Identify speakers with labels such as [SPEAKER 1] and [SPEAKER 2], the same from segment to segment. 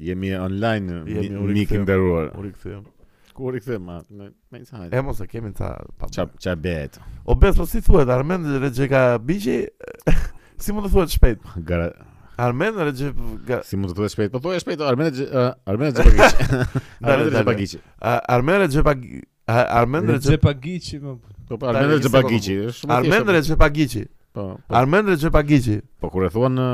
[SPEAKER 1] Jemi online,
[SPEAKER 2] Jemi, u
[SPEAKER 1] mik i
[SPEAKER 2] rikthyem.
[SPEAKER 1] nderuar.
[SPEAKER 2] U rikthyem.
[SPEAKER 1] Ku rikthem atë? Me me sa
[SPEAKER 2] E
[SPEAKER 1] hajde.
[SPEAKER 2] mos e kemi ta pa.
[SPEAKER 1] Ça ça bëhet?
[SPEAKER 2] O bes po si thuhet Armen Rexheka Biçi? si mund të thuhet shpejt?
[SPEAKER 1] Gara,
[SPEAKER 2] Armen Rexhek
[SPEAKER 1] si mund të thuash shpejt? Po thuaj shpejt, Armena Gje- ë, Armena Xhepagiç.
[SPEAKER 2] Dale,
[SPEAKER 1] Armena
[SPEAKER 2] dale.
[SPEAKER 1] Xhepagiç.
[SPEAKER 2] Armen Rexhek Armen Rexhek
[SPEAKER 3] Xhepagiçi më.
[SPEAKER 1] Po po Armena
[SPEAKER 2] Dale,
[SPEAKER 1] Xhepagiç, është shumë e
[SPEAKER 2] Armen
[SPEAKER 1] thjeshtë.
[SPEAKER 2] Rexhepagiçi.
[SPEAKER 1] Po. po.
[SPEAKER 2] Armen Rexhepagiçi.
[SPEAKER 1] Po kur e thuan në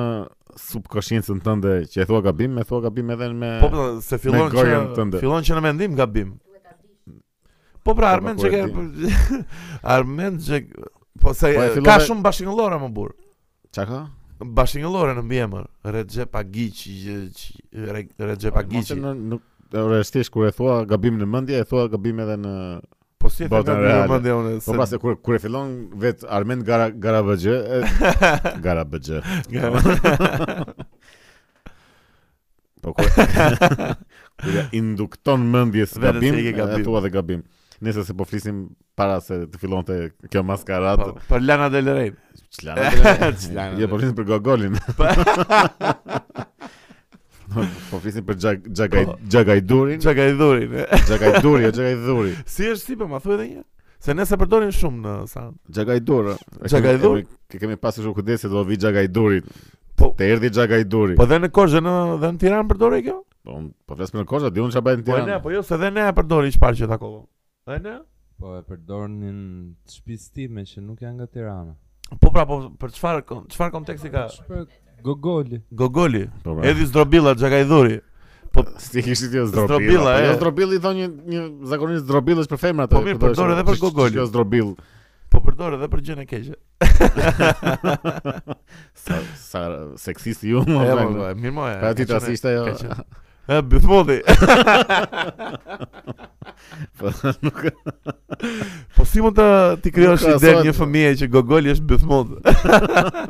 [SPEAKER 1] subkonsciencën tënde që e thua gabim, e thua gabim edhe me
[SPEAKER 2] Po pra, se fillon
[SPEAKER 1] gojën tënde.
[SPEAKER 2] që fillon që në mendim gabim. Po
[SPEAKER 1] Po,
[SPEAKER 2] pra Armen
[SPEAKER 1] po, po, e
[SPEAKER 2] Rexheka Armen Rexhek po se
[SPEAKER 1] Po, e fillon
[SPEAKER 2] ka
[SPEAKER 1] me-
[SPEAKER 2] shumë bashkëngëllore më burr.
[SPEAKER 1] Çka ka?
[SPEAKER 2] Bashkëngëllore në mbiemër. Rexhepagiçi, Rexhepagiçi.
[SPEAKER 1] Mos e në- Nuk Ora është thjesht kur e thua gabim në mendje, e thua gabim edhe në
[SPEAKER 2] Po si e thënë
[SPEAKER 1] Botën
[SPEAKER 2] nga
[SPEAKER 1] reale.
[SPEAKER 2] mendja unë?
[SPEAKER 1] Po
[SPEAKER 2] se-
[SPEAKER 1] pra se kur kur e fillon vet Armen Gara Garabëgjë, e- Garabëgjë. Po kur kur ja indukton mendjes
[SPEAKER 2] Vetes
[SPEAKER 1] gabim,
[SPEAKER 2] se i ke gabim.
[SPEAKER 1] e thua dhe gabim. Nëse se po flisim para se të fillonte kjo maskaratë,
[SPEAKER 2] Po, Për Lana Del Rey.
[SPEAKER 1] Çlana dhe-
[SPEAKER 2] Çlana
[SPEAKER 1] Jo,
[SPEAKER 2] dhe-
[SPEAKER 1] po flisim për Gogolin. po flisim për Xhag- Xhagaj
[SPEAKER 2] Po.
[SPEAKER 1] Xhagajdurin,
[SPEAKER 2] Çka ka i dhurin? e?
[SPEAKER 1] Xhagajduri, jo Xhagajdhuri.
[SPEAKER 2] Si është si për ma thuaj edhe një? Se ne se përdorin shumë në sa.
[SPEAKER 1] Xhagajdur. e kemi-
[SPEAKER 2] Xhagajdur?
[SPEAKER 1] e kemi- Kemi pasur shumë kujdese do vi Xhagajdurit.
[SPEAKER 2] Po-
[SPEAKER 1] Po te erdhi Xhagajduri.
[SPEAKER 2] Po dhe në Kozhë në dhe në Tiranë përdorin kjo?
[SPEAKER 1] Po unë- po flas për Kozha, di unë çfarë bëjnë në
[SPEAKER 2] Po e ne,
[SPEAKER 1] Tiranë.
[SPEAKER 2] po jo se dhe ne e përdorin çfarë që takova. Dhe ne?
[SPEAKER 3] Po e përdornin të shtëpisë time që nuk janë nga Tirana.
[SPEAKER 2] Po pra, po për çfarë kon- çfarë konteksti ka?
[SPEAKER 3] Për Gogoli.
[SPEAKER 2] Gogoli,
[SPEAKER 1] Po pra.
[SPEAKER 2] Edhi Zdrobilla Çka i dhuri.
[SPEAKER 1] Po si kishit ti zdrobilla.
[SPEAKER 2] Zdrobilla,
[SPEAKER 1] po,
[SPEAKER 2] e.
[SPEAKER 1] jo zdrobilli thon një një zakonisht zdrobill është për femrat.
[SPEAKER 2] Po mirë, përdor edhe për Gogolin.
[SPEAKER 1] Kjo jo zdrobill.
[SPEAKER 2] Po përdor edhe për gjën e keqe.
[SPEAKER 1] Sa sa seksist ju më.
[SPEAKER 2] E,
[SPEAKER 1] vjen.
[SPEAKER 2] po, po, e, mirë moja.
[SPEAKER 1] Pra ti tas ishte ajo.
[SPEAKER 2] ka qenë. E bëthmodi.
[SPEAKER 1] Po nuk
[SPEAKER 2] Po si mund të ti krijosh
[SPEAKER 1] Nuk
[SPEAKER 2] iden
[SPEAKER 1] krahasohet.
[SPEAKER 2] një fëmije që Gogoli është bythmod?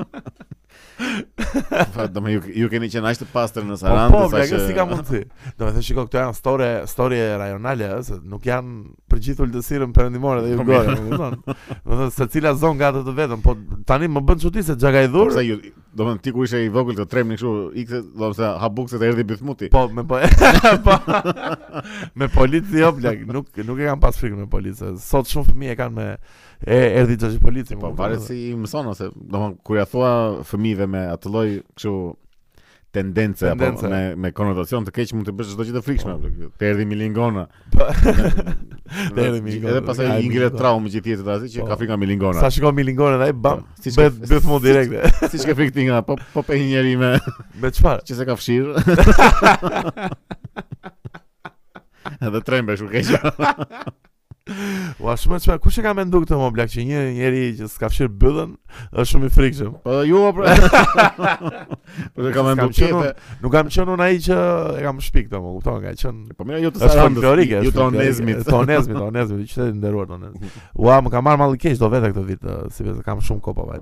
[SPEAKER 1] pa po, do më ju ju keni qenë aq të pastër në
[SPEAKER 2] Po
[SPEAKER 1] Sarandë
[SPEAKER 2] po, bla, që... si ka mundësi. Do të thënë shiko këto janë store story rajonale, ëh, se nuk janë për gjithë ulësirën perëndimore dhe
[SPEAKER 1] Po,
[SPEAKER 2] jugore, më kupton. Do të thënë secila zonë ka atë të vetën, po tani më bën çudi se xhaka i
[SPEAKER 1] Po
[SPEAKER 2] dhur.
[SPEAKER 1] pse ju do më thënë, ti kur ishe i vogël të tremni kështu ikse do të thënë ha bukse të erdhi bythmuti.
[SPEAKER 2] Po, me po, po me policë jo bla, nuk nuk e kanë pas frikë me policë. Sot shumë fëmijë e kanë me e erdhi xhaxhi polici. më
[SPEAKER 1] Po
[SPEAKER 2] kupton,
[SPEAKER 1] varet
[SPEAKER 2] dhe-
[SPEAKER 1] si i mëson ose do më thënë, kur ja thua fëmijëve me atë lloj kështu tendence apo
[SPEAKER 2] Tendence.
[SPEAKER 1] me me konotacion të keq mund të bësh çdo gjë të frikshme. bla. Të erdhi milingona.
[SPEAKER 2] Po.
[SPEAKER 1] Të
[SPEAKER 2] erdhi milingona.
[SPEAKER 1] Edhe pastaj
[SPEAKER 2] Ai
[SPEAKER 1] i ngjitet
[SPEAKER 2] milingona.
[SPEAKER 1] traumë gjithë jetën atë që
[SPEAKER 2] Po.
[SPEAKER 1] ka frikë nga milingona.
[SPEAKER 2] Sa shikon milingorin ai bam,
[SPEAKER 1] Po, siç-
[SPEAKER 2] bëhet bythmod direkt.
[SPEAKER 1] Siç ke frikë ti nga po po pe një njerëz me
[SPEAKER 2] Me çfarë?
[SPEAKER 1] që se ka fshir. Edhe trembesh u keq.
[SPEAKER 2] Ua shumë çfarë kush e ka menduar këtë më blaq që një njeri që s'ka fshir byllën është shumë i frikshëm.
[SPEAKER 1] Po ju po. Po të kam
[SPEAKER 2] S'kam
[SPEAKER 1] mendu
[SPEAKER 2] qenë
[SPEAKER 1] çefe.
[SPEAKER 2] Nuk kam qenë unë ai që e kam shpik këtë më kupton, ka qenë
[SPEAKER 1] Po mira ju të
[SPEAKER 2] është
[SPEAKER 1] sarandës.
[SPEAKER 2] folklorike,
[SPEAKER 1] ju
[SPEAKER 2] është
[SPEAKER 1] të
[SPEAKER 2] folklorike.
[SPEAKER 1] onezmit.
[SPEAKER 2] Tonezmit, Tonezmit, i qytetit nderuar Tonezmit. Ua, më ka marrë malli keq do vetë këtë vit, ë, si vetë kam shumë kopa vaj.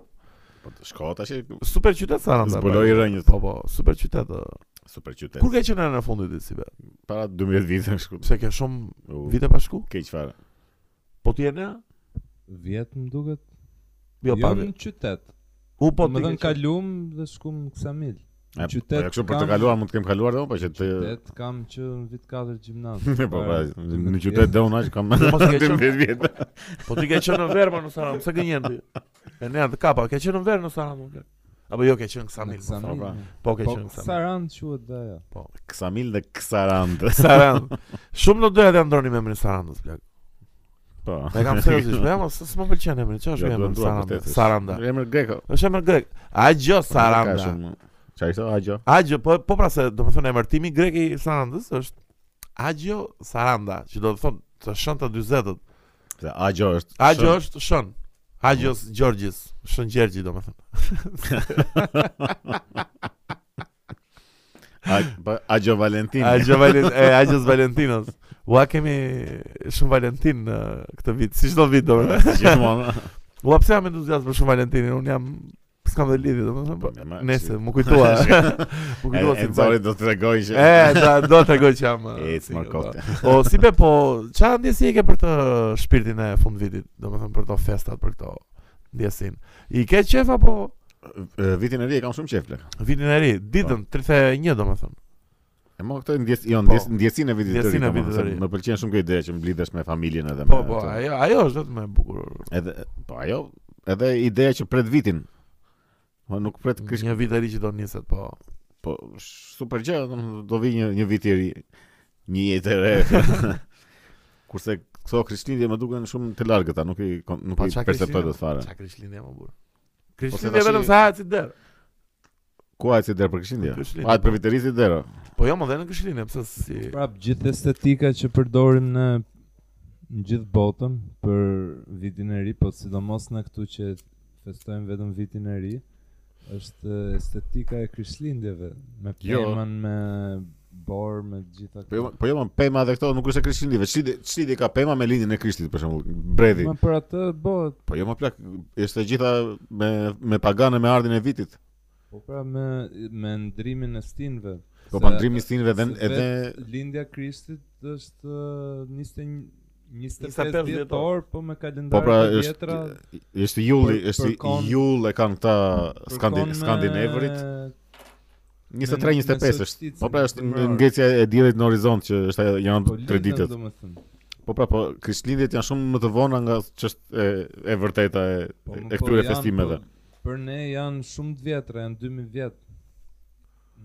[SPEAKER 1] Po të shko tash
[SPEAKER 2] Super qytet Saranda.
[SPEAKER 1] zbuloi
[SPEAKER 2] vaj.
[SPEAKER 1] rënjët.
[SPEAKER 2] Po po, super qytet. ë.
[SPEAKER 1] Super qytet.
[SPEAKER 2] Kur ka qenë në fundit ditë si vetë?
[SPEAKER 1] Para 12 vitesh kështu.
[SPEAKER 2] Pse ke shumë
[SPEAKER 1] U,
[SPEAKER 2] vite pa shku?
[SPEAKER 1] Keq fare.
[SPEAKER 2] Po ti je në?
[SPEAKER 3] Vjet më duket.
[SPEAKER 2] Jo pa.
[SPEAKER 3] në qytet.
[SPEAKER 2] U po
[SPEAKER 3] më
[SPEAKER 2] ti.
[SPEAKER 3] dhënë
[SPEAKER 2] ke qenë-
[SPEAKER 3] kalum dhe shkum kësa mil.
[SPEAKER 1] E,
[SPEAKER 3] Qytet
[SPEAKER 1] po, ja kështu për të
[SPEAKER 3] kam-
[SPEAKER 1] kaluar mund të kem kaluar edhe unë, po që të
[SPEAKER 3] Qytet kam që në vit 4 gjimnaz.
[SPEAKER 1] Po pra, në qytet dhe unë aq kam
[SPEAKER 2] mos e ke qenë-
[SPEAKER 1] 12 vjet.
[SPEAKER 2] Po ti ke qenë në verë më në Sarandë, pse gënjen ti? E ne atë kapa, ke qenë në verë në Sarandë. bre. Apo jo ke qenë në Ksamil. po,
[SPEAKER 1] Po,
[SPEAKER 3] Ksamil.
[SPEAKER 1] pra.
[SPEAKER 2] Po ke
[SPEAKER 3] Po
[SPEAKER 2] qenë në Ksamil.
[SPEAKER 3] Saran quhet dhe ajo.
[SPEAKER 1] Ksamil dhe Ksarand.
[SPEAKER 2] Sarandë. Shumë do doja të ndroni me emrin Sarandës, plak.
[SPEAKER 1] Po.
[SPEAKER 2] E kam seriozisht, po jam s'më më pëlqen emri, çfarë
[SPEAKER 1] Ja,
[SPEAKER 2] është ky
[SPEAKER 1] duhet-
[SPEAKER 2] emri
[SPEAKER 1] duhet
[SPEAKER 2] Saranda?
[SPEAKER 1] vërtet, është.
[SPEAKER 2] Saranda.
[SPEAKER 1] Emër greko.
[SPEAKER 2] Është emër grek. Agjo Saranda.
[SPEAKER 1] Çfarë ishte agjo?
[SPEAKER 2] Agjo, po po pra se domethënë emërtimi grek i Sarandës është Agjo Saranda, që do të thonë të shën të 40-të.
[SPEAKER 1] Se agjo është.
[SPEAKER 2] Agjo është shën. Agjos Gjorgjis, shën Gjergji domethënë.
[SPEAKER 1] Ag- po, Agjo Valentin.
[SPEAKER 2] Agjo Valen, e Agjos Valentinos. Ua kemi shumë Valentin në këtë vit, si çdo vit domethënë.
[SPEAKER 1] Gjithmonë.
[SPEAKER 2] Ua pse jam entuziast për shumë Valentinin, unë jam s'kam dhe lidhje
[SPEAKER 1] Po,
[SPEAKER 2] domethënë.
[SPEAKER 1] mirë, ma,
[SPEAKER 2] po, Nëse
[SPEAKER 1] si-
[SPEAKER 2] më kujtoa. më
[SPEAKER 1] E
[SPEAKER 2] kujtoa si
[SPEAKER 1] Enzori do të tregoj që.
[SPEAKER 2] E, da, do të tregoj që jam.
[SPEAKER 1] E, it's more
[SPEAKER 2] single,
[SPEAKER 1] cocktail.
[SPEAKER 2] da. O, si be, po, qa ndjesi e ke për të shpirtin e fund vitit, domethënë për këto festat, për këto ndjesin. I ke qef apo
[SPEAKER 1] E, Vitin e ri e kam shumë qejf plak. Po.
[SPEAKER 2] vitin e ri, ditën 31 domethënë.
[SPEAKER 1] E mo këto ndjes, jo,
[SPEAKER 2] Po.
[SPEAKER 1] ndjes, ndjesinë e vitit të ri.
[SPEAKER 2] Ndjesinë e
[SPEAKER 1] domethënë,
[SPEAKER 2] vitit
[SPEAKER 1] se
[SPEAKER 2] të ri.
[SPEAKER 1] Më pëlqen shumë kjo ide që mblidhesh me familjen edhe
[SPEAKER 2] Po,
[SPEAKER 1] me.
[SPEAKER 2] po,
[SPEAKER 1] ato.
[SPEAKER 2] ajo, ajo është vetëm e bukur.
[SPEAKER 1] Edhe po ajo, edhe ideja që pret vitin. Po nuk pret kish
[SPEAKER 2] Një vit e ri që do niset, po.
[SPEAKER 1] po sh- super gjë, domethënë do vi një një vit i ri, një jetë e re. Kurse këto krishtlindje më duken shumë të largëta, nuk i kon- nuk
[SPEAKER 2] Po,
[SPEAKER 1] i
[SPEAKER 2] çka
[SPEAKER 1] perceptoj
[SPEAKER 2] Krishtlindje?
[SPEAKER 1] dot fare.
[SPEAKER 2] Çka krishtlindje më burr.
[SPEAKER 1] Ose
[SPEAKER 2] Krishtlindje
[SPEAKER 1] tash i-
[SPEAKER 2] vetëm sa hajt si der.
[SPEAKER 1] Ku ai si der për krishtlindje?
[SPEAKER 2] Krishtlindje,
[SPEAKER 1] Ai
[SPEAKER 2] po.
[SPEAKER 1] për vitërisë der.
[SPEAKER 2] Po jo, më dhe në krishtlindje, pse si
[SPEAKER 3] Prap gjithë estetika që përdorim në në gjithë botën për vitin e ri, po sidomos në këtu që festojmë vetëm vitin e ri, është estetika e krishtlindjeve, me
[SPEAKER 1] Jo.
[SPEAKER 3] pemën, me borë, me gjitha
[SPEAKER 1] Po jo, po jo, më pema edhe këto nuk është e krishtlindjeve. Çlidi, çlidi ka pema me lindjen e krishtit për shembull, bredhi.
[SPEAKER 3] Ma për atë bëhet,
[SPEAKER 1] Po jo më plak, është e gjitha me me pagane me ardhin e vitit.
[SPEAKER 3] po pra me me ndrimin e stinëve.
[SPEAKER 1] Po
[SPEAKER 3] Se-
[SPEAKER 1] pa ndrimi stinëve edhe
[SPEAKER 3] se
[SPEAKER 1] edhe
[SPEAKER 3] Lindja e Krishtit është uh, ë, 21 25
[SPEAKER 2] 25
[SPEAKER 3] dhjetor, po me
[SPEAKER 1] po
[SPEAKER 3] kalendar
[SPEAKER 1] pra
[SPEAKER 3] të
[SPEAKER 1] është
[SPEAKER 3] vjetra.
[SPEAKER 1] është julli,
[SPEAKER 3] për-
[SPEAKER 1] është
[SPEAKER 3] përkon-
[SPEAKER 1] jull e kanë këta skandi
[SPEAKER 3] përkon me-
[SPEAKER 1] skandinavërit.
[SPEAKER 3] uh,
[SPEAKER 1] 23
[SPEAKER 3] me- me
[SPEAKER 1] 25 është.
[SPEAKER 3] solsticin,
[SPEAKER 1] Po pra është
[SPEAKER 3] me dimrarën.
[SPEAKER 1] ngjecia e diellit në horizont që është ajo janë
[SPEAKER 3] Po
[SPEAKER 1] tre
[SPEAKER 3] lindën,
[SPEAKER 1] ditët.
[SPEAKER 3] domethënë.
[SPEAKER 1] Po pra, po krishtlindjet janë shumë më të vona nga ç'është e, e vërteta e,
[SPEAKER 3] Po, më
[SPEAKER 1] e
[SPEAKER 3] po
[SPEAKER 1] këtyre
[SPEAKER 3] janë,
[SPEAKER 1] festimeve.
[SPEAKER 3] po, Për ne janë shumë të vjetra, janë 2000 vjet.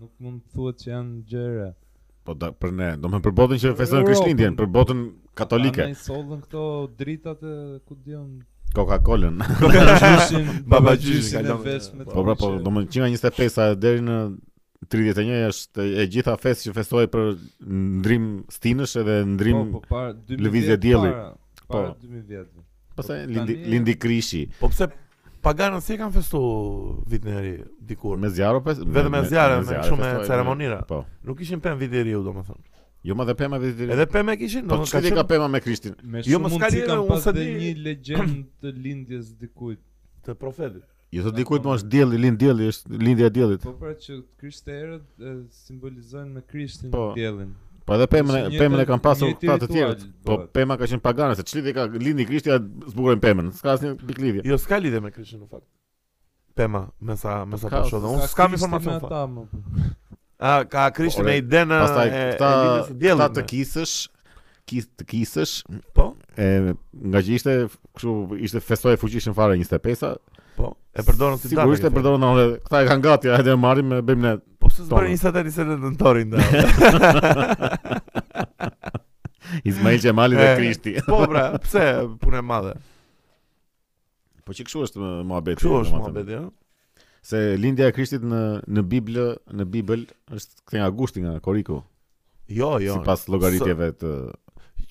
[SPEAKER 3] Nuk mund të thuhet që janë gjëra.
[SPEAKER 1] Po da, për ne, domethënë për botën që
[SPEAKER 3] Për
[SPEAKER 1] festojnë
[SPEAKER 3] Europën.
[SPEAKER 1] Krishtlindjen, për botën katolike,
[SPEAKER 3] Ne sollën këto dritat e ku diun.
[SPEAKER 1] Coca-Colën.
[SPEAKER 3] Gjyshin,
[SPEAKER 2] Baba gjyshin,
[SPEAKER 3] gjyshin e
[SPEAKER 2] kalon.
[SPEAKER 3] veshme.
[SPEAKER 1] Po pra, po, domethënë që nga 25-a deri në 31 është e gjitha festë që festohet për ndrim stinësh edhe ndrim
[SPEAKER 3] Po, po, para 2000
[SPEAKER 1] lëvizje
[SPEAKER 3] vjet
[SPEAKER 1] dielli.
[SPEAKER 3] para- Para
[SPEAKER 1] Po.
[SPEAKER 3] 2000 vjetëve.
[SPEAKER 1] pastaj
[SPEAKER 3] po,
[SPEAKER 1] lindi,
[SPEAKER 3] tani-
[SPEAKER 1] lindi krishi.
[SPEAKER 2] Po pse paganët si e kanë festu vitin e ri dikur?
[SPEAKER 1] Me zjarro pes,
[SPEAKER 2] Vetëm me zjarre, me shumë me
[SPEAKER 1] festohet,
[SPEAKER 2] ceremonira.
[SPEAKER 1] Po.
[SPEAKER 2] Nuk ishin pem vit i riu, domethënë.
[SPEAKER 1] Jo më dhe pema vetë.
[SPEAKER 2] Edhe pem e kishin,
[SPEAKER 1] po
[SPEAKER 2] domethënë
[SPEAKER 1] çfarë ka pema me Krishtin?
[SPEAKER 3] Me
[SPEAKER 2] Jo,
[SPEAKER 3] shumë
[SPEAKER 2] mos
[SPEAKER 3] mundësi
[SPEAKER 2] kalirë,
[SPEAKER 3] kam
[SPEAKER 2] unë
[SPEAKER 3] pas
[SPEAKER 2] se
[SPEAKER 3] dhe
[SPEAKER 2] di-
[SPEAKER 3] një legjend të lindjes dikujt.
[SPEAKER 2] të profetit.
[SPEAKER 1] Jo të dikujt më është dielli, lind dielli, është lindja e diellit.
[SPEAKER 3] Po pra që krishterët e, simbolizojnë me krishtin
[SPEAKER 1] Po.
[SPEAKER 3] diellin.
[SPEAKER 1] Po edhe pemën, e-
[SPEAKER 3] Është një
[SPEAKER 1] pemën e
[SPEAKER 3] të-
[SPEAKER 1] kanë pasur
[SPEAKER 3] një
[SPEAKER 1] këta të tjerët.
[SPEAKER 3] ritual,
[SPEAKER 1] Po
[SPEAKER 3] bëhet.
[SPEAKER 1] pema ka qenë pagane, se çlidi ka lindi Krishti, ja zbukurojnë pemën. S'ka asnjë piklidhje.
[SPEAKER 2] Jo, s'ka lidhje me Krishtin në fakt. Pema, me sa me sa
[SPEAKER 1] Ka-
[SPEAKER 2] po shoh. dhe Unë
[SPEAKER 3] Sa
[SPEAKER 2] s'kam
[SPEAKER 3] Krishti me
[SPEAKER 2] informacion. fa.
[SPEAKER 3] ata, më po.
[SPEAKER 2] A ka Krishtin
[SPEAKER 1] Ore,
[SPEAKER 2] me idenë e
[SPEAKER 1] Pastaj
[SPEAKER 2] e
[SPEAKER 1] këta
[SPEAKER 2] lidhjes së diellit,
[SPEAKER 1] këta
[SPEAKER 2] me.
[SPEAKER 1] të kisësh, kis, të kisësh,
[SPEAKER 2] Po,
[SPEAKER 1] e nga që ishte kështu ishte festoje fuqishëm fare 25-a.
[SPEAKER 2] po. E përdorën si datë.
[SPEAKER 1] Sigurisht e
[SPEAKER 2] këtë.
[SPEAKER 1] përdorën ona, këta e kanë gati, hajde e marrim e bëjmë ne.
[SPEAKER 2] Po pse s'bën
[SPEAKER 1] Tonë.
[SPEAKER 2] 28 28 nëntorin da.
[SPEAKER 1] Ismail Qemali dhe
[SPEAKER 2] E.
[SPEAKER 1] Krishti.
[SPEAKER 2] Po pra, pse punë e madhe.
[SPEAKER 1] Po që kështu është më- muhabeti.
[SPEAKER 2] Kështu është
[SPEAKER 1] domethënë.
[SPEAKER 2] muhabeti, ëh.
[SPEAKER 1] Se lindja e Krishtit në në Bibël, në Bibël është kthe nga gushti nga Koriku,
[SPEAKER 2] Jo, jo.
[SPEAKER 1] sipas llogaritjeve të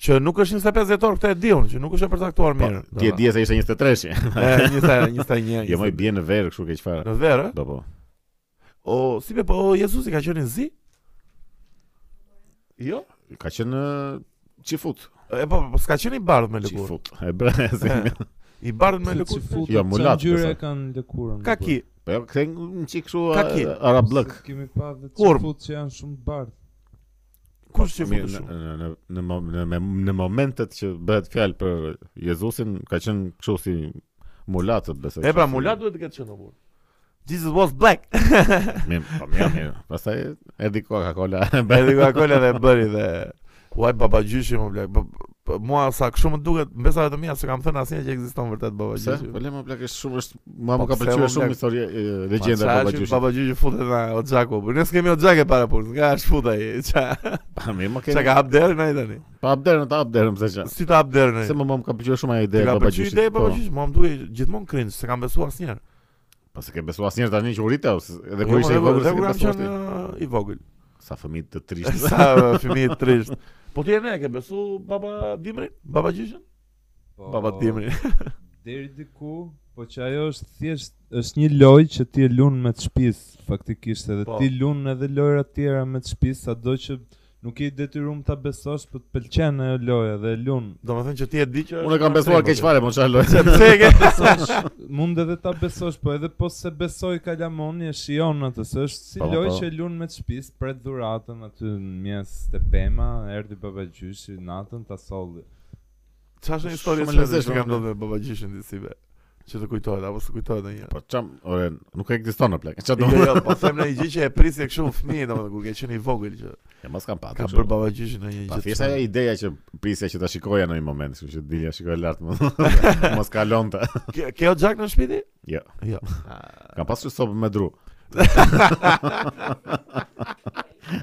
[SPEAKER 2] Që nuk është 25 dhjetor, këtë e diun, që nuk është e përcaktuar
[SPEAKER 1] Po,
[SPEAKER 2] mirë.
[SPEAKER 1] Ti e di se ishte 23-shi.
[SPEAKER 2] domethënë. E, 21, 21.
[SPEAKER 1] Jo më i bie në verë kështu keq fare.
[SPEAKER 2] Në verë, ëh?
[SPEAKER 1] Do po.
[SPEAKER 2] o si be po o, Jezusi ka qenë në zi? Jo.
[SPEAKER 1] Ka qenë çifut,
[SPEAKER 2] E po, po s'ka qenë i bardh me lëkurë.
[SPEAKER 1] çifut. E bre, si.
[SPEAKER 2] I bardh me
[SPEAKER 3] Se
[SPEAKER 2] lëkurë.
[SPEAKER 3] çifutët,
[SPEAKER 1] Jo,
[SPEAKER 3] sa
[SPEAKER 1] mulat,
[SPEAKER 3] ngjyre
[SPEAKER 1] besoj.
[SPEAKER 3] kanë lëkurën.
[SPEAKER 2] Ka
[SPEAKER 3] më po.
[SPEAKER 2] ki.
[SPEAKER 1] Po jo, kthe një çik kështu uh,
[SPEAKER 2] Ka ki.
[SPEAKER 1] a- arablëk.
[SPEAKER 3] Se Kemi pa dhe
[SPEAKER 2] Kurm.
[SPEAKER 3] çifut që janë shumë të bardhë.
[SPEAKER 2] Kush që
[SPEAKER 1] Mirë,
[SPEAKER 2] futu
[SPEAKER 1] në
[SPEAKER 2] shumë?
[SPEAKER 1] në në mo- në me- në momentet që bëhet fjalë për Jezusin, ka qenë kështu si mulatët besoj.
[SPEAKER 2] E pra,
[SPEAKER 1] Kështu si-
[SPEAKER 2] mulat duhet të ketë qenë burr. Jesus was black.
[SPEAKER 1] Mirë, po mirë, mirë. Pastaj erdhi Coca-Cola.
[SPEAKER 2] Edhe Coca-Cola dhe bëri dhe uaj baba gjyshi më blek. Po- po, Mua sa kështu më duket, mbesa vetëm mia se kam thënë asnjë që ekziston vërtet baba
[SPEAKER 1] Pse?
[SPEAKER 2] gjyshi.
[SPEAKER 1] Po le më plakë shumë është mua
[SPEAKER 2] Po
[SPEAKER 1] më ka
[SPEAKER 2] pse,
[SPEAKER 1] pëlqyer
[SPEAKER 2] mo,
[SPEAKER 1] shumë
[SPEAKER 2] plak?
[SPEAKER 1] historia e,
[SPEAKER 2] Ma,
[SPEAKER 1] legjenda
[SPEAKER 2] qa
[SPEAKER 1] e Baba
[SPEAKER 2] është
[SPEAKER 1] Gjyshit.
[SPEAKER 2] Baba gjyshi futet në Oxhaku. po, Ne s'kemi Oxhake para punës, nga është futa ai. Qa
[SPEAKER 1] Pa mirë, më
[SPEAKER 2] qa
[SPEAKER 1] keni.
[SPEAKER 2] ka hap derën ai tani?
[SPEAKER 1] Pa abderën, ta abderën pse çfarë.
[SPEAKER 2] Si ta hap derën ai?
[SPEAKER 1] Se më më ka pëlqyer shumë ajo ide
[SPEAKER 2] Ti
[SPEAKER 1] e
[SPEAKER 2] ka
[SPEAKER 1] Baba
[SPEAKER 2] pëlqyer
[SPEAKER 1] Gjyshit.
[SPEAKER 2] ideja e baba
[SPEAKER 1] po.
[SPEAKER 2] gjyshi, mua më duhet gjithmonë cringe, se kam besuar asnjëherë.
[SPEAKER 1] Po se ke besuar asnjëherë tani që urita ose edhe
[SPEAKER 2] Jo,
[SPEAKER 1] kur ishte
[SPEAKER 2] dhe-
[SPEAKER 1] i vogël
[SPEAKER 2] dhe
[SPEAKER 1] se
[SPEAKER 2] kur
[SPEAKER 1] ke
[SPEAKER 2] jam
[SPEAKER 1] besuar ti.
[SPEAKER 2] qenë, uh, i vogël.
[SPEAKER 1] Sa fëmijë të trishtë.
[SPEAKER 2] Sa uh, fëmijë trisht. Po ti e ne e ke besu baba Oh. Dimrin, baba gjyshin?
[SPEAKER 3] Po,
[SPEAKER 2] Baba Dimrin.
[SPEAKER 3] Deri diku, po që ajo është thjesht është një lojë që ti e lun me të shtëpis, faktikisht edhe
[SPEAKER 2] Po.
[SPEAKER 3] ti lun edhe lojra të tjera me të shtëpis, sado që nuk je i detyruar ta besosh, po të pëlqen ajo loja dhe e lun.
[SPEAKER 2] Do më thënë që ti e di që
[SPEAKER 1] Unë e kam besuar keq fare, po çfarë lojë.
[SPEAKER 2] Se pse e ke
[SPEAKER 3] Besosh, mund edhe ta besosh, po edhe po se besoj kalamoni e shion atë, se është si
[SPEAKER 1] Po, po.
[SPEAKER 3] lojë që e lun me të shtëpis, pret dhuratën aty në mjes të pema, erdhi baba gjyshi natën ta solli.
[SPEAKER 2] Çfarë është një histori
[SPEAKER 1] Shumë
[SPEAKER 2] e shpeshtë
[SPEAKER 1] lezeshme,
[SPEAKER 2] që kam
[SPEAKER 1] unë.
[SPEAKER 2] ndodhur me baba gjyshin disi be. që të kujtohet apo s'të kujtohet ndonjë.
[SPEAKER 1] Po çam, ore, nuk ekziston në plak. Çfarë
[SPEAKER 2] Jo,
[SPEAKER 1] do?
[SPEAKER 2] jo, po them në një gjë që e prisje kështu fëmijë domethënë kur ke qenë i vogël që
[SPEAKER 1] Ja mos kam patur.
[SPEAKER 2] ka
[SPEAKER 1] kështu.
[SPEAKER 2] bërë babagjyshin në një
[SPEAKER 1] Pa
[SPEAKER 2] gjë.
[SPEAKER 1] thjesht ajo ideja që prisja që ta shikoja në një moment, kështu që dilja shikoja lart më. Mos kalonte.
[SPEAKER 2] Ke ke o gjak në shtëpi ti?
[SPEAKER 1] Jo.
[SPEAKER 2] Jo.
[SPEAKER 1] Kam pasur sopë me dru.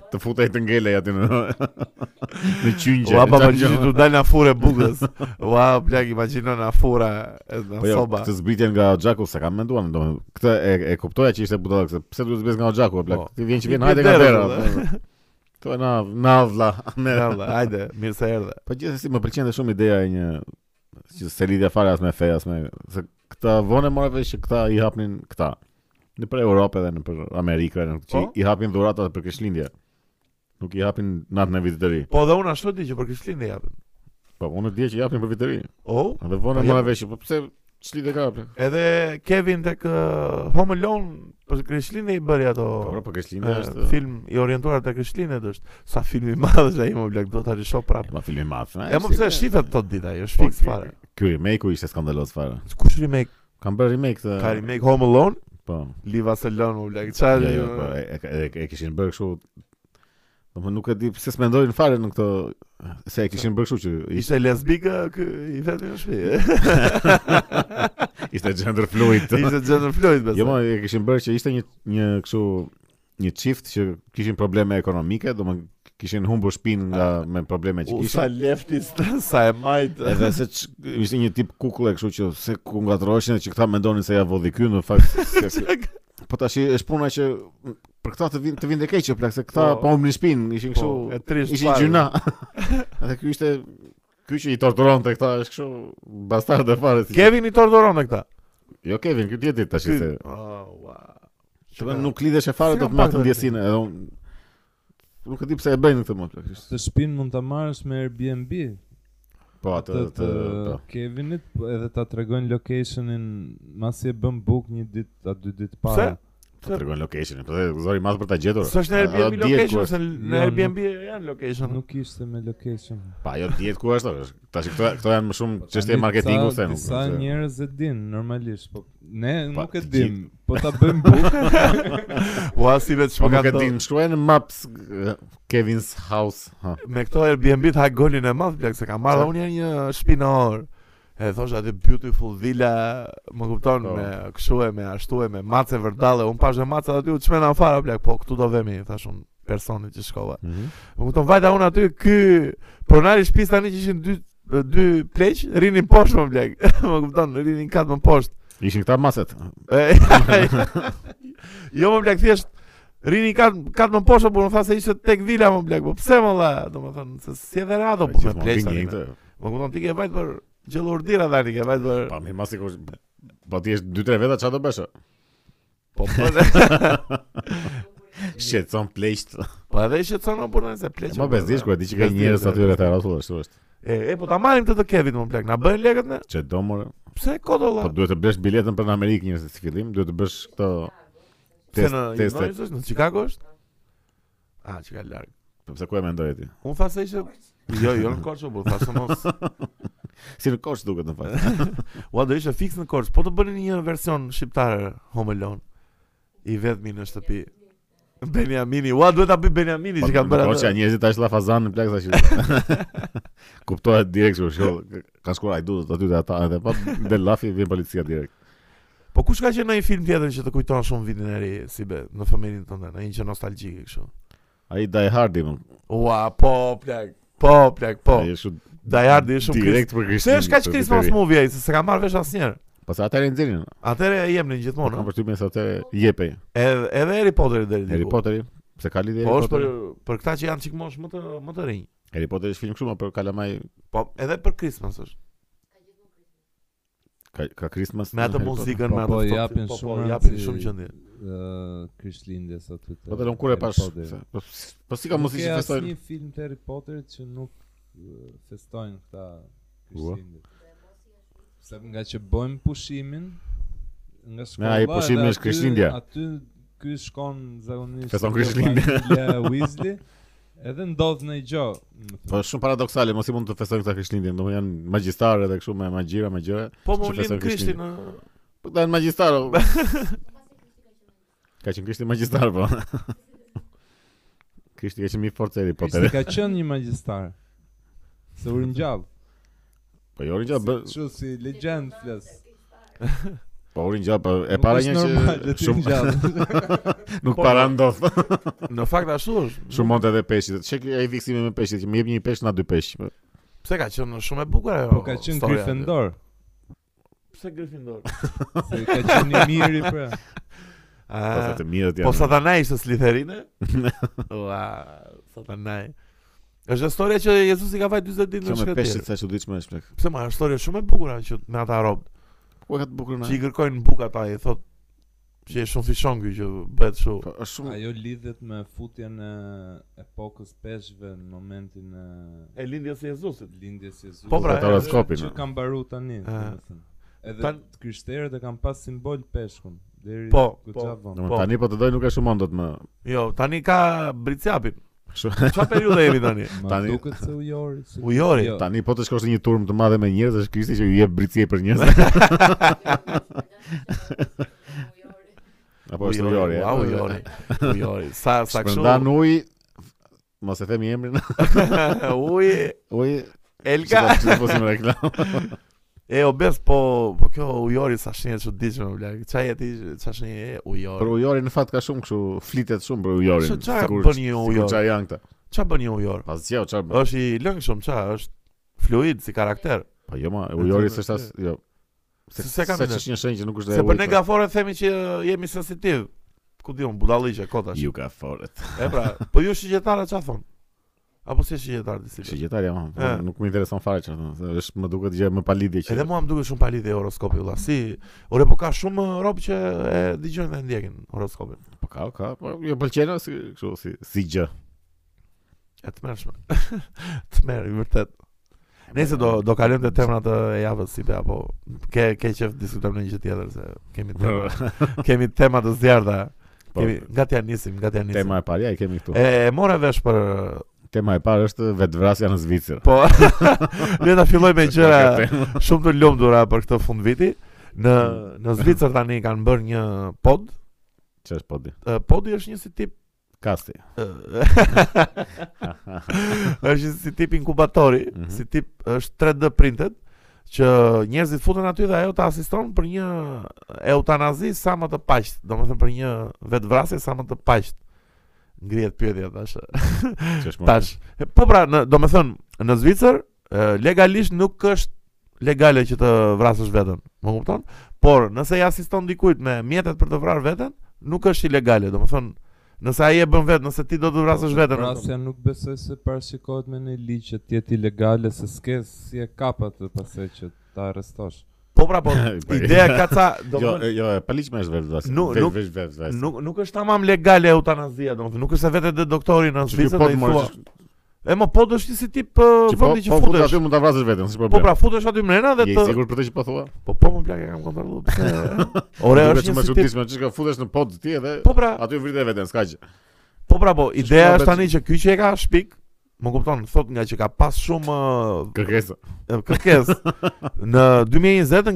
[SPEAKER 1] të futej të ngelej aty në në qyngje.
[SPEAKER 2] Ua
[SPEAKER 1] Çfarë
[SPEAKER 2] babagjyshin
[SPEAKER 1] gjë?
[SPEAKER 2] do dal në afurë e bukës. Ua plak imagjino në afura edhe
[SPEAKER 1] Po
[SPEAKER 2] në
[SPEAKER 1] jo,
[SPEAKER 2] soba.
[SPEAKER 1] këtë zbritjen nga Oxhaku se kam menduar, domethënë, këtë e, e kuptoja që ishte budallë, se pse duhet zbres nga Oxhaku, o plak.
[SPEAKER 2] Po.
[SPEAKER 1] Ti vjen që vjen,
[SPEAKER 2] Një
[SPEAKER 1] hajde nga
[SPEAKER 2] derë,
[SPEAKER 1] vera.
[SPEAKER 2] valla.
[SPEAKER 1] To e na na vlla. ne-
[SPEAKER 2] Ja, valla, hajde, mirë se erdhe.
[SPEAKER 1] Po gjithsesi më pëlqente shumë ideja e një që se lidhja fare as me fe, as me se këta vonë morën vesh që këta i hapnin këta. Në për Europë dhe në për Amerikë, në që
[SPEAKER 2] Po.
[SPEAKER 1] i hapin dhuratat për Krishtlindje. Nuk i hapin natën e vitit të ri.
[SPEAKER 2] Po dhe unë ashtu di që për Krishtlindje japën.
[SPEAKER 1] Po unë di që i hapin për vitin e ri.
[SPEAKER 2] Oh,
[SPEAKER 1] Dhe vonë
[SPEAKER 2] Po,
[SPEAKER 1] morën
[SPEAKER 2] ja.
[SPEAKER 1] vesh, po pse çlidhe ka Po, ple?
[SPEAKER 2] edhe Kevin tek uh, Home Alone për Krishtlindje i bëri ato.
[SPEAKER 1] Po pra, për Krishtlindje
[SPEAKER 2] Eh,
[SPEAKER 1] është
[SPEAKER 2] film i orientuar te Krishtlindjet është. Sa film i madh është ai më blaq, do ta risho prapë.
[SPEAKER 1] Ma filmi madh.
[SPEAKER 2] E më po, pse shifet tot dita, ajo është
[SPEAKER 1] Po,
[SPEAKER 2] fiks
[SPEAKER 1] ky-
[SPEAKER 2] fare.
[SPEAKER 1] Ky remake-u ishte skandaloz fare.
[SPEAKER 2] Kush remake?
[SPEAKER 1] Kam bërë remake të
[SPEAKER 2] Ka remake Home Alone?
[SPEAKER 1] Po.
[SPEAKER 2] Liva Selon më blaq.
[SPEAKER 1] Jo,
[SPEAKER 2] Çfarë?
[SPEAKER 1] jo, po, e, e, e, e kishin bërë kështu Domethënë nuk e di pse s'mendojnë fare në këto se e kishin bërë kështu që ishte
[SPEAKER 2] Ishte lesbika ky i vetë në shtëpi.
[SPEAKER 1] ishte gender fluid.
[SPEAKER 2] Ishte Jennifer Floyd besoj.
[SPEAKER 1] jo, më e kishin bërë që ishte një një kështu një çift që kishin probleme ekonomike, domethënë kishin humbur shtëpinë nga me probleme që
[SPEAKER 2] U, sa
[SPEAKER 1] kishin.
[SPEAKER 2] leftist, sa e majt.
[SPEAKER 1] Edhe se ç, ishte një tip kukulle kështu që se ku ngatroheshin që këta mendonin se ja vodhi ky në fakt se- se, po tash është puna që për këta të vinë të vinë keq që plak se këta
[SPEAKER 2] Po.
[SPEAKER 1] po humbin shtëpinë, ishin kështu
[SPEAKER 2] Po, e trisht
[SPEAKER 1] Ishin
[SPEAKER 2] fare.
[SPEAKER 1] gjyna. Atë ky ishte ky që i torturonte këta është kështu bastard e fare. si-
[SPEAKER 2] Kevin i torturon këta.
[SPEAKER 1] Jo Kevin, ky tjetri tash ishte.
[SPEAKER 2] Oh, wow.
[SPEAKER 1] Do nuk lidhesh e fare
[SPEAKER 2] Si
[SPEAKER 1] do
[SPEAKER 2] ka
[SPEAKER 1] të matë
[SPEAKER 2] patur
[SPEAKER 1] ndjesinë, edhe unë nuk e di pse e bëjnë këtë pra, më plak.
[SPEAKER 3] Të shtëpinë mund ta marrësh me Airbnb
[SPEAKER 1] Po atë
[SPEAKER 3] të,
[SPEAKER 1] të
[SPEAKER 3] të
[SPEAKER 1] po.
[SPEAKER 3] Kevinit, po edhe ta tregojnë locationin masi e bën buk një ditë a dy ditë
[SPEAKER 2] Pse?
[SPEAKER 3] para.
[SPEAKER 1] Po tregon locationin, po dhe zori madh për ta gjetur.
[SPEAKER 2] S'është në
[SPEAKER 1] Ajo
[SPEAKER 2] Airbnb
[SPEAKER 1] dihet ku
[SPEAKER 2] location,
[SPEAKER 1] është.
[SPEAKER 2] se në
[SPEAKER 3] Jo,
[SPEAKER 2] Airbnb janë location.
[SPEAKER 3] Nuk ishte me location. po.
[SPEAKER 1] Pa, jo dihet ku është. është. Tash këto këto janë më shumë
[SPEAKER 2] Po,
[SPEAKER 1] çështje
[SPEAKER 3] Tani
[SPEAKER 1] marketingu
[SPEAKER 3] ca-
[SPEAKER 1] se nuk.
[SPEAKER 3] Disa
[SPEAKER 1] se-
[SPEAKER 3] njerëz e din normalisht, po ne
[SPEAKER 1] Pa,
[SPEAKER 3] nuk e
[SPEAKER 1] të
[SPEAKER 3] dim, po ta bëjmë bukë.
[SPEAKER 2] Ua si vetë
[SPEAKER 1] Po nuk e
[SPEAKER 2] çfarë kanë
[SPEAKER 1] di,
[SPEAKER 2] thënë.
[SPEAKER 1] më shkruaj në Maps eh, Kevin's House. Ha.
[SPEAKER 2] Me këto Airbnb të ha golin e madh, plak se kam marrë
[SPEAKER 1] Sa?
[SPEAKER 2] unë herë një shtëpi në orë. E thosh aty beautiful villa, më kupton,
[SPEAKER 1] Po.
[SPEAKER 2] me kështu e me ashtu e me mace vërdalle. Unë pashë mace aty u çmena fara plak, po këtu do vemi, thash unë personit që shkova. Më kupton, vajta unë aty, ky pronari i shtëpisë tani që ishin dy dy pleq rinin poshtë më plak. më kupton, rinin kat më poshtë.
[SPEAKER 1] Ishin këta maset.
[SPEAKER 2] E, jo më blek thjesht Rini katë kat më poshtë, por më tha se ishte tek vila më blek, po pse më la, do më thënë, se si edhe rado, po me
[SPEAKER 1] Gjithmonë
[SPEAKER 2] pleqë
[SPEAKER 1] vinjin
[SPEAKER 2] tani.
[SPEAKER 1] këto.
[SPEAKER 2] Më kupton, ti ke vajt për gjellë urdira tani, ke vajt për...
[SPEAKER 1] Pa, mirë masi kush... Po ti është 2-3 veta çfarë do bësh? o?
[SPEAKER 2] Po, po,
[SPEAKER 1] Shqetëson pleqt.
[SPEAKER 2] po edhe ishe cënë, por nëse pleqë...
[SPEAKER 1] Ma bezdish kur e di që ka njerëz aty rreth rrotull ashtu është.
[SPEAKER 2] E, e, po ta marim të të Kevin më blek, na bëjnë legët ne?
[SPEAKER 1] Çe do more?
[SPEAKER 2] Pse kodo la?
[SPEAKER 1] Po duhet të blesh biletën për në Amerikë njerëz si fillim, duhet të bësh këto
[SPEAKER 2] Se
[SPEAKER 1] test
[SPEAKER 2] në
[SPEAKER 1] teste.
[SPEAKER 2] Illinois është, në Chicago është? A, që ka largë.
[SPEAKER 1] Po pse ku e mendoj ti?
[SPEAKER 2] Unë tha se ishte... Jo, jo në Korçë, por tha se mos
[SPEAKER 1] Si në kosh duket në fakt.
[SPEAKER 2] Ua do ishte fiks në Korçë, po të bënin një version shqiptar Home Alone i vetmi në shtëpi. Benjamini, ua duhet ta bëj Benjamini
[SPEAKER 1] Po,
[SPEAKER 2] që ka bërë
[SPEAKER 1] Kosh
[SPEAKER 2] atë.
[SPEAKER 1] njerëzit tash la fazan në plak sa që. Kuptohet direkt kështu, shoh, ka skuar ai duhet aty dhe ata edhe pa del lafi vjen policia direkt.
[SPEAKER 2] Po kush ka qenë në një film tjetër që të kujton shumë vitin e ri, si be, në familjen tënde, në një që nostalgjik e kështu.
[SPEAKER 1] Ai Die Hardi më.
[SPEAKER 2] Ua, po plak, po plak, po.
[SPEAKER 1] Ai është
[SPEAKER 2] Die Hard është shumë Chris.
[SPEAKER 1] direkt për Krishtin.
[SPEAKER 2] Pse është kaq Christmas movie ai, se s'e ka marrë vesh asnjëherë.
[SPEAKER 1] Pas ata e nxjerrin.
[SPEAKER 2] Atëre e jepnin
[SPEAKER 1] Po, kam
[SPEAKER 2] gjithmonë. ëh.
[SPEAKER 1] përshtypjen se atë jepej.
[SPEAKER 2] Edhe edhe Harry Potteri deri diku.
[SPEAKER 1] Harry Potteri, pse ka lidhje
[SPEAKER 2] Po
[SPEAKER 1] Harry
[SPEAKER 2] është për
[SPEAKER 1] Potteri?
[SPEAKER 2] për këta që janë çikmosh më të më të rinj.
[SPEAKER 1] Harry Potter është film kështu, ma për kalamaj
[SPEAKER 2] Po edhe për Christmas është.
[SPEAKER 1] ka, ka Christmas.
[SPEAKER 2] Me atë
[SPEAKER 1] Harry Potter.
[SPEAKER 2] muzikën,
[SPEAKER 3] Po,
[SPEAKER 2] me atë
[SPEAKER 3] po,
[SPEAKER 2] ftohtë-
[SPEAKER 3] japin
[SPEAKER 2] po, po,
[SPEAKER 3] shumë
[SPEAKER 2] japin
[SPEAKER 3] rëndësi.
[SPEAKER 2] shumë gjendje.
[SPEAKER 3] Ë, Krishtlindjes aty. te
[SPEAKER 1] Po të lëm kur e
[SPEAKER 3] Harry
[SPEAKER 1] pash.
[SPEAKER 3] Potteri.
[SPEAKER 1] se- po s- Po si ka muzikë që
[SPEAKER 3] Nuk e
[SPEAKER 1] festojnë?
[SPEAKER 3] asnjë film të Harry Potterit që nuk ë, festojnë këta Krishtlindjet. Se nga që bëjmë pushimin nga shkolla.
[SPEAKER 1] ai pushimi
[SPEAKER 3] edhe
[SPEAKER 1] është
[SPEAKER 3] aty-
[SPEAKER 1] Krishtlindja.
[SPEAKER 3] Aty ky shkon zakonisht.
[SPEAKER 1] Feston
[SPEAKER 3] në
[SPEAKER 1] Krishtlindje.
[SPEAKER 3] familje Weasley. Edhe ndodh në gjë. më
[SPEAKER 1] Po është shumë paradoksale, mos i mund të festojnë këta Krishtlindjen, domethënë janë magjistarë edhe kështu me magjira, me gjëra.
[SPEAKER 2] Po më
[SPEAKER 1] që
[SPEAKER 2] ulim
[SPEAKER 1] festojnë
[SPEAKER 2] Krishtin në
[SPEAKER 1] Po ta në magjistar. o. Ka qenë kishti magjistar po. Kishti ka qenë mi fort seri po
[SPEAKER 3] Ishte
[SPEAKER 1] tërë.
[SPEAKER 3] ka qenë një magjistar. Se u ringjall.
[SPEAKER 1] Po jo rinja, bë-
[SPEAKER 3] Kështu si legend flas.
[SPEAKER 1] po u rinja, po e para një që shumë nuk
[SPEAKER 2] Po,
[SPEAKER 1] para ndodh.
[SPEAKER 2] Në fakt ashtu është.
[SPEAKER 1] Shumë monte edhe peshqit. Çe ai fiksimi me peshqit që më jep një peshq na dy peshq.
[SPEAKER 2] Pse ka qenë shumë e bukur ajo?
[SPEAKER 3] Po ka qenë
[SPEAKER 2] storia.
[SPEAKER 3] Gryffindor.
[SPEAKER 2] Pse Gryffindor?
[SPEAKER 3] Se ka qenë i miri pra.
[SPEAKER 1] Po sa
[SPEAKER 2] Ah,
[SPEAKER 1] të mirët
[SPEAKER 2] po
[SPEAKER 1] janë.
[SPEAKER 2] Satanai ishte Slytherine? Ua, Satanai. Është historia që Jezusi ka vajt 40 ditë
[SPEAKER 1] Kjo
[SPEAKER 2] në
[SPEAKER 1] me peshqit
[SPEAKER 2] shkretir.
[SPEAKER 1] sa e çuditshme është plak.
[SPEAKER 2] Pse ma, është historia shumë e bukur ajo që me ata rob,
[SPEAKER 1] Ku e ka të bukur na?
[SPEAKER 2] që i kërkojnë bukë ata i thot që e shumë fishon ky që bëhet kështu.
[SPEAKER 1] Po është shumë
[SPEAKER 3] Ajo lidhet me futjen e epokës peshqve në momentin e
[SPEAKER 2] E lindjes së Jezusit.
[SPEAKER 3] lindjes së Jezusit.
[SPEAKER 2] Po, pra,
[SPEAKER 1] Zot horoskopin,
[SPEAKER 3] Që
[SPEAKER 1] a.
[SPEAKER 3] kanë mbaru tani, domethënë. Edhe
[SPEAKER 2] Tan-
[SPEAKER 3] krishterët e kanë pas simbol peshkun deri
[SPEAKER 2] Po,
[SPEAKER 3] goxha
[SPEAKER 2] po.
[SPEAKER 3] vonë.
[SPEAKER 1] Domethënë
[SPEAKER 2] Po.
[SPEAKER 1] tani po të doj nuk e shumon dot më.
[SPEAKER 2] Jo, tani ka Bricjapin.
[SPEAKER 1] Shumë-
[SPEAKER 2] Çfarë periudhë jemi tani?
[SPEAKER 3] Ma
[SPEAKER 1] Tani-
[SPEAKER 3] duket se u jori. se-
[SPEAKER 2] Ujori.
[SPEAKER 3] Jo.
[SPEAKER 1] Tani po të shkosh në një turm të madhe me njerëz, është Kristi që ju jep britësie për njerëz. Apo është ujori.
[SPEAKER 2] Po, Ua, ujori. Ujori. Sa sa kështu.
[SPEAKER 1] Shpërndan uji, mos e themi emrin.
[SPEAKER 2] Uji.
[SPEAKER 1] Uji.
[SPEAKER 2] Elka.
[SPEAKER 1] Ka të bësim reklam.
[SPEAKER 2] E obes po po kjo ujori sa shenjë çuditshme bla. Ça jeti ça shenjë e
[SPEAKER 1] Për
[SPEAKER 2] ujori.
[SPEAKER 1] ujori në fakt ka shumë kështu flitet shumë për ujorin.
[SPEAKER 2] Kështu çfarë
[SPEAKER 1] sikur-
[SPEAKER 2] bën një
[SPEAKER 1] sikur
[SPEAKER 2] ujor?
[SPEAKER 1] Çfarë janë këta?
[SPEAKER 2] Ça bën një ujor?
[SPEAKER 1] Pas gjë, çfarë bën?
[SPEAKER 2] Është i lëngshëm ça, është fluid si karakter.
[SPEAKER 1] Po jo ma, ujori
[SPEAKER 2] Është-
[SPEAKER 1] s'është as jo. Se
[SPEAKER 2] Se se kam
[SPEAKER 1] se
[SPEAKER 2] ide.
[SPEAKER 1] është një shenjë që nuk është
[SPEAKER 2] Se për ne
[SPEAKER 1] ujë,
[SPEAKER 2] gafore themi që jemi sensitiv. Ku diun budalliqe
[SPEAKER 1] pra.
[SPEAKER 2] kotash.
[SPEAKER 1] Ju ka foret.
[SPEAKER 2] E pra, po ju shigjetara ça thon? Apo si shigjetar disi?
[SPEAKER 1] Shigjetar jam, po
[SPEAKER 2] E.
[SPEAKER 1] nuk më intereson fare çfarë thon. se Është më duket gjë më palidhje që.
[SPEAKER 2] Edhe mua më duket shumë palidhe horoskopi vëlla. Si, ore po ka shumë rob që e dëgjojnë dhe ndjekin horoskopin.
[SPEAKER 1] Po ka, ka, po jo pëlqen si kështu si si gjë.
[SPEAKER 2] E tmerrshme. Tmerr i vërtet. Nëse do do kalojmë te temrat e javës si be apo ke ke qef diskutojmë në një gjë tjetër se kemi tema, kemi tema të zjarrta.
[SPEAKER 1] Po,
[SPEAKER 2] Kemi gati ja nisim, gati ja nisim.
[SPEAKER 1] Tema e parë ja, e kemi këtu.
[SPEAKER 2] E, e more vesh për
[SPEAKER 1] Tema e parë është vetvrasja në Zvicër.
[SPEAKER 2] po le ta filloj me gjëra shumë të lumtura për këtë fund viti. Në
[SPEAKER 1] Mm.
[SPEAKER 2] në Zvicër tani kanë bërë një pod.
[SPEAKER 1] Ç'është po di?
[SPEAKER 2] E, Podi është një si tip
[SPEAKER 1] Kasti.
[SPEAKER 2] e, është si tip inkubatori,
[SPEAKER 1] Mhm.
[SPEAKER 2] si tip është 3D printed që njerëzit futen aty dhe ajo të asiston për një eutanazi sa më të paqt, domethënë për një vetvrasje sa më të paqt. Ngrihet pyetja tash.
[SPEAKER 1] Ç'është më?
[SPEAKER 2] Tash. Po pra, në, domethënë në Zvicër e, legalisht nuk është legale që të vrasësh veten, më kupton? Por nëse i asiston dikujt me mjetet për të vrarë veten, nuk është ilegale, domethënë nëse ai e bën vetë, nëse ti do të
[SPEAKER 3] Po,
[SPEAKER 2] vrasësh veten,
[SPEAKER 3] Vrasja nuk besoj se parashikohet me një ligj që të jetë ilegale se s'ke si e kapa të pasoj që ta arrestosh.
[SPEAKER 2] Po pra po,
[SPEAKER 1] Po,
[SPEAKER 2] ideja ka ca, do
[SPEAKER 1] Jo,
[SPEAKER 2] më thënë,
[SPEAKER 1] e, jo, e paligjme është vetvrasja.
[SPEAKER 2] Nu-
[SPEAKER 1] Vetë-
[SPEAKER 2] nuk-
[SPEAKER 1] vetë- vetë- vetë.
[SPEAKER 2] nuk nuk është tamam legale eutanazia, domethënë nuk është se vetë dhe doktori
[SPEAKER 1] Që
[SPEAKER 2] në
[SPEAKER 1] ky
[SPEAKER 2] Zvicër
[SPEAKER 1] pot
[SPEAKER 2] do i
[SPEAKER 1] mor-
[SPEAKER 2] thua.
[SPEAKER 1] që-
[SPEAKER 2] E mo po do është një si tip uh,
[SPEAKER 1] që po,
[SPEAKER 2] vendi
[SPEAKER 1] po
[SPEAKER 2] që
[SPEAKER 1] futet aty
[SPEAKER 2] futesh.
[SPEAKER 1] mund ta vrasësh veten, si
[SPEAKER 2] Po
[SPEAKER 1] problem.
[SPEAKER 2] pra futesh aty mrena dhe
[SPEAKER 1] Je i
[SPEAKER 2] të
[SPEAKER 1] sigurt për të që po thua?
[SPEAKER 2] Po po më plak e kam kontrolluar. pse? Ore
[SPEAKER 1] Duket Po, që më
[SPEAKER 2] Pra, është një si tip.
[SPEAKER 1] çuditshme, çka futesh në pod ti edhe
[SPEAKER 2] Po pra,
[SPEAKER 1] aty vritet veten, s'ka gjë.
[SPEAKER 2] po pra po,
[SPEAKER 1] shkruan
[SPEAKER 2] ideja është
[SPEAKER 1] vetë-
[SPEAKER 2] tani që ky që e ka shpik, më kupton, thot nga që ka pas shumë
[SPEAKER 1] Kërkesa.
[SPEAKER 2] uh, kërkesë. në 2020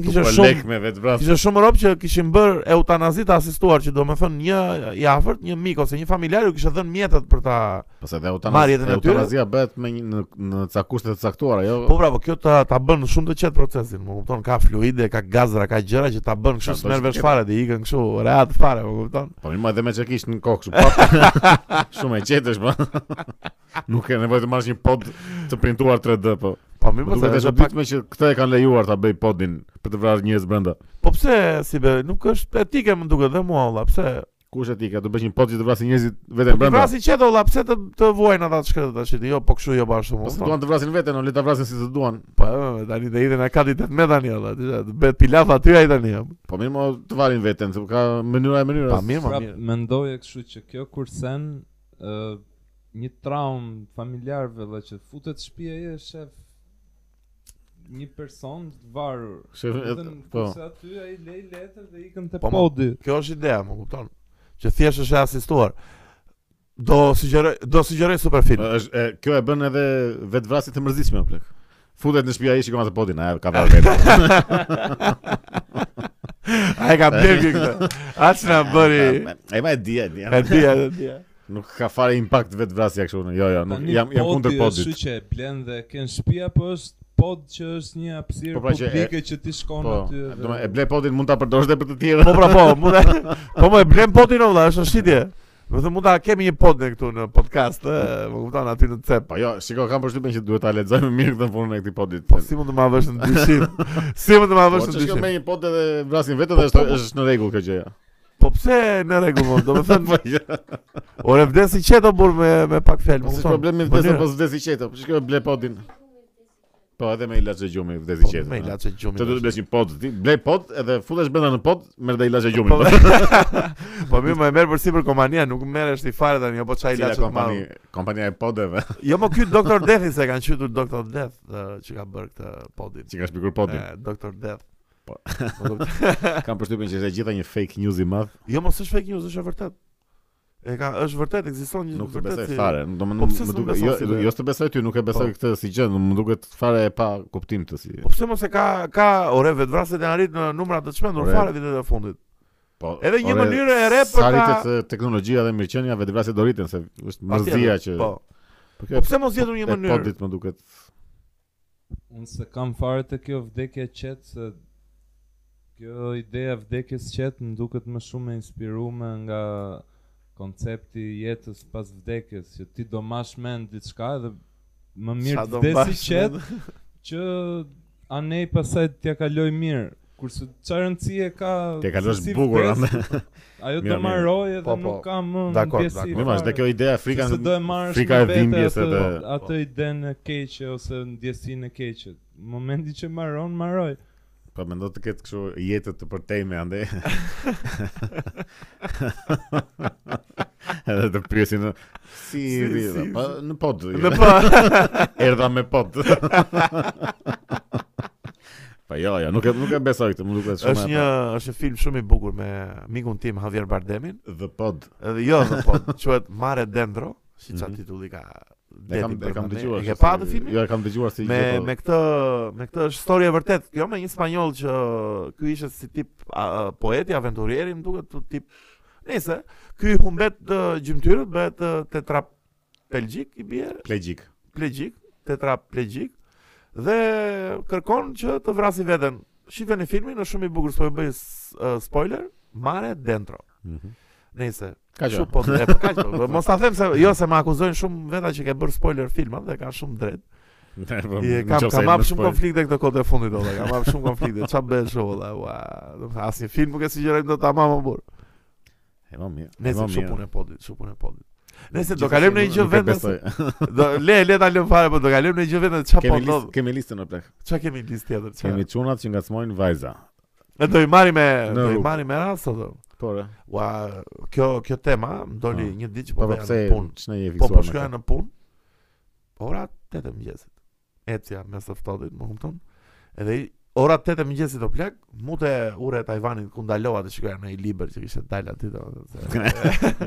[SPEAKER 1] Kishte
[SPEAKER 2] kishte shumë
[SPEAKER 1] Po, lek me vetvrasje.
[SPEAKER 2] Kishte shumë rob që kishin bër eutanazi të asistuar, që do me thënë një i afërt, një mik ose një familjar ju kishte dhënë mjetet për ta.
[SPEAKER 1] Pas edhe
[SPEAKER 2] Marrjet e
[SPEAKER 1] eutanazia,
[SPEAKER 2] natyrës?
[SPEAKER 1] eutanazia bëhet me një, në në ca kushte të caktuara, jo.
[SPEAKER 2] Po bravo, kjo ta ta bën shumë të qetë procesin, më kupton, ka fluide, ka gazra, ka gjëra që ta bën
[SPEAKER 1] Ta bësh
[SPEAKER 2] kështu smer vesh
[SPEAKER 1] qetë.
[SPEAKER 2] fare dhe ikën kështu rehat fare, më kupton.
[SPEAKER 1] Po mirë, ma edhe me që kishë në kokë shumë papë Shumë e qetesh, po Nuk e nevojë të marrësh një pod të printuar 3D, po
[SPEAKER 2] Po mirë,
[SPEAKER 1] Më
[SPEAKER 2] po
[SPEAKER 1] duket e
[SPEAKER 2] se është pak.
[SPEAKER 1] shëpitme që këta e kanë lejuar ta bëj podin Për të vrarë njerëz brenda
[SPEAKER 2] Po pse si be, nuk është etike më duket dhe mua valla, pse?
[SPEAKER 1] Kush e ti, ka të bësh një pod që të vrasin njerëzit
[SPEAKER 2] Po
[SPEAKER 1] veten
[SPEAKER 2] ti
[SPEAKER 1] brenda
[SPEAKER 2] vrasi qetë valla, pse të të vuajnë ata të shkretë tash, jo, po kështu jo bashkë, më
[SPEAKER 1] Po se
[SPEAKER 2] kupton.
[SPEAKER 1] duan të vrasin veten, o le ta vrasin si të duan
[SPEAKER 2] Po e, tani dhe idhen e kati 18 tani valla, të bëhet pilaf aty ai tani.
[SPEAKER 1] Po mirë, mo të varin veten, se po ka mënyra e mënyra
[SPEAKER 2] Pa mirë, ma
[SPEAKER 3] Prap
[SPEAKER 2] mirë.
[SPEAKER 3] Pra, mendoje kështu që kjo kursen ë një traumë familjarve dhe që futet shtëpia e shef një person të varur.
[SPEAKER 1] Shef, e-
[SPEAKER 3] Vetëm
[SPEAKER 1] po.
[SPEAKER 3] kurse aty ai lej letër dhe ikën te
[SPEAKER 2] Po, ma-
[SPEAKER 3] podi.
[SPEAKER 2] Kjo është ideja, më kupton. Që thjesht është e asistuar. Do sugjeroj, do sugjeroj super film.
[SPEAKER 1] Është e, kjo e bën edhe vetvrasje të mërzitshme o plak. Futet në shtëpi ai shikon atë podin, a ka vrarë veten.
[SPEAKER 2] A e ka blerë këtë. Aç na bëri.
[SPEAKER 1] E ma e dia, e dia.
[SPEAKER 2] E di, e di.
[SPEAKER 1] Nuk ka fare impakt vetë vrasja kështu. në- Jo, jo, nuk
[SPEAKER 3] Tani
[SPEAKER 1] jam jam
[SPEAKER 3] podi
[SPEAKER 1] kundër
[SPEAKER 3] është
[SPEAKER 1] podit.
[SPEAKER 3] Kështu që e blen dhe ken shtëpi apo është pod që është një hapësirë
[SPEAKER 1] Po pra që e-
[SPEAKER 3] publike që ti shkon
[SPEAKER 1] Po,
[SPEAKER 3] aty. dhe-
[SPEAKER 1] do me e ble podin mund ta përdorësh edhe për të tjerë.
[SPEAKER 2] Po pra po, mund ta Po më e blem potin olla, është shitje. Do të mund ta kemi një pod ne këtu në podcast, ë, më kupton aty në cep.
[SPEAKER 1] Po jo, shiko, kam përshtypjen që duhet ta lexoj më mirë këtë punën e këtij podit.
[SPEAKER 2] Po si mund të ma vësh në dyshim? Si mund të ma
[SPEAKER 1] Po
[SPEAKER 2] vësh
[SPEAKER 1] që
[SPEAKER 2] në
[SPEAKER 1] shko
[SPEAKER 2] dyshim?
[SPEAKER 1] me një pot edhe vrasin vetë dhe është është në rregull kjo jo. gjëja.
[SPEAKER 2] Po pse në rregull, mo, do të thënë,
[SPEAKER 1] Po jo.
[SPEAKER 2] ore vdes i qeto burr me me pak fjalë,
[SPEAKER 1] Po
[SPEAKER 2] më
[SPEAKER 1] si
[SPEAKER 2] kupton?
[SPEAKER 1] problemi
[SPEAKER 2] Po,
[SPEAKER 1] vdes
[SPEAKER 2] njëra-
[SPEAKER 1] apo vdes i qeto. Po shko ble podin. Po edhe me ilaç e gjumi vdes i
[SPEAKER 2] Po,
[SPEAKER 1] qeto.
[SPEAKER 2] Me ilaçe gjumi.
[SPEAKER 1] Të duhet blesh një pot, ti blej pot edhe futesh brenda në pot, merr dhe ilaç e gjumi.
[SPEAKER 2] Po, po mirë, më e merr përsi për kompania, nuk merresh ti fare tani, apo çaj
[SPEAKER 1] Cila
[SPEAKER 2] ilaçe të marrë.
[SPEAKER 1] kompani, kompania e podeve
[SPEAKER 2] Jo, më ky Dr. Dethi se kanë qytur Dr. Death ë, që ka bërë këtë podin.
[SPEAKER 1] që ka shpikur podin.
[SPEAKER 2] E, Dr. Death.
[SPEAKER 1] Po.
[SPEAKER 2] Më kupton?
[SPEAKER 1] Kam përshtypjen që është e gjitha një fake news i madh.
[SPEAKER 2] jo, mos është fake news, është e vërtet. E ka, është vërtet, ekziston një
[SPEAKER 1] Nuk të
[SPEAKER 2] vërtet
[SPEAKER 1] besoj
[SPEAKER 2] si-
[SPEAKER 1] fare. Do më
[SPEAKER 2] Po pse
[SPEAKER 1] më
[SPEAKER 2] s'u
[SPEAKER 1] duket
[SPEAKER 2] beson
[SPEAKER 1] jo
[SPEAKER 2] si dhe-
[SPEAKER 1] jo të besoj ty, nuk e besoj
[SPEAKER 2] Po.
[SPEAKER 1] këtë si gjë, më duket fare e pa kuptim të si.
[SPEAKER 2] Po pse mos e ka ka ore vetvrasjet janë arrit në numra të çmendur
[SPEAKER 1] Ore.
[SPEAKER 2] fare vitet e fundit.
[SPEAKER 1] Po.
[SPEAKER 2] Edhe një
[SPEAKER 1] ore,
[SPEAKER 2] mënyrë e re për
[SPEAKER 1] sa
[SPEAKER 2] ta-
[SPEAKER 1] rritet eh, teknologjia dhe mirëqenia vetëvrasje do rriten se është mërzia që
[SPEAKER 2] Po.
[SPEAKER 1] Po
[SPEAKER 2] Po pse mos jetur një
[SPEAKER 1] e
[SPEAKER 2] mënyrë?
[SPEAKER 1] podit më duket.
[SPEAKER 3] Unë se kam fare të kjo vdekje qetë se kjo ideja vdekjes qetë më duket më shumë e inspirume nga koncepti i jetës pas vdekjes, që ti do mash mend diçka dhe më mirë
[SPEAKER 2] Sa do
[SPEAKER 3] të vdesi
[SPEAKER 2] mbash
[SPEAKER 3] qetë që anej pasaj t'ja kaloj mirë. Kurse çfarë rëndësie ka
[SPEAKER 1] Te kalosh
[SPEAKER 3] se si
[SPEAKER 1] bukur
[SPEAKER 3] vdes,
[SPEAKER 1] ande.
[SPEAKER 3] Ajo
[SPEAKER 1] Mirë,
[SPEAKER 3] do
[SPEAKER 1] mirë.
[SPEAKER 3] marroje dhe
[SPEAKER 2] Po, po.
[SPEAKER 3] nuk ka më
[SPEAKER 2] Dakor,
[SPEAKER 3] ndjesi
[SPEAKER 2] dakor.
[SPEAKER 1] Mirë, ma, është dhe
[SPEAKER 3] fare.
[SPEAKER 1] kjo ide Afrika
[SPEAKER 3] Se do e marrësh
[SPEAKER 1] Afrika
[SPEAKER 3] me
[SPEAKER 1] e
[SPEAKER 3] vete
[SPEAKER 1] dhimbjes
[SPEAKER 3] atë-
[SPEAKER 1] edhe
[SPEAKER 3] atë idenë e keqe ose ndjesinë e keqe. Momenti që marron, marroj.
[SPEAKER 1] po mendo të ketë kështu jetë të përtejme ande. edhe të pyesin si
[SPEAKER 2] Si-
[SPEAKER 1] si,
[SPEAKER 2] si-
[SPEAKER 1] po në pod.
[SPEAKER 2] Në po.
[SPEAKER 1] Erdha me pod. Po jo, jo, nuk e nuk e besoj këtë, më duket shumë.
[SPEAKER 2] Është
[SPEAKER 1] e
[SPEAKER 2] një është një film shumë i bukur me mikun tim Javier Bardemin.
[SPEAKER 1] pa- the pod.
[SPEAKER 2] Edhe jo, dhe po, quhet Mare Dendro, si çfarë
[SPEAKER 1] Mhm.
[SPEAKER 2] titulli ka.
[SPEAKER 1] E kam
[SPEAKER 2] deti
[SPEAKER 1] e kam
[SPEAKER 2] bërë ne.
[SPEAKER 1] dëgjuar.
[SPEAKER 2] E ke
[SPEAKER 1] se-
[SPEAKER 2] pa atë filmin?
[SPEAKER 1] Jo, e kam dëgjuar si
[SPEAKER 2] me
[SPEAKER 1] gjë, po-
[SPEAKER 2] me këtë me këtë është histori e vërtet. Jo me një spanjoll që ky ishte si tip a, a, poeti, aventurieri, më duket të tip. Nëse ky humbet uh, gjymtyrët, bëhet uh, tetrapelgjik i bie,
[SPEAKER 1] plegjik.
[SPEAKER 2] plegjik, tetraplegjik dhe kërkon që të vrasi veten. Shifeni filmin, është shumë i bukur, s'po ju bëj s- uh, spoiler. Mare Dendro.
[SPEAKER 1] Mhm.
[SPEAKER 2] Nëse
[SPEAKER 1] Ka gjë.
[SPEAKER 2] Shumë po, e, po kaq po. Mos ta them se jo se më akuzojnë shumë veta që ke bërë spoiler filmat dhe kanë shumë drejt.
[SPEAKER 1] Ne, po,
[SPEAKER 2] Je
[SPEAKER 1] në
[SPEAKER 2] kam
[SPEAKER 1] qoftë se
[SPEAKER 2] kam
[SPEAKER 1] e
[SPEAKER 2] hap
[SPEAKER 1] më
[SPEAKER 2] shumë
[SPEAKER 1] shpoj.
[SPEAKER 2] konflikte këto kohë të fundit olla, kam hap shumë konflikte. Ç'a bëhet shoh olla? Ua, do të thënë, asnjë film nuk e sugjerojmë do ta mamë burr.
[SPEAKER 1] E ma mirë. e ma
[SPEAKER 2] Nëse
[SPEAKER 1] mirë.
[SPEAKER 2] shumë punë e podit, shumë punë e podit. Nëse do
[SPEAKER 1] Gjithsesi,
[SPEAKER 2] kalojmë në një gjë
[SPEAKER 1] nuk e
[SPEAKER 2] vetëm
[SPEAKER 1] besoj.
[SPEAKER 2] do le le ta lëm fare, po do kalojmë në një gjë vetëm ç'a po
[SPEAKER 1] Kemi
[SPEAKER 2] ndodh.
[SPEAKER 1] listë, kemi listën në plak.
[SPEAKER 2] Ç'a kemi listë tjetër? Ç'a?
[SPEAKER 1] Kemi çunat që ngacmojnë vajza.
[SPEAKER 2] Ne do i marrim me
[SPEAKER 1] Në
[SPEAKER 2] do i
[SPEAKER 1] rrugë.
[SPEAKER 2] marrim me rast sot.
[SPEAKER 1] Po, re.
[SPEAKER 2] Ua, kjo kjo tema më doli
[SPEAKER 1] Ah.
[SPEAKER 2] një ditë që
[SPEAKER 1] po
[SPEAKER 2] po
[SPEAKER 1] po
[SPEAKER 2] bëja
[SPEAKER 1] pse
[SPEAKER 2] në punë.
[SPEAKER 1] ç'ne je fiksuar.
[SPEAKER 2] Po po
[SPEAKER 1] me
[SPEAKER 2] shkoja
[SPEAKER 1] këtë?
[SPEAKER 2] në punë. Ora 8 e mëngjesit. Ecja mes të ftohtit, më kupton? Edhe i- ora 8 e mëngjesit o plak, mute ure e Tajvanit ku ndalova të shkoja në i libër që kishte dal aty do. se-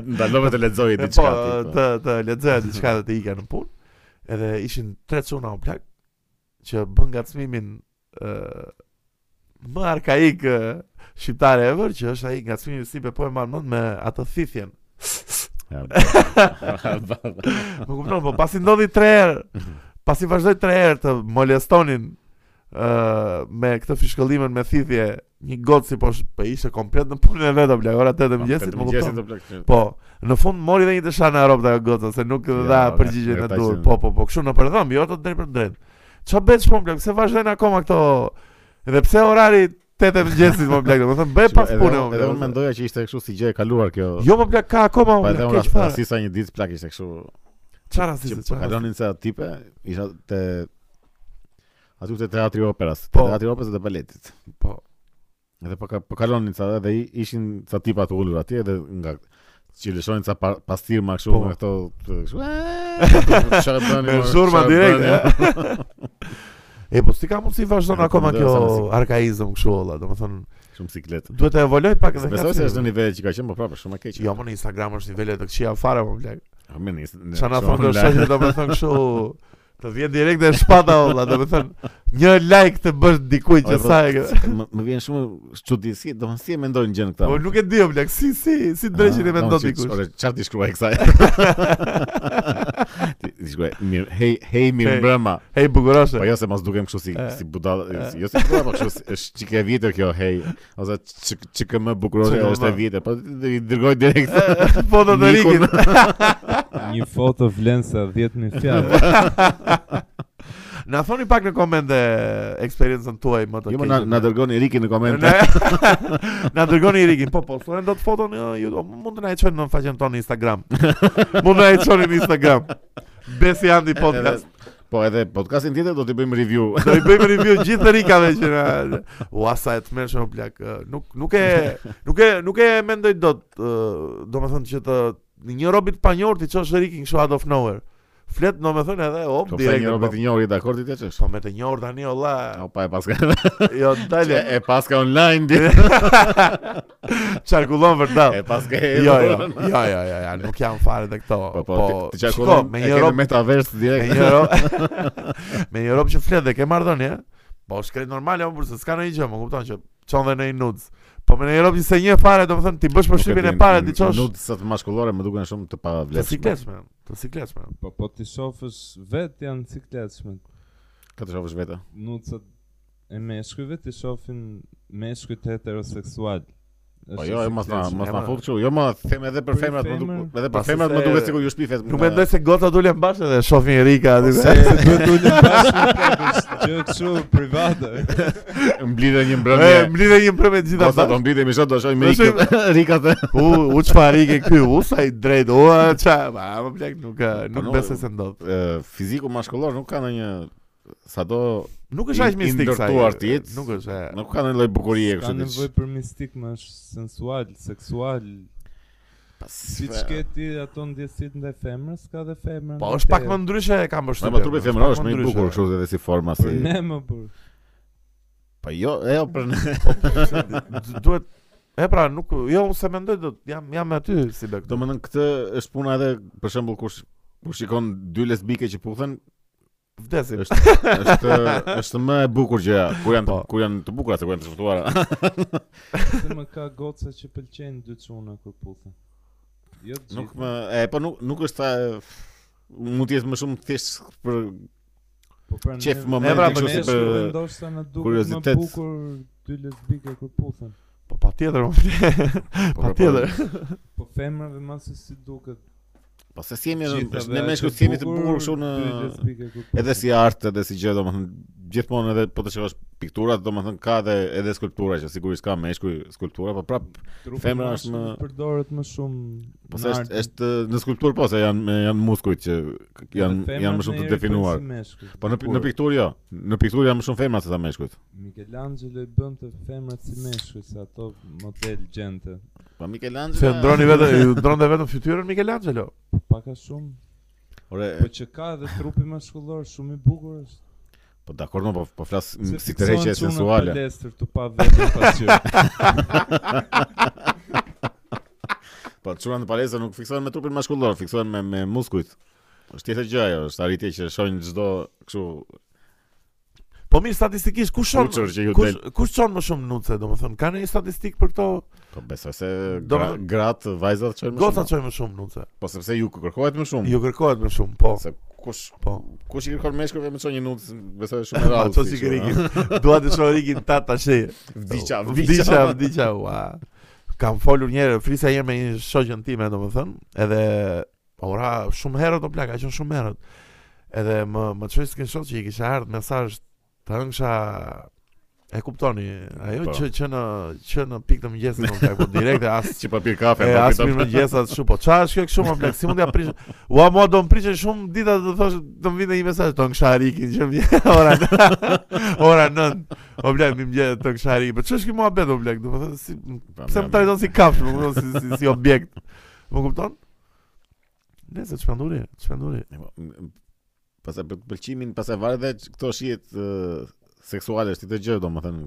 [SPEAKER 1] Ndalove të lexoj
[SPEAKER 2] E,
[SPEAKER 1] diçka. ti,
[SPEAKER 2] po,
[SPEAKER 1] po.
[SPEAKER 2] të të lexoja diçka dhe të ikja në punë. Edhe ishin tre çuna o plak që bën ngacmimin ë më arkaik ë, shqiptare ever që është ai ngacmimi si po e marr mend me atë thithjen.
[SPEAKER 1] Ja, po.
[SPEAKER 2] Më kupton, po pasi ndodhi 3
[SPEAKER 1] Mhm.
[SPEAKER 2] herë. Pasi vazhdoi 3 herë të molestonin ë me këtë fishkëllimën me thithje, një gocë si po sh- po ishte komplet në punën e vet apo ora 8 e mëngjesit, më
[SPEAKER 1] Mëngjesit
[SPEAKER 2] kupton.
[SPEAKER 1] o plak.
[SPEAKER 2] Po, në fund mori dhe një dësha në Europë ajo goca, se nuk
[SPEAKER 1] Ja,
[SPEAKER 2] dha
[SPEAKER 1] ore,
[SPEAKER 2] përgjigjen
[SPEAKER 1] e
[SPEAKER 2] e
[SPEAKER 1] pa
[SPEAKER 2] dur.
[SPEAKER 1] qenë.
[SPEAKER 2] Po, po, po, kështu në përdhëm, jo të drejt për drejt. Ço bëhet shumë blek, pse vazhdojnë akoma këto Edhe pse orari 8 e mëngjesit po, më blek, domethënë bëj pas
[SPEAKER 1] Edhe-
[SPEAKER 2] pune më.
[SPEAKER 1] Edhe
[SPEAKER 2] blek,
[SPEAKER 1] unë mendoja që ishte kështu si gjë e kaluar kjo.
[SPEAKER 2] Jo më blek ka akoma
[SPEAKER 1] Po
[SPEAKER 2] më
[SPEAKER 1] edhe
[SPEAKER 2] blek,
[SPEAKER 1] unë
[SPEAKER 2] keq
[SPEAKER 1] as-
[SPEAKER 2] fare.
[SPEAKER 1] asisa një ditë plak ishte kështu që
[SPEAKER 2] Çfarë rasti?
[SPEAKER 1] po kalonin sa tipe, isha te aty te teatri i operas, te
[SPEAKER 2] Po.
[SPEAKER 1] teatri i operës dhe baletit.
[SPEAKER 2] Po.
[SPEAKER 1] Edhe po ka- po kalonin ca dhe i- ishin ca tipa të ulur atje dhe nga që lëshojnë ca pa, pastirma kështu
[SPEAKER 2] Po.
[SPEAKER 1] nga këto të- kështu. "Eee, Çfarë bëni?
[SPEAKER 2] Me
[SPEAKER 1] more,
[SPEAKER 2] zhurma
[SPEAKER 1] çfarë
[SPEAKER 2] direkt,
[SPEAKER 1] bëni?"
[SPEAKER 2] E po si ka mundsi vazhdon
[SPEAKER 1] Nuk
[SPEAKER 2] akoma
[SPEAKER 1] mendoj
[SPEAKER 2] kjo
[SPEAKER 1] sa mundsi.
[SPEAKER 2] arkaizëm kështu olla, domethënë
[SPEAKER 1] Shumë siklet.
[SPEAKER 2] duhet të evoloj pak edhe
[SPEAKER 1] Besoj se
[SPEAKER 2] kafshimi.
[SPEAKER 1] është në nivele që ka qenë, po prapë shumë e keq.
[SPEAKER 2] Jo, më në Instagram është nivele të këqija fare më blaq.
[SPEAKER 1] Po, mirë, nis- ne-
[SPEAKER 2] Çana
[SPEAKER 1] shumë
[SPEAKER 2] thon do
[SPEAKER 1] online.
[SPEAKER 2] shoqë domethënë kështu Të vjen direkt e shpata olla, do të thënë një like të bësh dikujt që
[SPEAKER 1] Oj, po,
[SPEAKER 2] sa e ke.
[SPEAKER 1] Më më vjen shumë çudi si, domethënë si e mendojnë gjën këta.
[SPEAKER 2] Po nuk e di o blak, si si si dreqin e
[SPEAKER 1] Ah,
[SPEAKER 2] mendon
[SPEAKER 1] domethënë,
[SPEAKER 2] dikush.
[SPEAKER 1] Ore, çfarë ti shkruaj kësaj? Ti ti shkruaj mirë, hey hey mirë
[SPEAKER 2] Hey. Eh.
[SPEAKER 1] mbrëma.
[SPEAKER 2] Hej bukuroshe.
[SPEAKER 1] Po jo se mos dukem kështu si
[SPEAKER 2] E.
[SPEAKER 1] si budalla, si- jo si budalla, po kështu si- është çik e vjetër kjo, hey, ose çik- çik më bukurore
[SPEAKER 2] Çik e
[SPEAKER 1] është e
[SPEAKER 2] më.
[SPEAKER 1] vjetër, po i dërgoj direkt.
[SPEAKER 2] Po do të
[SPEAKER 1] Nikun.
[SPEAKER 2] rikin.
[SPEAKER 3] Një foto vlen sa 10000 fjalë.
[SPEAKER 2] Na thoni pak në komente eksperiencën tuaj më të
[SPEAKER 1] Jo, më na, na dërgoni Riki në komente.
[SPEAKER 2] Na- Na dërgoni i rikin, po po, thonë do të foton ë, ju do- mund të na e çojnë në faqen tonë në Instagram. Mund na e çoni në Instagram. Besi Andi podcast.
[SPEAKER 1] Edhe- Po edhe podcastin tjetër do t'i bëjmë review.
[SPEAKER 2] Do i bëjmë review gjithë rikave që na Ua sa e tmerrshme o plak. ë, Nuk nuk e nuk e nuk e mendoj dot, ë, domethënë që të një robit panjor ti çosh rikin kështu out of nowhere. Flet domethënë edhe hop
[SPEAKER 1] Po pse
[SPEAKER 2] direkt.
[SPEAKER 1] një
[SPEAKER 2] në
[SPEAKER 1] robë
[SPEAKER 2] pop.
[SPEAKER 1] të njohur i dakord ti çesh?
[SPEAKER 2] Po me të njohur tani olla.
[SPEAKER 1] Po pa e paska.
[SPEAKER 2] Jo
[SPEAKER 1] E,
[SPEAKER 2] dalje.
[SPEAKER 1] e paska online di.
[SPEAKER 2] Çarkullon
[SPEAKER 1] E
[SPEAKER 2] vërtet.
[SPEAKER 1] paska e.
[SPEAKER 2] Jo, jo, jo, jo, jo, jo, nuk jam fare dhe këto.
[SPEAKER 1] Po po, ti
[SPEAKER 2] shiko,
[SPEAKER 1] çakon
[SPEAKER 2] me
[SPEAKER 1] me
[SPEAKER 2] një rob
[SPEAKER 1] metaverse
[SPEAKER 2] Me
[SPEAKER 1] direkt.
[SPEAKER 2] një rob Me një rob që flet dhe ke marrëdhënie, po shkret normale apo se s'ka ndonjë gjë, më kupton që çon dhe në një nudes. Po me një rob që se një fare, domethënë ti bësh përshtypjen e parë ti çosh.
[SPEAKER 1] Nuk sa të mashkullore më duken shumë të
[SPEAKER 2] Të
[SPEAKER 1] pavlefshme.
[SPEAKER 2] sikletshme, të sikletshme.
[SPEAKER 3] Po po ti shofësh vet janë cikletshme.
[SPEAKER 1] Ka të shohësh vetë.
[SPEAKER 3] Nucat e meshkujve ti shohin meshkujt heteroseksual.
[SPEAKER 1] Po
[SPEAKER 3] Është
[SPEAKER 1] jo,
[SPEAKER 3] e
[SPEAKER 1] e mos na
[SPEAKER 3] cikletshme.
[SPEAKER 1] mos na
[SPEAKER 2] Emra.
[SPEAKER 1] fut kështu. Jo, më them edhe për
[SPEAKER 3] Për
[SPEAKER 1] femrat më duket,
[SPEAKER 3] femër?
[SPEAKER 1] edhe për
[SPEAKER 2] Pasi
[SPEAKER 1] femrat më
[SPEAKER 2] se-
[SPEAKER 1] duket sikur ju shpifet.
[SPEAKER 2] Nuk mendoj se goca dulen bashkë dhe shohin Rika aty.
[SPEAKER 3] Se duhet të ulim bashkë plak, është gjë kështu private.
[SPEAKER 1] mblidhe një
[SPEAKER 2] E,
[SPEAKER 1] mbrëmje.
[SPEAKER 2] Eh, mblidhe një mbrëmje të gjitha
[SPEAKER 1] Ose do
[SPEAKER 2] bashkë.
[SPEAKER 1] mbidhemi sot do shohim
[SPEAKER 2] Do shohim-
[SPEAKER 1] Rikat. Rikat. e-
[SPEAKER 2] U, u çfarë Rike ky? U sa i drejt. U, ça, ba, më plak nuk e,
[SPEAKER 1] Po,
[SPEAKER 2] nuk
[SPEAKER 1] no,
[SPEAKER 2] besoj se ndodh.
[SPEAKER 1] e, Eh, Fiziku mashkullor nuk ka ndonjë sado
[SPEAKER 2] Nuk
[SPEAKER 1] i-
[SPEAKER 2] është aq
[SPEAKER 1] i
[SPEAKER 2] mistik sa.
[SPEAKER 1] ndërtuar ti jetë.
[SPEAKER 2] Nuk është. e,
[SPEAKER 1] nuk ka ndonjë lloj bukurie
[SPEAKER 3] Ka
[SPEAKER 1] kështu diç.
[SPEAKER 3] nevojë për mistik më është sensual, seksual. Si
[SPEAKER 1] Fe-
[SPEAKER 3] ke ti ato ndjesit ndaj femrës, ka dhe femra.
[SPEAKER 2] Po
[SPEAKER 3] ndaj
[SPEAKER 2] është pak
[SPEAKER 3] teje.
[SPEAKER 2] më ndryshe e kam
[SPEAKER 1] Po
[SPEAKER 2] përshtypjen.
[SPEAKER 1] më trupi
[SPEAKER 2] është
[SPEAKER 1] femëror
[SPEAKER 2] pak
[SPEAKER 1] është
[SPEAKER 2] më
[SPEAKER 1] më i
[SPEAKER 2] ndryshe.
[SPEAKER 1] bukur kështu edhe si forma si.
[SPEAKER 3] Për ne më për.
[SPEAKER 1] Po jo, e jo për ne.
[SPEAKER 2] Du- Duhet E pra, nuk, jo, unë se mendoj, do, jam, jam aty si be këtu.
[SPEAKER 1] Domethënë këtë është puna edhe për shembull kush kur shikon dy lesbike që puthen,
[SPEAKER 2] Vdesim.
[SPEAKER 1] është është është më e bukur gjëja kur janë të,
[SPEAKER 2] Po.
[SPEAKER 1] kur janë të bukura se kur janë të shpëtuara.
[SPEAKER 3] Se më ka goca që pëlqejnë dy çuna kur puthen. Jo të
[SPEAKER 1] nuk
[SPEAKER 3] gjitha.
[SPEAKER 1] më e po nuk nuk është ta mund të jetë më shumë thjesht për
[SPEAKER 3] Po pra
[SPEAKER 1] qef
[SPEAKER 3] ne-
[SPEAKER 1] momenti
[SPEAKER 3] ne pra,
[SPEAKER 2] kështu
[SPEAKER 3] me
[SPEAKER 2] si
[SPEAKER 3] ne
[SPEAKER 1] për
[SPEAKER 3] shkruve ndoshta na duket
[SPEAKER 1] kuriozitet.
[SPEAKER 3] më bukur dy lesbike kur puthen.
[SPEAKER 2] Po, pa tjetër, pa tjetër.
[SPEAKER 3] Po femrave më se si duket.
[SPEAKER 1] Po se si jemi
[SPEAKER 3] gjithave
[SPEAKER 1] ne me
[SPEAKER 3] aq e
[SPEAKER 1] shkut jemi të bukur kështu në
[SPEAKER 3] dy lesbike kur puthen.
[SPEAKER 1] edhe si art edhe si gjë domethënë gjithmonë edhe po të shikosh pikturat domethënë ka edhe edhe skulptura që sigurisht ka meshkuj skulptura po prap
[SPEAKER 3] Trupi
[SPEAKER 1] femra është
[SPEAKER 3] mashkull
[SPEAKER 1] më-
[SPEAKER 3] përdoret më shumë.
[SPEAKER 1] Po
[SPEAKER 3] në
[SPEAKER 1] se është
[SPEAKER 3] art.
[SPEAKER 1] është në skulptur po se janë janë muskujt që
[SPEAKER 3] Edhe
[SPEAKER 1] janë
[SPEAKER 3] femrat
[SPEAKER 1] janë më shumë të
[SPEAKER 3] ndonjëherë
[SPEAKER 1] definuar.
[SPEAKER 3] bëjnë si meshkuj.
[SPEAKER 1] Po në në pikturë jo. Në pikturë janë më shumë femrat se sa meshkujt.
[SPEAKER 3] Michelangelo i bënte femrat si meshkuj, se ato model gjente.
[SPEAKER 1] Po Michelangelo.
[SPEAKER 2] Se ndroni vetëm, ju ndronte vetëm fytyrën Michelangelo.
[SPEAKER 3] Pak a shumë,
[SPEAKER 1] Ore,
[SPEAKER 3] po që ka edhe trupi mashkullor shumë i bukur është.
[SPEAKER 1] po dakor, no, po po flas m,
[SPEAKER 3] Se
[SPEAKER 1] si tërheqje
[SPEAKER 3] fiksohen çuna
[SPEAKER 1] sensuale.
[SPEAKER 3] palestër tu pa vetëm pasqyrë.
[SPEAKER 1] Po çuna në palestër nuk fiksohen me trupin maskullor, fiksohen me me muskujt. Është tjetër gjë ajo, është arritje që shohin çdo kështu
[SPEAKER 2] Po mirë, statistikisht, kush shon,
[SPEAKER 1] Kuçër që ju
[SPEAKER 2] kush, kush shon më shumë nuce, do më thënë, ka në një statistik për këto,
[SPEAKER 1] Po besoj se
[SPEAKER 2] Do
[SPEAKER 1] gra,
[SPEAKER 2] me-
[SPEAKER 1] gratë, vajzat shohin më
[SPEAKER 2] goca
[SPEAKER 1] shumë.
[SPEAKER 2] qoj më shumë nuce.
[SPEAKER 1] Po sepse ju kërkohet më shumë.
[SPEAKER 2] Ju kërkohet më shumë, po,
[SPEAKER 1] Se kush
[SPEAKER 2] po.
[SPEAKER 1] kush i kërkon meshkujve më çon një nut, besoj shumë e
[SPEAKER 2] Ma
[SPEAKER 1] rrallë.
[SPEAKER 2] to si ke rikin, dua të shoh rikin ta tash.
[SPEAKER 1] Vdiqa,
[SPEAKER 2] vdiqa, vdiqa, ua. Kam folur një herë, frisa një herë me një shoqën time, domethënë, edhe po, ora shumë herë do plak, ka qenë shumë herë. Edhe më më çoj screenshot që i kisha ardhur mesazh të ëngsha E kuptoni, ajo
[SPEAKER 1] Po.
[SPEAKER 2] që që në që në pikë të mëngjesit do plak, po direkt e as
[SPEAKER 1] Që papir kafe,
[SPEAKER 2] e
[SPEAKER 1] papir
[SPEAKER 2] as
[SPEAKER 1] kafe.
[SPEAKER 2] mirë mëngjesa ashtu, po çfarë është kjo kështu më plak, si mund ja prish? Ua mua do mpriqen shumë dita të thosh të më vinte një mesazh ton Sharikin që më ora ora 9. O blek më vjen ton Sharik. Po ç'është kjo muhabet o blek, domethënë si
[SPEAKER 1] Pa,
[SPEAKER 2] pse
[SPEAKER 1] mja,
[SPEAKER 2] më trajton si kafsh, më kupton si si, si objekt. Më kupton? Nëse çmenduri, çmenduri.
[SPEAKER 1] E po, m- m- Pastaj për pëlqimin, pastaj varet edhe që këto shihet ë, seksuale është këtë gjë, domethënë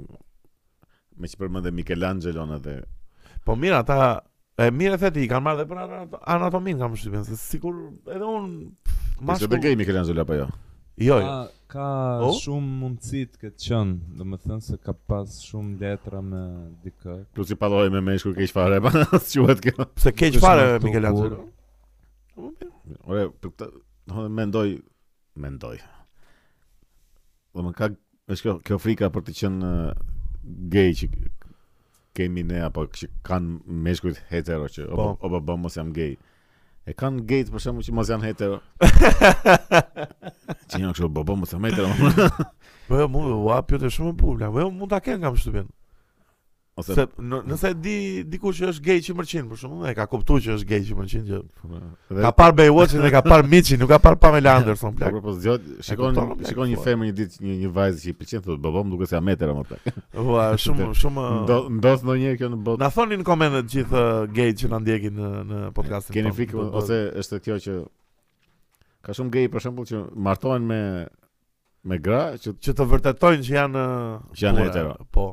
[SPEAKER 1] me që përmendë Michelangelo edhe
[SPEAKER 2] Po mirë ata E mirë e theti, i kanë marrë dhe për anato- anatomin kam shqipin, se sikur edhe unë
[SPEAKER 1] Ishte dhe
[SPEAKER 2] mashkull,
[SPEAKER 1] gay Michelangelo apo jo?
[SPEAKER 2] Jo, jo.
[SPEAKER 3] Ka, ka
[SPEAKER 2] O?
[SPEAKER 1] Oh?
[SPEAKER 3] shumë mundësit këtë qënë, dhe më thënë se ka pas shumë letra me dikë.
[SPEAKER 1] Plus i palloj me meshkuj keq fare, pa quhet po, kjo.
[SPEAKER 2] Pse keq
[SPEAKER 3] Kush
[SPEAKER 2] fare
[SPEAKER 3] më këtu
[SPEAKER 2] Michelangelo.
[SPEAKER 3] kur?
[SPEAKER 1] Ore, për këtë, domethënë mendoj, mendoj. Domethënë ka është kjo, kjo frika për të qenë uh, gay që kemi ne apo që kanë meshkujt hetero që
[SPEAKER 2] Po.
[SPEAKER 1] o opa bëm mos jam gay. E kanë gay për shembull që mos janë hetero. që janë kështu bëm mos jam hetero.
[SPEAKER 2] Po jo, mund ua pyete shumë e bukur. bla. Po jo, mund ta ken kam shtëpin.
[SPEAKER 1] Ose
[SPEAKER 2] Se në- nëse di dikush që është gay që mërqin për shkakun, e ka kuptuar që është gay që mërqin që
[SPEAKER 1] po, dhe-
[SPEAKER 2] ka parë Baywatchin dhe ka parë Mitchin, nuk ka parë Pamela Anderson
[SPEAKER 1] Po
[SPEAKER 2] plak.
[SPEAKER 1] po po zgjod, shikon
[SPEAKER 2] kuptova, plak,
[SPEAKER 1] shikon një
[SPEAKER 2] po.
[SPEAKER 1] femër një ditë një një vajzë që i pëlqen thotë baba më duket se jam hetero më plak.
[SPEAKER 2] Ua, shumë shumë
[SPEAKER 1] Ndo ndos ndonjë kjo në botë.
[SPEAKER 2] Na thoni në komente të gjithë uh, gay që na ndjekin në në podcastin.
[SPEAKER 1] Keni
[SPEAKER 2] tonë.
[SPEAKER 1] frikë
[SPEAKER 2] Do- do-
[SPEAKER 1] ose është kjo që ka shumë gay për shembull që martohen me me gra që
[SPEAKER 2] që të vërtetojnë që janë uh,
[SPEAKER 1] Që janë
[SPEAKER 2] bura.
[SPEAKER 1] hetero.
[SPEAKER 2] Po.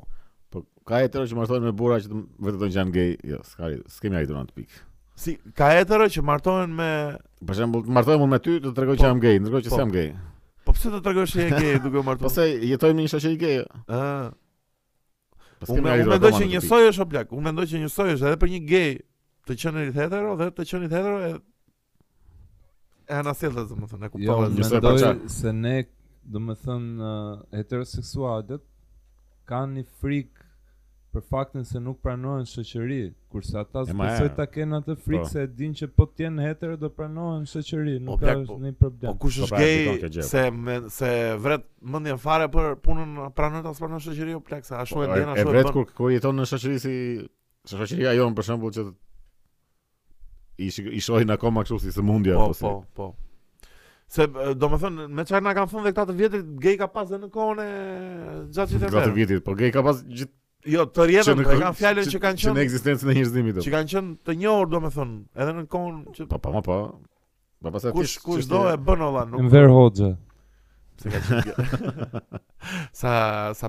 [SPEAKER 1] po ka hetero që martohen me burra që të m- vërtetojnë që janë gay. Jo, s'ka arrit- s'kemi arritur në atë pikë.
[SPEAKER 2] Si ka hetero që martohen me
[SPEAKER 1] Për shembull, martohem unë me ty, të tregoj që
[SPEAKER 2] Po.
[SPEAKER 1] jam gay, ndërkohë që
[SPEAKER 2] Po.
[SPEAKER 1] s'jam gay.
[SPEAKER 2] Po pse të tregosh se je gay duke u martuar?
[SPEAKER 1] Po
[SPEAKER 2] Ah.
[SPEAKER 1] se jetojmë në një shoqëri gay. jo.
[SPEAKER 2] Ë,
[SPEAKER 1] Po
[SPEAKER 2] Unë
[SPEAKER 1] s'kemi
[SPEAKER 2] unë
[SPEAKER 1] arritur. akoma në
[SPEAKER 2] mendoj që
[SPEAKER 1] atë pikë.
[SPEAKER 2] njësoj është o plak. Unë mendoj që njësoj është edhe për një gay të qenit hetero dhe të qenit hetero e e anasjellës domethënë, e
[SPEAKER 3] Jo,
[SPEAKER 1] njësoj
[SPEAKER 2] kuptova. Jo,
[SPEAKER 1] njësoj për
[SPEAKER 3] mendoj
[SPEAKER 1] çfarë?
[SPEAKER 3] se ne, do më thënë, uh, heteroseksualet kanë një frikë për faktin se nuk pranohen në shoqëri, kurse ata
[SPEAKER 1] E, ma,
[SPEAKER 3] s'pesoj
[SPEAKER 1] e.
[SPEAKER 3] ta kenë atë
[SPEAKER 1] Po.
[SPEAKER 3] frikë se e dinë që po të jenë hetero do pranohen në shoqëri,
[SPEAKER 2] O,
[SPEAKER 3] nuk ka
[SPEAKER 2] plak, po.
[SPEAKER 3] asnjë
[SPEAKER 2] Po
[SPEAKER 3] problem.
[SPEAKER 2] kush
[SPEAKER 1] Po
[SPEAKER 2] është
[SPEAKER 1] pra, e kupton kjo
[SPEAKER 2] gay
[SPEAKER 1] gjë, po.
[SPEAKER 2] se me, se vret mendjen fare për punën pranon as pranon shoqëri o plak se ashtu e
[SPEAKER 1] Po,
[SPEAKER 2] ndjen
[SPEAKER 1] E
[SPEAKER 2] ashtu e
[SPEAKER 1] vret
[SPEAKER 2] bën.
[SPEAKER 1] kur kur jeton në shoqëri si se shoqëria jon për shembull që i shik- i shohin akoma kështu si sëmundje
[SPEAKER 2] Po,
[SPEAKER 1] apo si.
[SPEAKER 2] po, po. Se do më thënë, me çfarë na kanë thënë dhe këta të vjetrit, gej ka pas dhe në kohën e gjatë
[SPEAKER 1] Nga të
[SPEAKER 2] qytetarëve.
[SPEAKER 1] vitit, po gay ka pas gjithë
[SPEAKER 2] Jo, të rjetën,
[SPEAKER 1] në
[SPEAKER 2] e
[SPEAKER 1] ko-
[SPEAKER 2] kanë fjalën që kanë
[SPEAKER 1] në
[SPEAKER 2] qenë
[SPEAKER 1] ekzistencën e njerëzimit.
[SPEAKER 2] që kanë qenë të njohur domethënë, edhe në kohën që
[SPEAKER 1] Po po po po. Po pastaj
[SPEAKER 2] kush
[SPEAKER 1] ti-
[SPEAKER 2] kush
[SPEAKER 1] ti-
[SPEAKER 2] do e bën olla, nuk
[SPEAKER 3] Enver Hoxha.
[SPEAKER 2] se ka qenë. gay. sa sa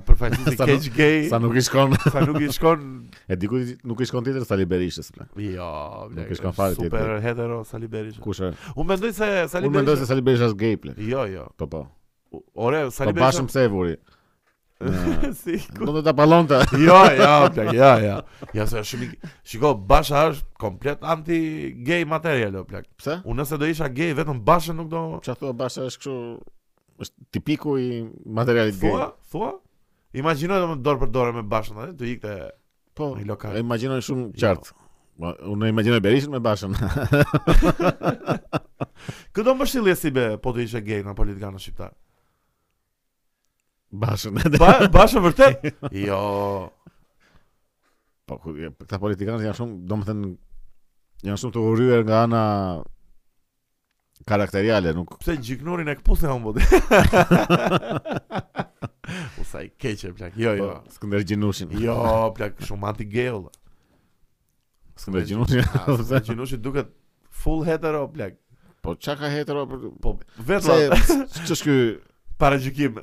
[SPEAKER 2] përfaqësi
[SPEAKER 1] Sa
[SPEAKER 2] keq gay,
[SPEAKER 1] sa nuk i shkon.
[SPEAKER 2] sa nuk i shkon.
[SPEAKER 1] E diku i- nuk i shkon tjetër sa liberishës plan.
[SPEAKER 2] Jo,
[SPEAKER 1] Nuk i shkon fare
[SPEAKER 2] Super
[SPEAKER 1] tjetër.
[SPEAKER 2] hetero Sali Berisha.
[SPEAKER 1] Kush e?
[SPEAKER 2] Unë mendoj se Sali
[SPEAKER 1] Unë mendoj se
[SPEAKER 2] Berisha.
[SPEAKER 1] sa liberisha është gay plan.
[SPEAKER 2] Jo, jo.
[SPEAKER 1] Po po.
[SPEAKER 2] U- Ore,
[SPEAKER 1] Po
[SPEAKER 2] Sali Berisha.
[SPEAKER 1] bashëm pse e vuri. Në-
[SPEAKER 2] Si
[SPEAKER 1] Do të ta pallonte.
[SPEAKER 2] Jo, jo, plak, jo, jo. Ja se është shumë i- Shiko, Basha është komplet anti gay material o plak.
[SPEAKER 1] Pse?
[SPEAKER 2] Unë nëse do isha gay vetëm Basha nuk do
[SPEAKER 1] Çfarë thua Basha është kështu është tipiku i materialit gay.
[SPEAKER 2] thua, thua. Imagjino domethënë dorë për dorë me Bashën, atë do ikte.
[SPEAKER 1] Po.
[SPEAKER 2] Ai lokal.
[SPEAKER 1] E imagjinoj shumë qartë. Ma, unë e imagjinoj Berishën me Bashën.
[SPEAKER 2] Kë do mbështillje si be po të ishe gay në politikanë shqiptar.
[SPEAKER 1] Bashën.
[SPEAKER 2] Ba Basha vërtet? Jo.
[SPEAKER 1] po, ku- e, këta politikanët janë shumë, domethënë janë shumë të urryer nga ana karakteriale, nuk
[SPEAKER 2] Pse gjiknurin e kputhe humbot. U sa i keqe plak. Jo, jo.
[SPEAKER 1] po, Skënder Gjinushin.
[SPEAKER 2] Jo, plak, shumë anti gay olla.
[SPEAKER 1] Skënder Gjinushin.
[SPEAKER 2] Sa gjinushi duket full hetero plak.
[SPEAKER 1] po çka ka hetero për
[SPEAKER 2] Po vetë
[SPEAKER 1] pse
[SPEAKER 2] olla.
[SPEAKER 1] ç'është ky
[SPEAKER 2] Para gjykim.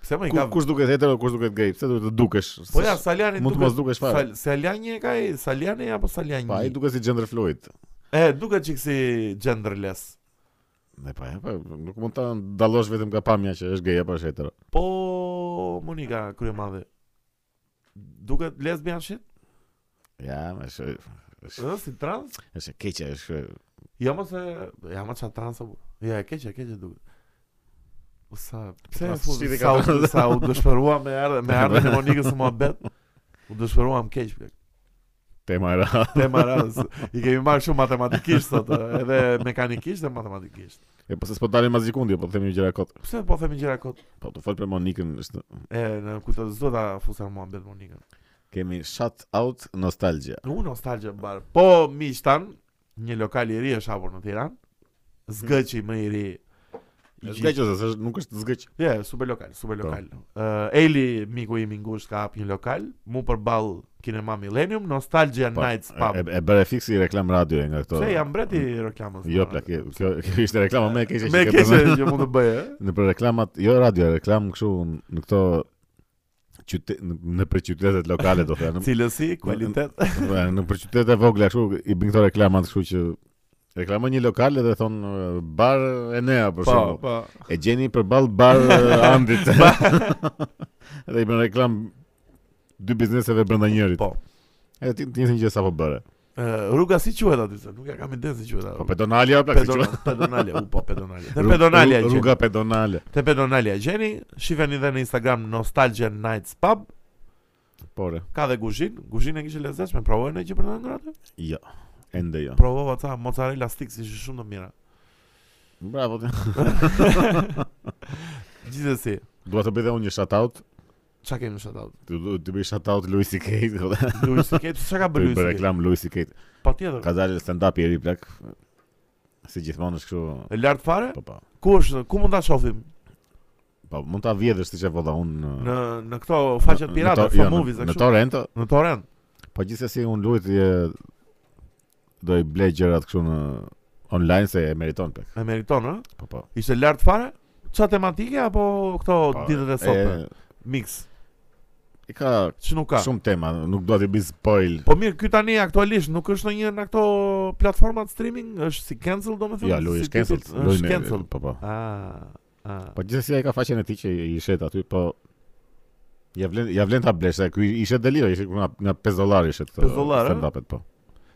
[SPEAKER 2] Pse më i
[SPEAKER 1] ku,
[SPEAKER 2] ka
[SPEAKER 1] kush duket hetero, kush duket gay? Pse duhet të dukesh?
[SPEAKER 2] Po ja, Saljani
[SPEAKER 1] mund të mos dukesh fare.
[SPEAKER 2] Sal, Saljani e ka ai, Saljani apo Saljani?
[SPEAKER 1] Pa, ai duket si gender fluid.
[SPEAKER 2] E, duket çik si genderless.
[SPEAKER 1] Ne pa, pa, nuk mund ta dallosh vetëm nga pamja që është gay apo është hetero.
[SPEAKER 2] Po Monika kryemadhe. Duket lesbian shit?
[SPEAKER 1] Ja, më është
[SPEAKER 2] Ë, si trans?
[SPEAKER 1] është e keqe, është
[SPEAKER 2] Ja Jo, mos e, ja mos ça trans apo. Ja, e keq, e keq e duket. U sa, pse e
[SPEAKER 1] Trans
[SPEAKER 2] fut
[SPEAKER 1] shit e
[SPEAKER 2] sa,
[SPEAKER 1] ka
[SPEAKER 2] u-
[SPEAKER 1] trans.
[SPEAKER 2] sa u dëshpërua me ardhe me ardhe e Monikës së muhabet. U dëshpërua më keq. plak.
[SPEAKER 1] tema e ra.
[SPEAKER 2] tema radhës. I kemi marrë shumë matematikisht sot, ë, edhe mekanikisht dhe matematikisht.
[SPEAKER 1] E po se s'po dalim as sekundje, po themi një gjëra kot.
[SPEAKER 2] Pse po themi gjëra kot?
[SPEAKER 1] Po të fol për Monikën, është
[SPEAKER 2] E në kuto zot ta fusa Muhamet Monikën.
[SPEAKER 1] kemi shut out nostalgia.
[SPEAKER 2] U nostalgje bar. Po miq tan, një lokal i ri është hapur në Tiranë. Zgëçi më i ri. i gjithë-
[SPEAKER 1] Zgjeq ose s'është- nuk është zgjeq.
[SPEAKER 2] Je, super lokal, super
[SPEAKER 1] Po.
[SPEAKER 2] lokal. Ë Eli miku im i ngushtë ka hap një lokal, mu përball Kinema Millennium, Nostalgia
[SPEAKER 1] Po,
[SPEAKER 2] Nights
[SPEAKER 1] E,
[SPEAKER 2] Pub.
[SPEAKER 1] e bëre fiksi reklam radioje nga këto.
[SPEAKER 2] Se jam breti reklamës. po.
[SPEAKER 1] Jo, plak, e, kjo, kjo ishte reklama më e keqe
[SPEAKER 2] Me
[SPEAKER 1] që ke
[SPEAKER 2] keqe
[SPEAKER 1] përmend.
[SPEAKER 2] që mund të bëj, eh? ë?
[SPEAKER 1] Në për reklamat, jo radio, reklam kështu në këto qyte, në, në për qytetet lokale do të thënë.
[SPEAKER 2] Cilësi, kualitet.
[SPEAKER 1] Në për qytete vogla kështu i bën këto reklamat kështu që Reklamon një lokal edhe thon eh, bar Enea për
[SPEAKER 2] Po,
[SPEAKER 1] shembull.
[SPEAKER 2] po.
[SPEAKER 1] E gjeni përballë bar eh, Andit. edhe i bën reklam dy bizneseve brenda njërit.
[SPEAKER 2] Po.
[SPEAKER 1] Edhe ti ti njëjtin gjë sapo bëre.
[SPEAKER 2] Ë, Eh, rruga si quhet aty? se Nuk e kam iden si quhet. ajo.
[SPEAKER 1] Po pedonalja plak si
[SPEAKER 2] Pedona-
[SPEAKER 1] quhet.
[SPEAKER 2] pedonale, u po pedonale. Te
[SPEAKER 1] Rrug-
[SPEAKER 2] pedonale
[SPEAKER 1] rrug-
[SPEAKER 2] gjeni.
[SPEAKER 1] Rruga pedonale.
[SPEAKER 2] Te pedonale gjeni. Shifeni edhe në Instagram Nostalgia Nights Pub.
[SPEAKER 1] Pore.
[SPEAKER 2] Ka dhe guzhin. Guzhin e kishte lezetshme, provojnë gjë për të ngrënë aty.
[SPEAKER 1] Jo. Ende jo.
[SPEAKER 2] Provova ca mozzarella sticks ishin shumë të mira.
[SPEAKER 1] Bravo. ti.
[SPEAKER 2] Gjithsesi,
[SPEAKER 1] Dua të bëj dhe unë një shout out.
[SPEAKER 2] çka kemi në shoutout?
[SPEAKER 1] Të të bëj shout out Louis CK. Të
[SPEAKER 2] Luis Sikej, çka ka bërë
[SPEAKER 1] bëj
[SPEAKER 2] Luis?
[SPEAKER 1] reklam Louis CK.
[SPEAKER 2] Patjetër.
[SPEAKER 1] Ka dalë stand up i ri plak. Si gjithmonë është kështu.
[SPEAKER 2] E lart fare?
[SPEAKER 1] Po po.
[SPEAKER 2] Ku është? Ku mund ta shohim?
[SPEAKER 1] Po mund ta vjedhësh siç e vota unë.
[SPEAKER 2] Në në këto faqet pirate,
[SPEAKER 1] jo,
[SPEAKER 2] fan movies e
[SPEAKER 1] Në
[SPEAKER 2] kështu.
[SPEAKER 1] torrent,
[SPEAKER 2] Në torrent.
[SPEAKER 1] po gjithsesi unë luajt e, do i blej gjërat kështu në online se e meriton plak.
[SPEAKER 2] E meriton, ë?
[SPEAKER 1] Po po.
[SPEAKER 2] Ishte lart fare? Ça tematike apo këto
[SPEAKER 1] Po,
[SPEAKER 2] ditët e sotme? Mix.
[SPEAKER 1] E ka
[SPEAKER 2] Që nuk ka.
[SPEAKER 1] shumë tema, nuk dua të bëj spoil.
[SPEAKER 2] Po mirë, ky tani aktualisht nuk është ndonjë nga këto platformat streaming, është si cancel domethënë?
[SPEAKER 1] Ja, Luj
[SPEAKER 2] si
[SPEAKER 1] është cancelled.
[SPEAKER 2] tipit-
[SPEAKER 1] Luj
[SPEAKER 2] Është
[SPEAKER 1] ne-
[SPEAKER 2] cancel.
[SPEAKER 1] Po po.
[SPEAKER 2] Ah. Ah.
[SPEAKER 1] Po gjithsesi ai ka faqen e tij që i shet aty, po Ja vlen ja vlen ta blesh, se ky ishte deliro, ishte nga nga 5 dollarë ishte këtë.
[SPEAKER 2] 5 dollarë, ë?
[SPEAKER 1] Stand-upet po.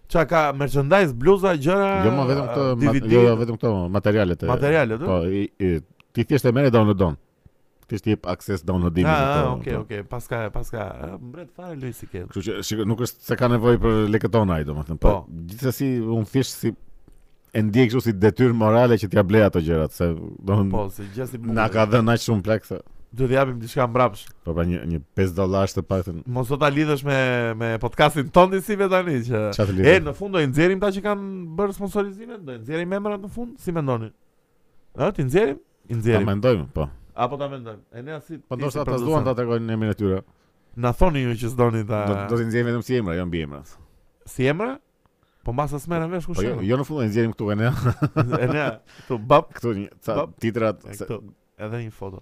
[SPEAKER 2] Qa ka merchandise, bluza, gjëra?
[SPEAKER 1] Jo, ma vetëm këto,
[SPEAKER 2] ah,
[SPEAKER 1] ma-
[SPEAKER 2] DVD,
[SPEAKER 1] jo, jo, vetëm këto materialet e
[SPEAKER 2] materialet, ë?
[SPEAKER 1] Po, i, i, ti thjesht e merr e downloadon. Ti thjesht i jep akses downloadimit.
[SPEAKER 2] Ah,
[SPEAKER 1] këto,
[SPEAKER 2] ah, okay,
[SPEAKER 1] po.
[SPEAKER 2] okay. Paska, paska. Mbret fare Luis i ke.
[SPEAKER 1] Kështu që shiko, nuk është se ka nevojë për lekët tona ai domethënë, po
[SPEAKER 2] Po.
[SPEAKER 1] gjithsesi un thjesht si e ndjej kështu si detyrë morale që t'ia blej ato gjërat, se domethënë
[SPEAKER 2] Po, se gjasi bukur.
[SPEAKER 1] na ka dhënë aq shumë plak se
[SPEAKER 2] Do të japim diçka mbrapsh.
[SPEAKER 1] po pra një një 5 dollarë të paktën
[SPEAKER 2] Mos do ta lidhësh me me podcastin ton si me tani që
[SPEAKER 1] çfarë të
[SPEAKER 2] E
[SPEAKER 1] lidhet.
[SPEAKER 2] në fund do i nxjerrim ta që kanë bërë sponsorizimet, do i nxjerrim emrat në fund, si mendoni? Ë, ti nxjerrim? I
[SPEAKER 1] Ta
[SPEAKER 2] nxjerrim.
[SPEAKER 1] mendojmë, po.
[SPEAKER 2] Apo ta mendojmë. E ne si
[SPEAKER 1] Po
[SPEAKER 2] ti
[SPEAKER 1] ndoshta
[SPEAKER 2] si
[SPEAKER 1] ata
[SPEAKER 2] producent.
[SPEAKER 1] duan ta tregojnë emrin e tyre.
[SPEAKER 2] Na thoni ju që s'doni ta
[SPEAKER 1] Do do të nxjerrim vetëm si emra, jo mbi emrat.
[SPEAKER 2] si emra? Po mbas as merren vesh kush
[SPEAKER 1] Po jo,
[SPEAKER 2] është.
[SPEAKER 1] jo në fund e nxjerrim këtu kanë
[SPEAKER 2] E ne këtu bab
[SPEAKER 1] këtu një ca
[SPEAKER 2] Bap.
[SPEAKER 1] titrat
[SPEAKER 2] e
[SPEAKER 1] se-
[SPEAKER 2] Po. këtu edhe një foto.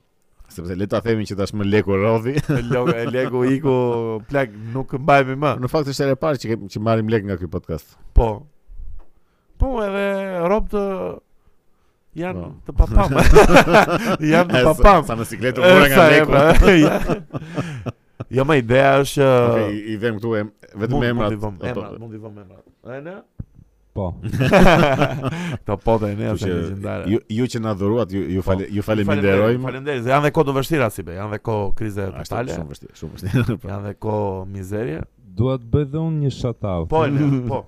[SPEAKER 1] sepse le ta themi që tashmë Leku Rodhi
[SPEAKER 2] E logo, e lego iku plak nuk mbajmë më.
[SPEAKER 1] Në fakt është e parë që kem- që marrim lek nga ky podcast.
[SPEAKER 2] Po. Po edhe rob të janë
[SPEAKER 1] Po.
[SPEAKER 2] të papam. janë të
[SPEAKER 1] E, sa-
[SPEAKER 2] papam.
[SPEAKER 1] Sa me sikletë u vura nga
[SPEAKER 2] Sa e
[SPEAKER 1] leku.
[SPEAKER 2] pra, ja. Jo, më ideja është
[SPEAKER 1] Okej, i- i vëm këtu em, vetëm
[SPEAKER 2] po. mund-
[SPEAKER 1] emrat. Po,
[SPEAKER 2] Mund i vëm
[SPEAKER 1] ato-
[SPEAKER 2] emrat, mund i vëm emrat. E ne?
[SPEAKER 3] Po.
[SPEAKER 2] Këto pota e ne
[SPEAKER 1] Kështu
[SPEAKER 2] është
[SPEAKER 1] që
[SPEAKER 2] legjendare. Po,
[SPEAKER 1] ju, ju që na dhuruat, ju, ju, fale, ju faleminderojmë.
[SPEAKER 2] Faleminderit. Janë dhe kohë të vështira si be, janë dhe kohë krize
[SPEAKER 1] Ashtu,
[SPEAKER 2] totale,
[SPEAKER 1] Shumë vështirë, shumë vështirë. po.
[SPEAKER 2] janë dhe kohë mizerie.
[SPEAKER 3] Dua të bëj dhe unë një shout-out.
[SPEAKER 2] Po, e ne, po.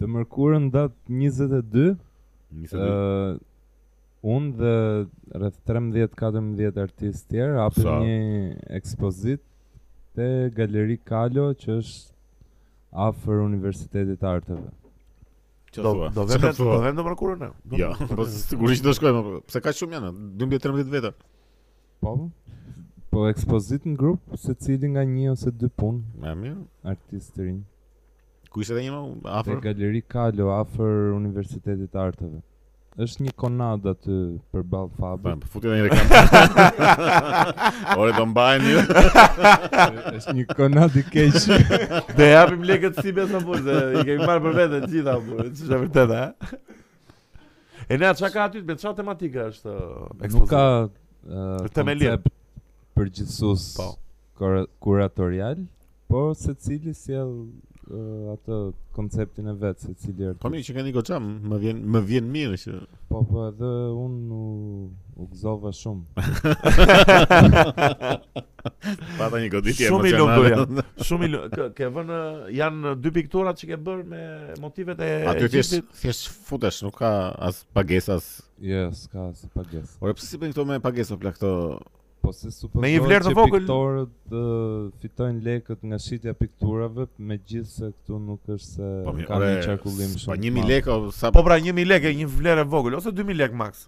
[SPEAKER 3] Të mërkurën datë 22,
[SPEAKER 1] Nisë dy.
[SPEAKER 3] ë unë dhe rreth 13-14 artistë tjerë hapim
[SPEAKER 1] Sa?
[SPEAKER 3] një ekspozit te Galeri Kalo që është afër Universitetit të Arteve.
[SPEAKER 1] Ço
[SPEAKER 2] Do
[SPEAKER 1] thua?
[SPEAKER 2] do
[SPEAKER 1] Ço
[SPEAKER 2] vëmë,
[SPEAKER 1] thua?
[SPEAKER 2] do vëmë të mërkurën ne. Do-
[SPEAKER 1] Jo, po sigurisht do shkojmë, po, pse ka shumë janë, 12-13 veta.
[SPEAKER 3] Po. Po ekspozit në grup secili nga një ose dy punë
[SPEAKER 1] Më mirë.
[SPEAKER 3] artistë të rinj.
[SPEAKER 1] Ku ishte edhe një më
[SPEAKER 3] Te
[SPEAKER 1] afër?
[SPEAKER 3] Galeri Kalo afër Universitetit të Arteve. Është një konad aty përballë
[SPEAKER 1] Po,
[SPEAKER 3] fabrit.
[SPEAKER 1] futi edhe një reklam. Ore do mbajnë ju.
[SPEAKER 3] është një konad i keq.
[SPEAKER 2] Dhe japim lekët si besë në burë, se i kemi marrë për vete të gjitha burë, që është e vërteta, e? E nea, qa ka aty, me qa tematika është uh,
[SPEAKER 3] Nuk ka
[SPEAKER 2] ekspozita?
[SPEAKER 3] uh,
[SPEAKER 2] Është themelim.
[SPEAKER 3] koncept përgjithsus
[SPEAKER 2] Po.
[SPEAKER 3] kora- kuratorial, por se cili sjell uh, atë konceptin e vetë, se cili
[SPEAKER 1] Po
[SPEAKER 3] artist.
[SPEAKER 1] mirë që keni goxha, më vjen më vjen mirë që
[SPEAKER 3] Po, po, edhe unë u, u gëzova shumë.
[SPEAKER 1] pata një goditje
[SPEAKER 2] Shumë i lumtur
[SPEAKER 1] emocionale.
[SPEAKER 2] janë. Shumë i lu... Ke, ke vënë, uh, janë dy pikturat që ke bërë me motivet e
[SPEAKER 1] Aty thjesht
[SPEAKER 2] Egjiptit?
[SPEAKER 1] thjesht futesh, nuk ka as pagesa as.
[SPEAKER 3] Yes, ka si pagesë.
[SPEAKER 1] Ore pse si bën këto me pagesa plak këto
[SPEAKER 3] Po se supozohet
[SPEAKER 2] Me një vlerë të
[SPEAKER 3] që
[SPEAKER 2] vogël-
[SPEAKER 3] piktorët ë, fitojnë lekët nga shitja pikturave, me gjithë se këtu nuk është se
[SPEAKER 1] Po mirë,
[SPEAKER 3] ka
[SPEAKER 1] ore,
[SPEAKER 3] një qarkullim shumë.
[SPEAKER 1] Po
[SPEAKER 3] të
[SPEAKER 1] 1000
[SPEAKER 3] madh.
[SPEAKER 1] lekë o, sa
[SPEAKER 2] Po pra, 1000 lekë, një vlerë e vogël, ose 2000 lekë max.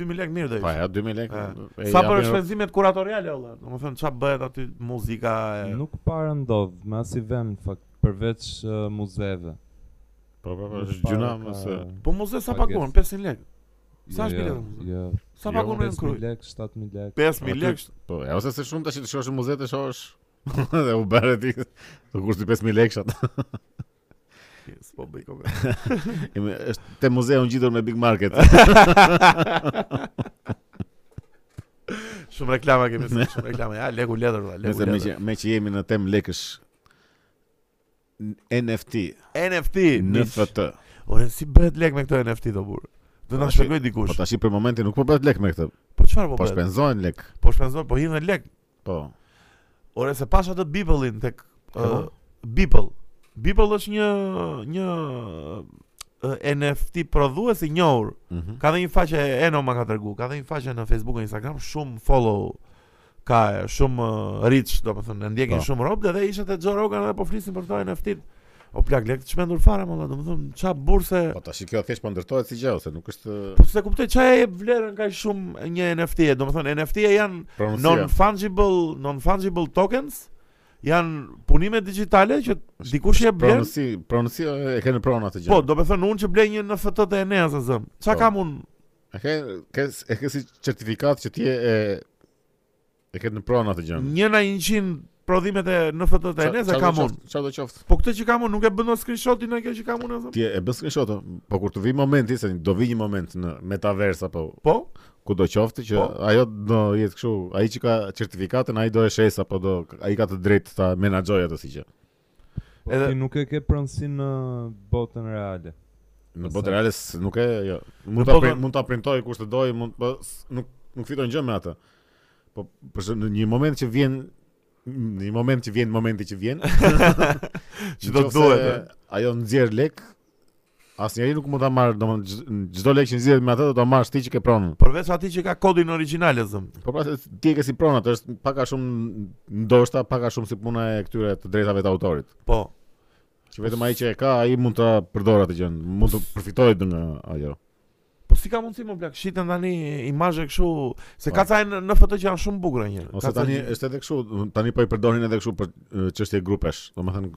[SPEAKER 2] 2000 lekë mirë do
[SPEAKER 1] Pa,
[SPEAKER 2] ishte.
[SPEAKER 1] ja 2000 lekë.
[SPEAKER 2] E,
[SPEAKER 1] e
[SPEAKER 2] Sa
[SPEAKER 1] japin
[SPEAKER 2] për
[SPEAKER 1] ro-
[SPEAKER 2] shpenzimet kuratoriale, olla? Domethënë çfarë bëhet aty muzika e
[SPEAKER 3] Nuk para ndodh me as i vend në fakt, përveç ë, muzeve.
[SPEAKER 1] Po, po, po,
[SPEAKER 3] Nuk
[SPEAKER 1] është
[SPEAKER 3] para
[SPEAKER 1] gjuna
[SPEAKER 3] ka-
[SPEAKER 1] mëse.
[SPEAKER 2] Po muze sa
[SPEAKER 3] Pagesë.
[SPEAKER 2] paguan? 500 lekë. Sa
[SPEAKER 3] Jo,
[SPEAKER 2] është
[SPEAKER 3] jo,
[SPEAKER 2] bileta në muze?
[SPEAKER 3] Jo,
[SPEAKER 2] Sa
[SPEAKER 1] Jo,
[SPEAKER 2] paguan në
[SPEAKER 3] 5000
[SPEAKER 2] kruj?
[SPEAKER 3] lek, 7000 lek.
[SPEAKER 2] 5000
[SPEAKER 1] Aty-
[SPEAKER 2] lekë.
[SPEAKER 1] Po, e ose se shumë tash të shohësh në muze të shohësh. Dhe u bëre ti të kursi 5000 lekë shat.
[SPEAKER 2] Okej, s'po po bëj koment.
[SPEAKER 1] Jemi është te muzeu ngjitur me Big Market.
[SPEAKER 2] Shumë reklama kemi, sot, shumë reklama. Ja, leku letër, valla, leku
[SPEAKER 1] Nëse me që,
[SPEAKER 2] letër.
[SPEAKER 1] me që jemi në temë lekësh n- NFT,
[SPEAKER 2] NFT, miq.
[SPEAKER 1] NFT.
[SPEAKER 2] Ore, si bëhet lek me këto NFT do burr? Do na
[SPEAKER 1] Po,
[SPEAKER 2] shpjegoj
[SPEAKER 1] Po
[SPEAKER 2] dikush.
[SPEAKER 1] tash i për momentin nuk po bëhet lek me këtë.
[SPEAKER 2] Po çfarë po
[SPEAKER 1] Po
[SPEAKER 2] bëhet?
[SPEAKER 1] shpenzojnë lek.
[SPEAKER 2] Po shpenzon, po hidhen lek.
[SPEAKER 1] Po.
[SPEAKER 2] Ore, se pash atë Beeple-in tek
[SPEAKER 1] Po.
[SPEAKER 2] uh, Beeple. Beeple është një një uh, NFT prodhues i njohur.
[SPEAKER 1] Mhm.
[SPEAKER 2] Ka dhe një faqe Eno ma ka tregu, ka dhe një faqe në Facebook e Instagram, shumë follow ka e, shumë uh, reach, do më thënë, e ndjekin
[SPEAKER 1] Po.
[SPEAKER 2] shumë rob, dhe dhe ishte te Joe Rogan dhe po flisin për këto NFT-t. O plak, lek të shmendur fare, më do më thënë, qa burse,
[SPEAKER 1] Po tash kjo thjesht po ndërtohet si gjë ose nuk është
[SPEAKER 2] po se kuptoj, qa e jep vlerën ka shumë një NFT, do më thënë, NFT e janë
[SPEAKER 1] pronuncia.
[SPEAKER 2] non-fungible, non-fungible tokens, janë punime digitale që dikush e blen,
[SPEAKER 1] Pronunci, pronuncia e kanë pronë atë gjë.
[SPEAKER 2] po, do me thënë unë që blej një NFT të e nea se zëm, qa
[SPEAKER 1] Po.
[SPEAKER 2] kam unë,
[SPEAKER 1] E ke ke e ke si certifikat që ti e e- e ke në pronë atë gjë.
[SPEAKER 2] njëna 100 prodhimet e NFT të e nea se kam unë,
[SPEAKER 1] Çfarë do qoftë?
[SPEAKER 2] po këtë që kam unë nuk e bëndo screenshotin e kjo që kam unë e zëm,
[SPEAKER 1] Ti e bën screenshot, po kur të vi momenti se do vi një moment në metaverse apo
[SPEAKER 2] po,
[SPEAKER 1] ku do qoftë që
[SPEAKER 2] Po.
[SPEAKER 1] ajo do jetë kështu, ai që ka certifikatën, ai do e shes apo do ai ka të drejtë ta menaxhojë atë si gjë.
[SPEAKER 3] Po
[SPEAKER 2] Edhe-
[SPEAKER 3] ti nuk e ke pronësinë në botën reale.
[SPEAKER 1] Në
[SPEAKER 3] Sa-
[SPEAKER 1] botë reale s- nuk e jo. Mund
[SPEAKER 2] Në
[SPEAKER 1] ta
[SPEAKER 2] botën-
[SPEAKER 1] prin- mund ta printoj kush të doj, mund po s- nuk nuk fiton gjë me atë. Po për shemb- në një moment që vjen në një moment që vjen momenti që vjen,
[SPEAKER 2] Që do
[SPEAKER 1] në qoftë
[SPEAKER 2] duhet,
[SPEAKER 1] se
[SPEAKER 2] e.
[SPEAKER 1] Ajo nxjerr lek, asnjëri nuk mund ta marr, domethënë gjz- çdo lek që nxjerr me atë do ta marrësh ti që ke pronën.
[SPEAKER 2] përveç ati që ka kodin original e zëm,
[SPEAKER 1] Po pra se ti e ke si pronat, është pak a shumë ndoshta pak a shumë si puna e këtyre të drejtave të autorit.
[SPEAKER 2] po,
[SPEAKER 1] Që vetëm ai që e ka, ai mund ta përdor atë gjën, mund të përfitojë nga ajo.
[SPEAKER 2] Po si ka mundësi më plak, shitën tani imazhe kështu se ka
[SPEAKER 1] Po.
[SPEAKER 2] ca në NFT që janë shumë bukura njëra.
[SPEAKER 1] Ose tani është edhe kështu, tani po i përdorin edhe kështu për e, çështje grupesh. Domethënë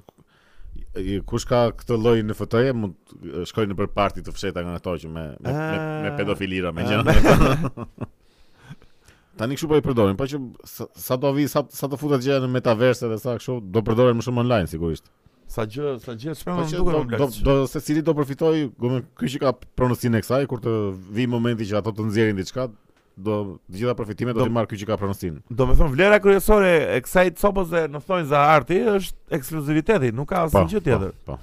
[SPEAKER 1] i- kush ka këtë lloj në FT-je mund e, shkojnë nëpër parti të fsheta nga ato që me me, me, me
[SPEAKER 2] Ah.
[SPEAKER 1] pedofilira me
[SPEAKER 2] Ah.
[SPEAKER 1] gjëra. Tani kështu po i përdorin, po që sa, sa do vi sa, sa të futet gjëra në metaverse dhe sa kështu do përdoren më shumë online sigurisht.
[SPEAKER 2] sa gjë, sa gjë
[SPEAKER 1] Po
[SPEAKER 2] çfarë më
[SPEAKER 1] që
[SPEAKER 2] duket
[SPEAKER 1] do,
[SPEAKER 2] më
[SPEAKER 1] do,
[SPEAKER 2] plak.
[SPEAKER 1] do se cili do përfitoj, gëmë, ky që ka pronësinë e kësaj, kur të vi momenti që ato të nxjerrin diçka, do të gjitha përfitimet do
[SPEAKER 2] Do-
[SPEAKER 1] të marr ky që ka pronësinë.
[SPEAKER 2] Do me thënë vlera kryesore e kësaj copës dhe në thonjë za arti është ekskluziviteti, nuk ka
[SPEAKER 1] Po,
[SPEAKER 2] asnjë gjë tjetër.
[SPEAKER 1] Po.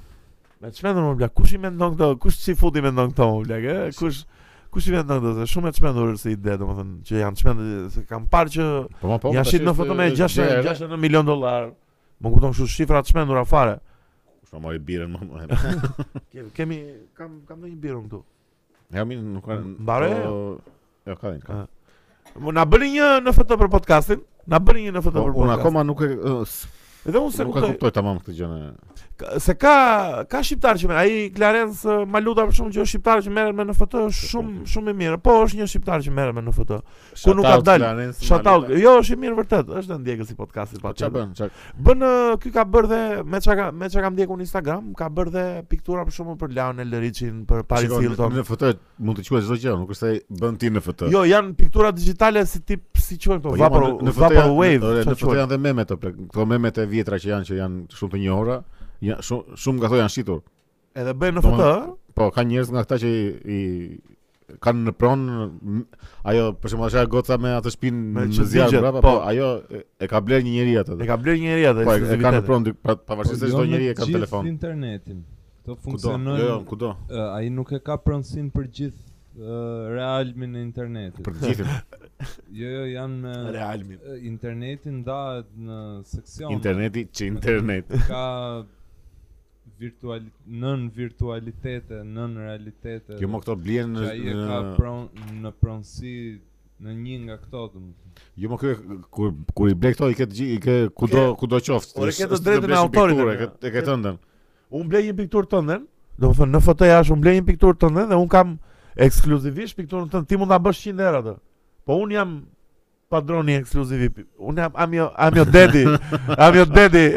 [SPEAKER 2] Me çmendur më plak, kush i mendon këto? Kush si futi mendon këto më plak, e? Kush kush i mendon këto? Se shumë e çmendur si ide, domethënë që janë çmendur se kam parë që
[SPEAKER 1] Po, po, ma po.
[SPEAKER 2] janë
[SPEAKER 1] tash
[SPEAKER 2] shit në
[SPEAKER 1] është-
[SPEAKER 2] foto me
[SPEAKER 1] është
[SPEAKER 2] 69
[SPEAKER 1] gjë e re.
[SPEAKER 2] 69 milion dollar. Më kupton kështu shifra të çmendura fare.
[SPEAKER 1] Kush ma mori po, birën më më.
[SPEAKER 2] Kemi- Kemi kam kam ndonjë birë unë këtu.
[SPEAKER 1] Ja mi nuk ka.
[SPEAKER 2] Mbare?
[SPEAKER 1] po- Jo, ka një. ka.
[SPEAKER 2] Ah, Mo na bëni një NFT për podcastin. Na bëni një NFT
[SPEAKER 1] Po,
[SPEAKER 2] për
[SPEAKER 1] unë
[SPEAKER 2] podcastin.
[SPEAKER 1] akoma nuk e ë, s-
[SPEAKER 2] Edhe unë se
[SPEAKER 1] nuk e
[SPEAKER 2] kuptoj.
[SPEAKER 1] kuptoj tamam këtë gjë. ne.
[SPEAKER 2] Ka- Se ka ka shqiptar që merr. Ai Clarence eh, Maluta për shkakun që është shqiptar që merret me NFT është shumë shumë i mirë. Po është një shqiptar që merret me NFT. Ku nuk ka
[SPEAKER 1] Shoutout
[SPEAKER 2] dalë?
[SPEAKER 1] Clarence
[SPEAKER 2] Shataut.
[SPEAKER 1] Maluta.
[SPEAKER 2] Jo, është i mirë vërtet. Është ndjekës i podcastit
[SPEAKER 1] Po ç'a
[SPEAKER 2] patjetër.
[SPEAKER 1] bën? Ç'a
[SPEAKER 2] Bën eh, ky ka bërë dhe me çka ka- me çka kam ndjekur në Instagram, ka bërë dhe piktura për shkakun për Lionel Richin, për Paris
[SPEAKER 1] Shiko, në-
[SPEAKER 2] Hilton.
[SPEAKER 1] Në FT mund të quhet çdo gjë, nuk është se bën ti në FT.
[SPEAKER 2] Jo, janë piktura digjitale si tip si quhen këto,
[SPEAKER 1] Po, jo,
[SPEAKER 2] vapor
[SPEAKER 1] ma, në- në FT janë-
[SPEAKER 2] vaporwave.
[SPEAKER 1] ore,
[SPEAKER 2] çfarë
[SPEAKER 1] Në FT
[SPEAKER 2] quhen?
[SPEAKER 1] janë dhe memet, o plak. këto memet e vjetra që janë që janë shumë të njohura, janë shumë shumë nga ato janë shitur.
[SPEAKER 2] Edhe bëjnë
[SPEAKER 1] Do
[SPEAKER 2] NFT, ë?
[SPEAKER 1] Po, ka njerëz nga këta që i, i kanë në pronë m- ajo për shembull ajo goca me atë shpinë
[SPEAKER 2] Me
[SPEAKER 1] në
[SPEAKER 2] që
[SPEAKER 1] zjarr
[SPEAKER 2] digjet,
[SPEAKER 1] brapa,
[SPEAKER 2] po.
[SPEAKER 1] po ajo e, e ka bler një njerëz atë.
[SPEAKER 2] E ka bler një njerëz atë
[SPEAKER 1] Po, e, e ka në
[SPEAKER 2] ekskluzivitet.
[SPEAKER 1] pronë dy- pra- pavarësisht se
[SPEAKER 3] jo
[SPEAKER 1] çdo
[SPEAKER 3] në
[SPEAKER 1] njerëz e ka në
[SPEAKER 3] gjithë
[SPEAKER 1] telefon.
[SPEAKER 3] internetin. Këto
[SPEAKER 1] Kudo, jo,
[SPEAKER 3] funksionojnë.
[SPEAKER 1] jo, kudo.
[SPEAKER 3] ë, ai nuk e ka pronësinë për gjithë ë, realmin e internetit.
[SPEAKER 1] Për të gjithë
[SPEAKER 3] Jo, jo, janë me
[SPEAKER 2] Realmin.
[SPEAKER 3] ë, interneti ndahet në seksione.
[SPEAKER 1] interneti që internet.
[SPEAKER 3] Ka virtual nën virtualitete, nën realitete.
[SPEAKER 1] Jo, mo këto blien
[SPEAKER 3] që ai e ka
[SPEAKER 1] në
[SPEAKER 3] pron, në pronësi në një nga këto, domethënë.
[SPEAKER 1] Jo më kjo kur kur i ble këto i ke të gjithë i ke kudo kudo qoftë.
[SPEAKER 2] Ore,
[SPEAKER 1] Është-
[SPEAKER 2] ke të
[SPEAKER 1] është
[SPEAKER 2] drejtën e
[SPEAKER 1] blesh një
[SPEAKER 2] autorit,
[SPEAKER 1] pikturë,
[SPEAKER 2] e
[SPEAKER 1] e
[SPEAKER 2] mira.
[SPEAKER 1] ke- e ke tëndën.
[SPEAKER 2] Unë blej një pikturë tënde, do të thonë në FTA është unë blej një pikturë tënde dhe unë kam ekskluzivisht pikturën tënde, ti mund ta bësh 100 herë atë. Po unë jam padroni ekskluziv. i pi- Unë jam jo- I'm your, I'm your daddy. I'm your daddy.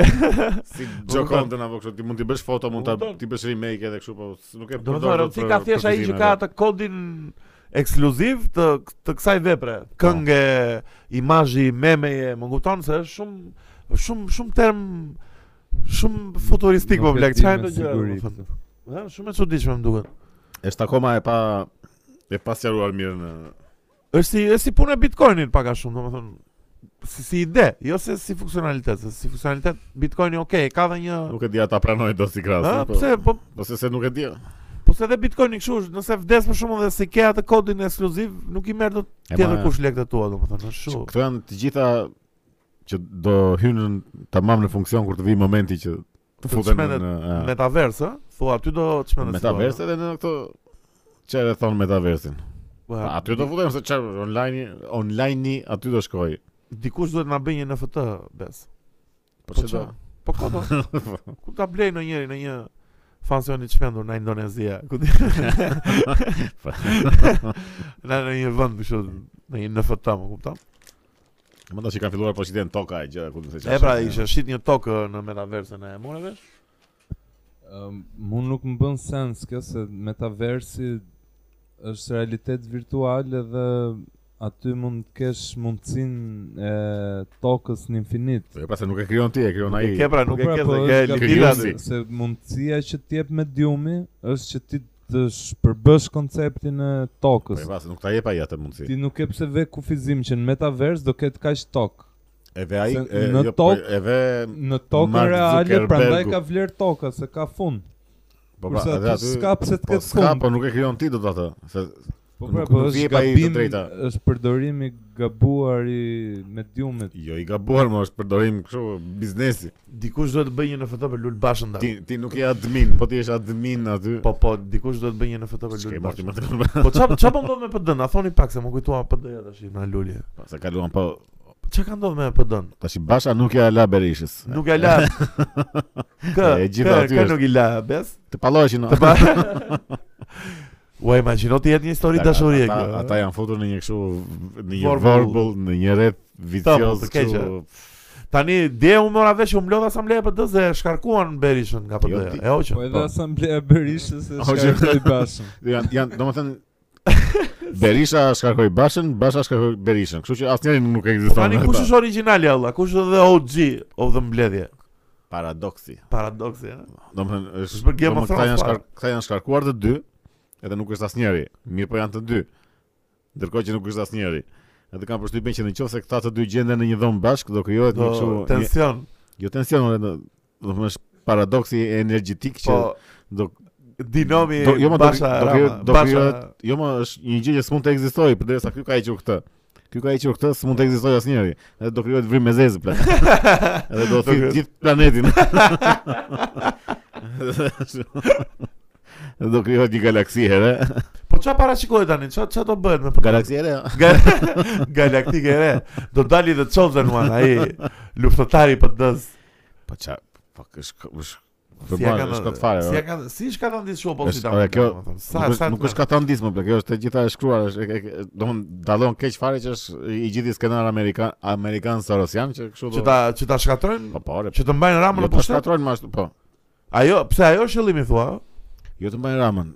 [SPEAKER 1] Si Gjokondën apo kështu ti mund t'i bësh foto, mund ta
[SPEAKER 2] Kupton?
[SPEAKER 1] ti bësh remake edhe kështu, po s- nuk e
[SPEAKER 2] do të
[SPEAKER 1] përdor
[SPEAKER 2] thonë
[SPEAKER 1] dot
[SPEAKER 2] ti
[SPEAKER 1] për-
[SPEAKER 2] ka thjesht
[SPEAKER 1] për
[SPEAKER 2] ai që
[SPEAKER 1] fitime,
[SPEAKER 2] ka
[SPEAKER 1] po.
[SPEAKER 2] atë kodin ekskluziv të të kësaj vepre.
[SPEAKER 3] Po.
[SPEAKER 2] Këngë, imazhi, memeje, më kupton se është shumë shumë shumë term Shumë futuristik po
[SPEAKER 3] Nuk e
[SPEAKER 2] blek,
[SPEAKER 3] di
[SPEAKER 2] çfarë
[SPEAKER 3] me
[SPEAKER 2] do gjëra
[SPEAKER 3] siguri
[SPEAKER 2] do thënë. Ëh, shumë e çuditshme më duket.
[SPEAKER 1] Është akoma e pa e pa sqaruar mirë në
[SPEAKER 2] Është si është si puna e Bitcoinit pak a shumë, domethënë si si ide, jo se si funksionalitet, se si funksionalitet Bitcoini okay, ka dhe një
[SPEAKER 1] nuk e di ata pranojnë dot si krahas.
[SPEAKER 2] Ëh,
[SPEAKER 1] po-
[SPEAKER 2] pse po
[SPEAKER 1] Ose se nuk e di.
[SPEAKER 2] po se edhe Bitcoini kështu, është, nëse vdes për shkakun dhe se ke atë kodin ekskluziv, nuk i merr dot
[SPEAKER 1] E
[SPEAKER 2] tjetër
[SPEAKER 1] ma-
[SPEAKER 2] kush lekët e tua, domethënë është kështu.
[SPEAKER 1] Këto janë të gjitha që do hynë tamam në funksion kur të vi momenti që të
[SPEAKER 2] Të
[SPEAKER 1] futen
[SPEAKER 2] çmendet
[SPEAKER 1] në e,
[SPEAKER 2] Metaverse, ë? Thua aty do çmendet. si
[SPEAKER 1] metaverse dhe në këto çfarë thon metaversin.
[SPEAKER 2] do, ë? Po,
[SPEAKER 1] Aty do futem se çfarë online online aty do shkoj.
[SPEAKER 2] Dikush duhet na bëj një NFT, bes.
[SPEAKER 1] Po çfarë do?
[SPEAKER 2] çfarë? Po ku do? Ku ta blej në njëri në një fansion i çmendur në Indonezia, ku di.
[SPEAKER 1] Po.
[SPEAKER 2] Na në një vend kështu, në një NFT, më kupton?
[SPEAKER 1] Më tash i kanë filluar po shiten toka e gjëra ku do të
[SPEAKER 2] E pra ishte shit një tokë në metaverse në e morë vesh.
[SPEAKER 3] Um, mu nuk më bën sens kjo se metaversi është realitet virtual edhe aty mund të kesh mundësinë e tokës në infinit.
[SPEAKER 1] Po pra se nuk e krijon ti, e krijon ai.
[SPEAKER 2] Ke pra nuk e
[SPEAKER 3] pra,
[SPEAKER 2] ke
[SPEAKER 3] po
[SPEAKER 2] se
[SPEAKER 3] është
[SPEAKER 2] ke
[SPEAKER 3] gabim
[SPEAKER 2] limitat.
[SPEAKER 1] si.
[SPEAKER 3] se- se mundësia që të jep mediumi është që ti të shpërbësh konceptin e
[SPEAKER 1] Po
[SPEAKER 3] tokës.
[SPEAKER 1] pra se nuk ta jep ai atë mundësi.
[SPEAKER 3] Ti nuk ke pse ve kufizim që në metavers do ketë kaq tokë.
[SPEAKER 1] Edhe ai
[SPEAKER 3] Se
[SPEAKER 1] e,
[SPEAKER 3] në
[SPEAKER 1] jo, po,
[SPEAKER 3] tokë-
[SPEAKER 1] edhe
[SPEAKER 3] Në tokën
[SPEAKER 1] Mark
[SPEAKER 3] reale
[SPEAKER 1] Zuckerbergu.
[SPEAKER 3] prandaj ka vlerë toka se ka fund.
[SPEAKER 1] po pra
[SPEAKER 3] Kurse
[SPEAKER 1] edhe
[SPEAKER 3] aty
[SPEAKER 1] aty
[SPEAKER 3] s'ka pse të
[SPEAKER 1] po
[SPEAKER 3] ketë fund.
[SPEAKER 1] s'ka, po nuk e krijon ti do të atë. Se
[SPEAKER 3] Po
[SPEAKER 1] Nuk-
[SPEAKER 3] pra,
[SPEAKER 1] nuk
[SPEAKER 3] po
[SPEAKER 1] i
[SPEAKER 3] është
[SPEAKER 1] jep ai të
[SPEAKER 3] gabim,
[SPEAKER 1] drejta.
[SPEAKER 3] është përdorim i gabuar i mediumit.
[SPEAKER 1] jo i gabuar më është përdorim kështu biznesi.
[SPEAKER 2] Dikush duhet të bëj një NFT për Lul Bashën
[SPEAKER 1] Ti
[SPEAKER 2] da.
[SPEAKER 1] ti nuk je admin, po ti je admin aty.
[SPEAKER 2] Po po, dikush duhet të bëj një NFT për
[SPEAKER 1] S'ke
[SPEAKER 2] Lul
[SPEAKER 1] marrë ti më
[SPEAKER 2] Bashën.
[SPEAKER 1] të
[SPEAKER 2] Po çfarë çfarë po ndodh me PD-n? A thoni pak se më kujtuam PD-ja tash në lulje.
[SPEAKER 1] Po, Se kaluan po
[SPEAKER 2] Çka ka ndodhur me PD-n?
[SPEAKER 1] tash i Basha nuk ja la Berishës.
[SPEAKER 2] Nuk e la. Kë,
[SPEAKER 1] E gjithë
[SPEAKER 2] kë,
[SPEAKER 1] aty
[SPEAKER 2] kë
[SPEAKER 1] është.
[SPEAKER 2] nuk i la, bes.
[SPEAKER 1] Të palloheshin.
[SPEAKER 2] Të pa. Ua, imagjino ti jetë një histori dashurie
[SPEAKER 1] Ata-
[SPEAKER 2] kjo.
[SPEAKER 1] Ata janë futur në një kështu në një
[SPEAKER 2] Vorbull.
[SPEAKER 1] vorbull, në një rreth vicioz
[SPEAKER 2] Tamam, të keqe.
[SPEAKER 1] kështu.
[SPEAKER 2] Tani dje u mora vesh u mlodh asambleja e PD-s dhe shkarkuan Berishën
[SPEAKER 1] Jo,
[SPEAKER 2] nga PD-ja.
[SPEAKER 1] ti-
[SPEAKER 2] E hoqën.
[SPEAKER 3] Po edhe
[SPEAKER 2] po.
[SPEAKER 3] asambleja e Berishës e
[SPEAKER 1] O, që-
[SPEAKER 3] shkarkoi bashën.
[SPEAKER 1] Janë janë domethënë Berisha shkarkoi Bashën, Basha shkarkoi Berishën. Kështu që asnjëri nuk
[SPEAKER 2] Po
[SPEAKER 1] ekziston.
[SPEAKER 2] tani
[SPEAKER 1] në
[SPEAKER 2] kush
[SPEAKER 1] ata.
[SPEAKER 2] është origjinali alla? Kush është the OG of the mbledhje?
[SPEAKER 1] paradoksi?
[SPEAKER 2] Paradoksi, eh? ëh.
[SPEAKER 1] Po, Domethënë
[SPEAKER 2] Është për Game of
[SPEAKER 1] domethënë, këta
[SPEAKER 2] Thrones
[SPEAKER 1] janë
[SPEAKER 2] fare.
[SPEAKER 1] shkar- këta janë shkarkuar të dy, edhe nuk është asnjëri. Mirë po janë të dy. Ndërkohë që nuk është asnjëri. Edhe kanë përshtypjen që nëse këta të dy gjenden në një dhomë bashkë do krijohet një
[SPEAKER 2] Do
[SPEAKER 1] kështu një-
[SPEAKER 2] tension.
[SPEAKER 1] jo tension, ore, do- domethënë është paradoksi energjetik që
[SPEAKER 2] Po
[SPEAKER 1] do
[SPEAKER 2] Dinomi
[SPEAKER 1] Do- jo, ma do-
[SPEAKER 2] Basha
[SPEAKER 1] do- do-
[SPEAKER 2] Rama,
[SPEAKER 1] do- do-
[SPEAKER 2] Basha-
[SPEAKER 1] krijohet- jo më është një gjë që s'mund të ekzistojë përderisa ky ka hequr këtë. Ky ka hequr këtë, s'mund të ekzistojë asnjëri. Edhe do krijohet vrim me zezë plan. Edhe do thit
[SPEAKER 2] krijohet-
[SPEAKER 1] gjithë planetin. Edhe do krijohet një galaksi here.
[SPEAKER 2] Po çfarë parashikohet tani? Çfarë çfarë do bëhet me PD-n?
[SPEAKER 1] Galaksi here.
[SPEAKER 2] Ga- Galaktike e re Do dali dhe Chosen One Aji luftëtari për dës
[SPEAKER 1] Po ça, po kësht kësht
[SPEAKER 2] Si ja ka
[SPEAKER 1] Përmban,
[SPEAKER 2] ndodhur?
[SPEAKER 1] është kot fare.
[SPEAKER 2] Si ja
[SPEAKER 1] ore.
[SPEAKER 2] ka Si shka të ndisë shumë
[SPEAKER 1] Është-
[SPEAKER 2] Po si ta
[SPEAKER 1] ore,
[SPEAKER 2] më
[SPEAKER 1] kjo-
[SPEAKER 2] thënë. Sa
[SPEAKER 1] Nuk
[SPEAKER 2] sa
[SPEAKER 1] është- nuk është ka të ndismë, plak, kjo është e gjitha e shkruar, është e- e- e- domthon dallon keq fare që është i gjithë skenar amerikan amerikan sorosian që kështu
[SPEAKER 2] Që
[SPEAKER 1] do.
[SPEAKER 2] ta që ta shkatrojnë
[SPEAKER 1] Po po, ore,
[SPEAKER 2] Që të mbajnë ramën
[SPEAKER 1] Jo
[SPEAKER 2] në
[SPEAKER 1] të
[SPEAKER 2] pushtet
[SPEAKER 1] shkatrojnë më ashtu, po.
[SPEAKER 2] Ajo Pse ajo është qëllimi thua ë?
[SPEAKER 1] Jo të mbajnë ramën,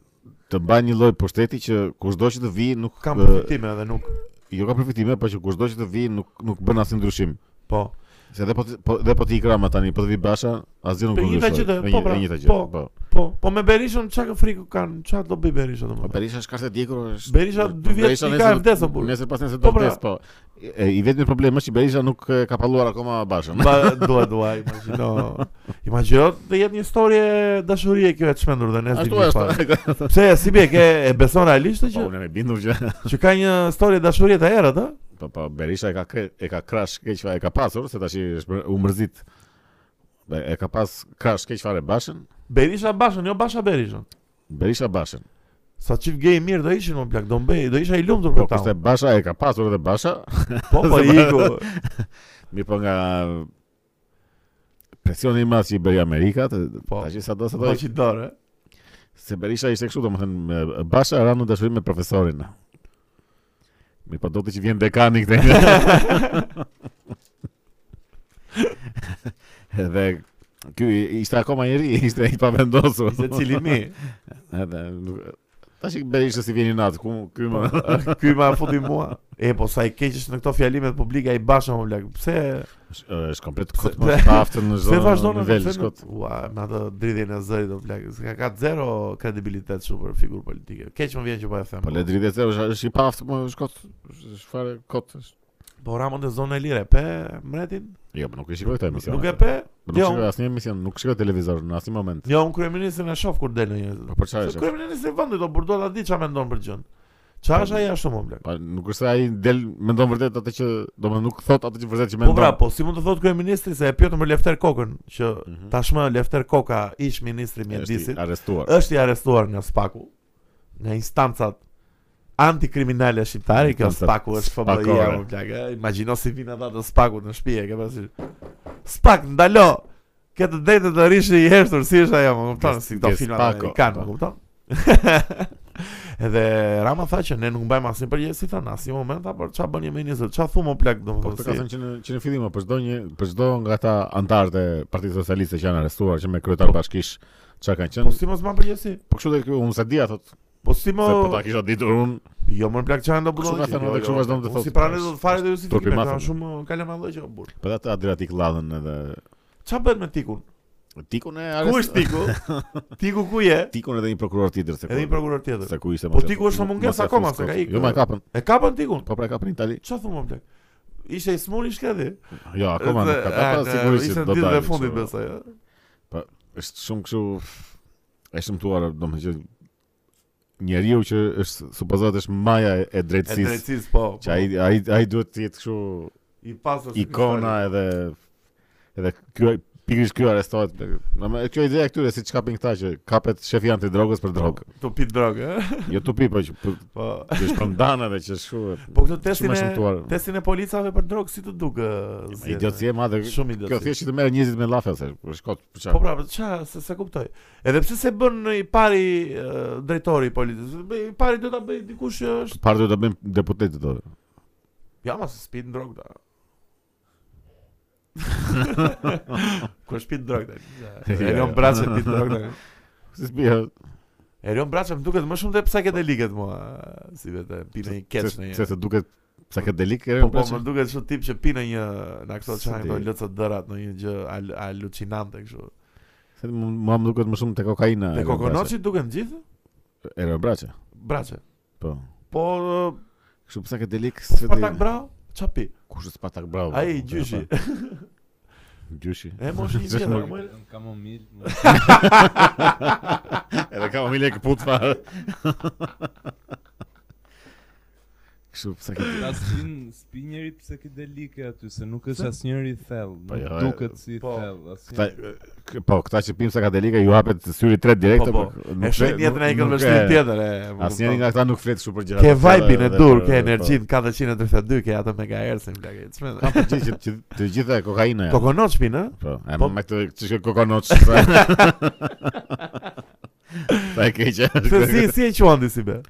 [SPEAKER 1] të mbajnë një lloj pushteti që kushdo që të vi nuk
[SPEAKER 2] Kam
[SPEAKER 1] ë,
[SPEAKER 2] përfitime edhe nuk
[SPEAKER 1] jo ka përfitime, por që kushdo që të vi nuk nuk bën asnjë ndryshim.
[SPEAKER 2] Po
[SPEAKER 1] Se edhe po ti- po edhe po ti ikrama tani, po të vi Basha, asgjë nuk
[SPEAKER 2] Po, njëta gjë
[SPEAKER 1] ndryshon.
[SPEAKER 2] do- po, pra,
[SPEAKER 1] e njëjta gjë.
[SPEAKER 2] po.
[SPEAKER 1] Po.
[SPEAKER 2] Po Po me Berishën Qa ka frikë kanë Qa do bëj Berisha të
[SPEAKER 1] Po
[SPEAKER 2] më
[SPEAKER 1] Berisha është kartë djegur është.
[SPEAKER 2] Berisha dy vjet
[SPEAKER 1] Berisha
[SPEAKER 2] i
[SPEAKER 1] nesër
[SPEAKER 2] ka
[SPEAKER 1] do-
[SPEAKER 2] vdesur, burr.
[SPEAKER 1] Nesër pas nesër do
[SPEAKER 2] Po, pra.
[SPEAKER 1] vdes, po. E, I vetmi problem është që Berisha nuk e, ka palluar akoma Bashën.
[SPEAKER 2] Ba, dua, dua, imagino Imagino të jetë një storje dashurie kjo e të shmendur dhe nesë
[SPEAKER 1] Ashtu
[SPEAKER 2] dimi fare
[SPEAKER 1] është.
[SPEAKER 2] Pse, si bje, ke e beson realisht
[SPEAKER 1] Po
[SPEAKER 2] të që
[SPEAKER 1] unë e bindur që
[SPEAKER 2] Që ka një story dashurie të erët, ë?
[SPEAKER 1] Po po Berisha e ka kre, e ka krash keq fare e ka pasur se tash i është bër- u mërzit. Dhe E ka pas krash keq fare Bashën,
[SPEAKER 2] Berisha Bashën, jo Basha Berishën.
[SPEAKER 1] Berisha Bashën.
[SPEAKER 2] Po, Sa çift gej mirë do ishin më plak, do mbej, do isha i lumtur
[SPEAKER 1] Po
[SPEAKER 2] për ta.
[SPEAKER 1] kurse Basha e ka pasur edhe Basha,
[SPEAKER 2] Po po iku.
[SPEAKER 1] mirë po nga presioni i madh që i bëri Amerika, të-
[SPEAKER 2] Po.
[SPEAKER 1] tash sado
[SPEAKER 2] Po
[SPEAKER 1] sado
[SPEAKER 2] që dorë.
[SPEAKER 1] se Berisha ishte kështu domethënë me- Basha ra në dashuri me profesorin. Mirë po do të që vjen dekani këtej. Edhe ky ishte akoma i ri, ishte i pavendosur. Ε,
[SPEAKER 2] Ishte cilimi.
[SPEAKER 1] Edhe nuk Tash i berishë si vjen i natë, ku ky më
[SPEAKER 2] Ky ma futi mua. E po sa i keq është në këto fjalime publike ai bashkë më blaq. Pse
[SPEAKER 1] Është- është komplet kot më të aftën në
[SPEAKER 2] pse
[SPEAKER 1] zonë.
[SPEAKER 2] vazhdon
[SPEAKER 1] në
[SPEAKER 2] në
[SPEAKER 1] vel
[SPEAKER 2] pse nuk-
[SPEAKER 1] kot.
[SPEAKER 2] Ua, me atë dridhjen e zërit do blaq. Ka ka zero kredibilitet shumë për figurë politike. Keq më vjen që po e them.
[SPEAKER 1] Po le dritë e është është i paftë, po është kot. Është fare kot. është.
[SPEAKER 2] Po Ramon te zona e lirë, pe mretin?
[SPEAKER 1] Jo, po nuk e shikoj këtë emision.
[SPEAKER 2] Nuk e pe?
[SPEAKER 1] Nuk
[SPEAKER 2] Jo.
[SPEAKER 1] shikoj asnjë emision, nuk shikoj televizor në asnjë moment.
[SPEAKER 2] Jo, unë kryeministin e shoh kur del në njerëz.
[SPEAKER 1] Po për çfarë
[SPEAKER 2] Se
[SPEAKER 1] është?
[SPEAKER 2] kryeministi i vendit do burdo ta di çfarë mendon për gjën. Çfarë është ai ashtu më blaq?
[SPEAKER 1] Pa, nuk është se ai del mendon vërtet atë që, domethënë nuk thot atë që vërtet që
[SPEAKER 2] Po
[SPEAKER 1] mendon.
[SPEAKER 2] pra, po si mund të thotë kryeministri se e pyetën për Lefter Kokën, që
[SPEAKER 1] Mhm.
[SPEAKER 2] tashmë Lefter Koka, ish ministri i
[SPEAKER 1] Është i
[SPEAKER 2] mjedisit,
[SPEAKER 1] arrestuar.
[SPEAKER 2] është i arrestuar nga Spaku, nga instancat antikriminale shqiptare, kjo
[SPEAKER 1] Instancat
[SPEAKER 2] Spaku është FBI-a,
[SPEAKER 1] spakore.
[SPEAKER 2] më plak, e, imagjino si vinë ata të Spakut në shtëpi, e ke parasysh. Spak ndalo. Ke të drejtë të rish i heshtur si është ajo, më kupton,
[SPEAKER 1] Ges-
[SPEAKER 2] si këto filma
[SPEAKER 1] Gestapo.
[SPEAKER 2] amerikan, më kupton? Edhe Rama tha që ne nuk mbajmë asnjë përgjegjësi tha, në asnjë moment apo ç'a bën jemi nisë, ç'a thu më plak
[SPEAKER 1] Po
[SPEAKER 2] domethënë.
[SPEAKER 1] të ka
[SPEAKER 2] si-
[SPEAKER 1] thënë që në që në fillim për çdo një për çdo nga ata antarët e Partisë Socialiste që janë arrestuar që me kryetar bashkish çka kanë
[SPEAKER 2] Po
[SPEAKER 1] qenë.
[SPEAKER 2] si mos mbajmë përgjegjësi?
[SPEAKER 1] Po kështu dhe kjo unë sa dia thot,
[SPEAKER 2] Po si
[SPEAKER 1] se po ta
[SPEAKER 2] më
[SPEAKER 1] kisha ditur unë.
[SPEAKER 2] Jo më plak çan do budon.
[SPEAKER 1] Kështu ka thënë, edhe kështu vazhdon të thotë.
[SPEAKER 2] jo, Si pranë do të fare do
[SPEAKER 1] Turpi
[SPEAKER 2] justifikime,
[SPEAKER 1] mafia.
[SPEAKER 2] ka shumë kalamallë që burr.
[SPEAKER 1] Po ata Adriatik ladhën edhe
[SPEAKER 2] Qa bën me tikun?
[SPEAKER 1] tikun e
[SPEAKER 2] Ku është tiku? tiku ku je?
[SPEAKER 1] Tikun edhe një prokuror tjetër se ku.
[SPEAKER 2] Edhe një prokuror tjetër.
[SPEAKER 1] se ku ishte.
[SPEAKER 2] Po
[SPEAKER 1] mos e-
[SPEAKER 2] tiku është në mungesë
[SPEAKER 1] mos e
[SPEAKER 2] akoma,
[SPEAKER 1] fus
[SPEAKER 2] se ka
[SPEAKER 1] kot.
[SPEAKER 2] ikë.
[SPEAKER 1] Jo, ma e kapën.
[SPEAKER 2] E kapën tikun.
[SPEAKER 1] Po pra e kapën në Itali.
[SPEAKER 2] Qa thumë blek? Ishe i smur i shkredi?
[SPEAKER 1] Jo, akoma nuk ka kapën, sigurisht
[SPEAKER 2] Ishe
[SPEAKER 1] do
[SPEAKER 2] në ditë
[SPEAKER 1] dalë
[SPEAKER 2] dhe fundit
[SPEAKER 1] kështu.
[SPEAKER 2] besoj. e?
[SPEAKER 1] është shumë kështu e shëmtuar, domethënë që njeriu që është supozohet është maja e- e
[SPEAKER 2] E
[SPEAKER 1] drejtësisë,
[SPEAKER 2] drejtësis po.
[SPEAKER 1] që ai ai ai duhet të jetë kështu
[SPEAKER 2] I pasur si
[SPEAKER 1] ikona edhe edhe ky pikërisht ky arrestohet. Do më kjo ide e këtyre si çkapin këta që kapet shefi i antidrogës për drogë.
[SPEAKER 2] kristali. Tu pit drogë, e?
[SPEAKER 1] Jo tupi po që për-
[SPEAKER 2] Po.
[SPEAKER 1] që është pëndana dhe që është kështu.
[SPEAKER 2] Po këtë testin
[SPEAKER 1] Shumë e
[SPEAKER 2] e
[SPEAKER 1] shëmtuar.
[SPEAKER 2] testin e policave për drogë si të duk? zjedhë?
[SPEAKER 1] Idiotësi e madhe.
[SPEAKER 2] Shumë
[SPEAKER 1] Kjo
[SPEAKER 2] idiotësi.
[SPEAKER 1] thjesht që të merr njerëzit me llafe se është kot për
[SPEAKER 2] Po
[SPEAKER 1] çfarë.
[SPEAKER 2] pra, po ç'a se se kuptoj. Edhe pse se bën i pari e, drejtori i policës, i pari do ta bëj dikush që është
[SPEAKER 1] Parë do ta bëjmë deputetit do.
[SPEAKER 2] Ja, ma se spit në drogë da Kër shpit në drogë da Erion Braçe pit
[SPEAKER 3] Pra,
[SPEAKER 2] në drogë da
[SPEAKER 1] Si s'bija,
[SPEAKER 2] Erion Braçe më duket më shumë dhe psychedeliket mua Si vetë, pine një keq në
[SPEAKER 1] se- se
[SPEAKER 2] një
[SPEAKER 1] të duket psikedelik e
[SPEAKER 2] Po po
[SPEAKER 1] Braçe.
[SPEAKER 2] më duket shumë tip që pine një Në këto
[SPEAKER 1] Si
[SPEAKER 2] çajnë do
[SPEAKER 1] di.
[SPEAKER 2] lëtë dërat Në një gjë al alucinante kështu
[SPEAKER 1] Se mu mua më duket më shumë te kokaina.
[SPEAKER 2] Dhe kokonoci duken gjithë
[SPEAKER 1] Era braçe.
[SPEAKER 2] Braçe
[SPEAKER 1] Po.
[SPEAKER 2] Po
[SPEAKER 1] Kështu pse ke delik
[SPEAKER 2] e, Spartak Brau Qa pi
[SPEAKER 1] Kush është Spartak Bravo?
[SPEAKER 2] Ai gjyshi
[SPEAKER 1] Gjyshi.
[SPEAKER 2] E mosh një
[SPEAKER 1] Zështë
[SPEAKER 2] tjetër
[SPEAKER 1] po. nuk-
[SPEAKER 2] mo i-
[SPEAKER 3] pra, Kam kamomil.
[SPEAKER 1] Edhe ka familje e kaput fare. Kështu pse ke
[SPEAKER 3] Ta spin spinjeri psikedelike aty se nuk është asnjëri i thellë.
[SPEAKER 1] Po
[SPEAKER 3] nuk
[SPEAKER 1] jo, e-
[SPEAKER 3] duket si i
[SPEAKER 2] po,
[SPEAKER 3] thellë.
[SPEAKER 1] Këta,
[SPEAKER 3] asnjë-
[SPEAKER 1] k- po, këta që pimë sakadelika ju hapet syri tret direkt
[SPEAKER 2] Po, po.
[SPEAKER 1] apo-
[SPEAKER 2] E
[SPEAKER 1] nuk-
[SPEAKER 2] shojnë jetën e
[SPEAKER 1] nuk-
[SPEAKER 2] ikën
[SPEAKER 1] nuk
[SPEAKER 2] vështirë
[SPEAKER 1] e-
[SPEAKER 2] tjetër e po, më
[SPEAKER 1] Asnjëri
[SPEAKER 2] kupton.
[SPEAKER 1] nga këta nuk flet kështu për gjëra.
[SPEAKER 2] Ke
[SPEAKER 1] të tjera
[SPEAKER 2] vibe-in e
[SPEAKER 1] dhe
[SPEAKER 2] dur,
[SPEAKER 1] për-
[SPEAKER 2] ke
[SPEAKER 1] po.
[SPEAKER 2] energjin 432, ke atë megahertzin, bla, ke çmend.
[SPEAKER 1] Kam për gjithë që që- të gjitha e kokaina. janë.
[SPEAKER 2] Kokonoç pin, ë?
[SPEAKER 1] Po, e
[SPEAKER 2] Po-
[SPEAKER 1] me këtë që shkë kokonoç. Sa sa e keqe.
[SPEAKER 2] Se si si e quan ti si be?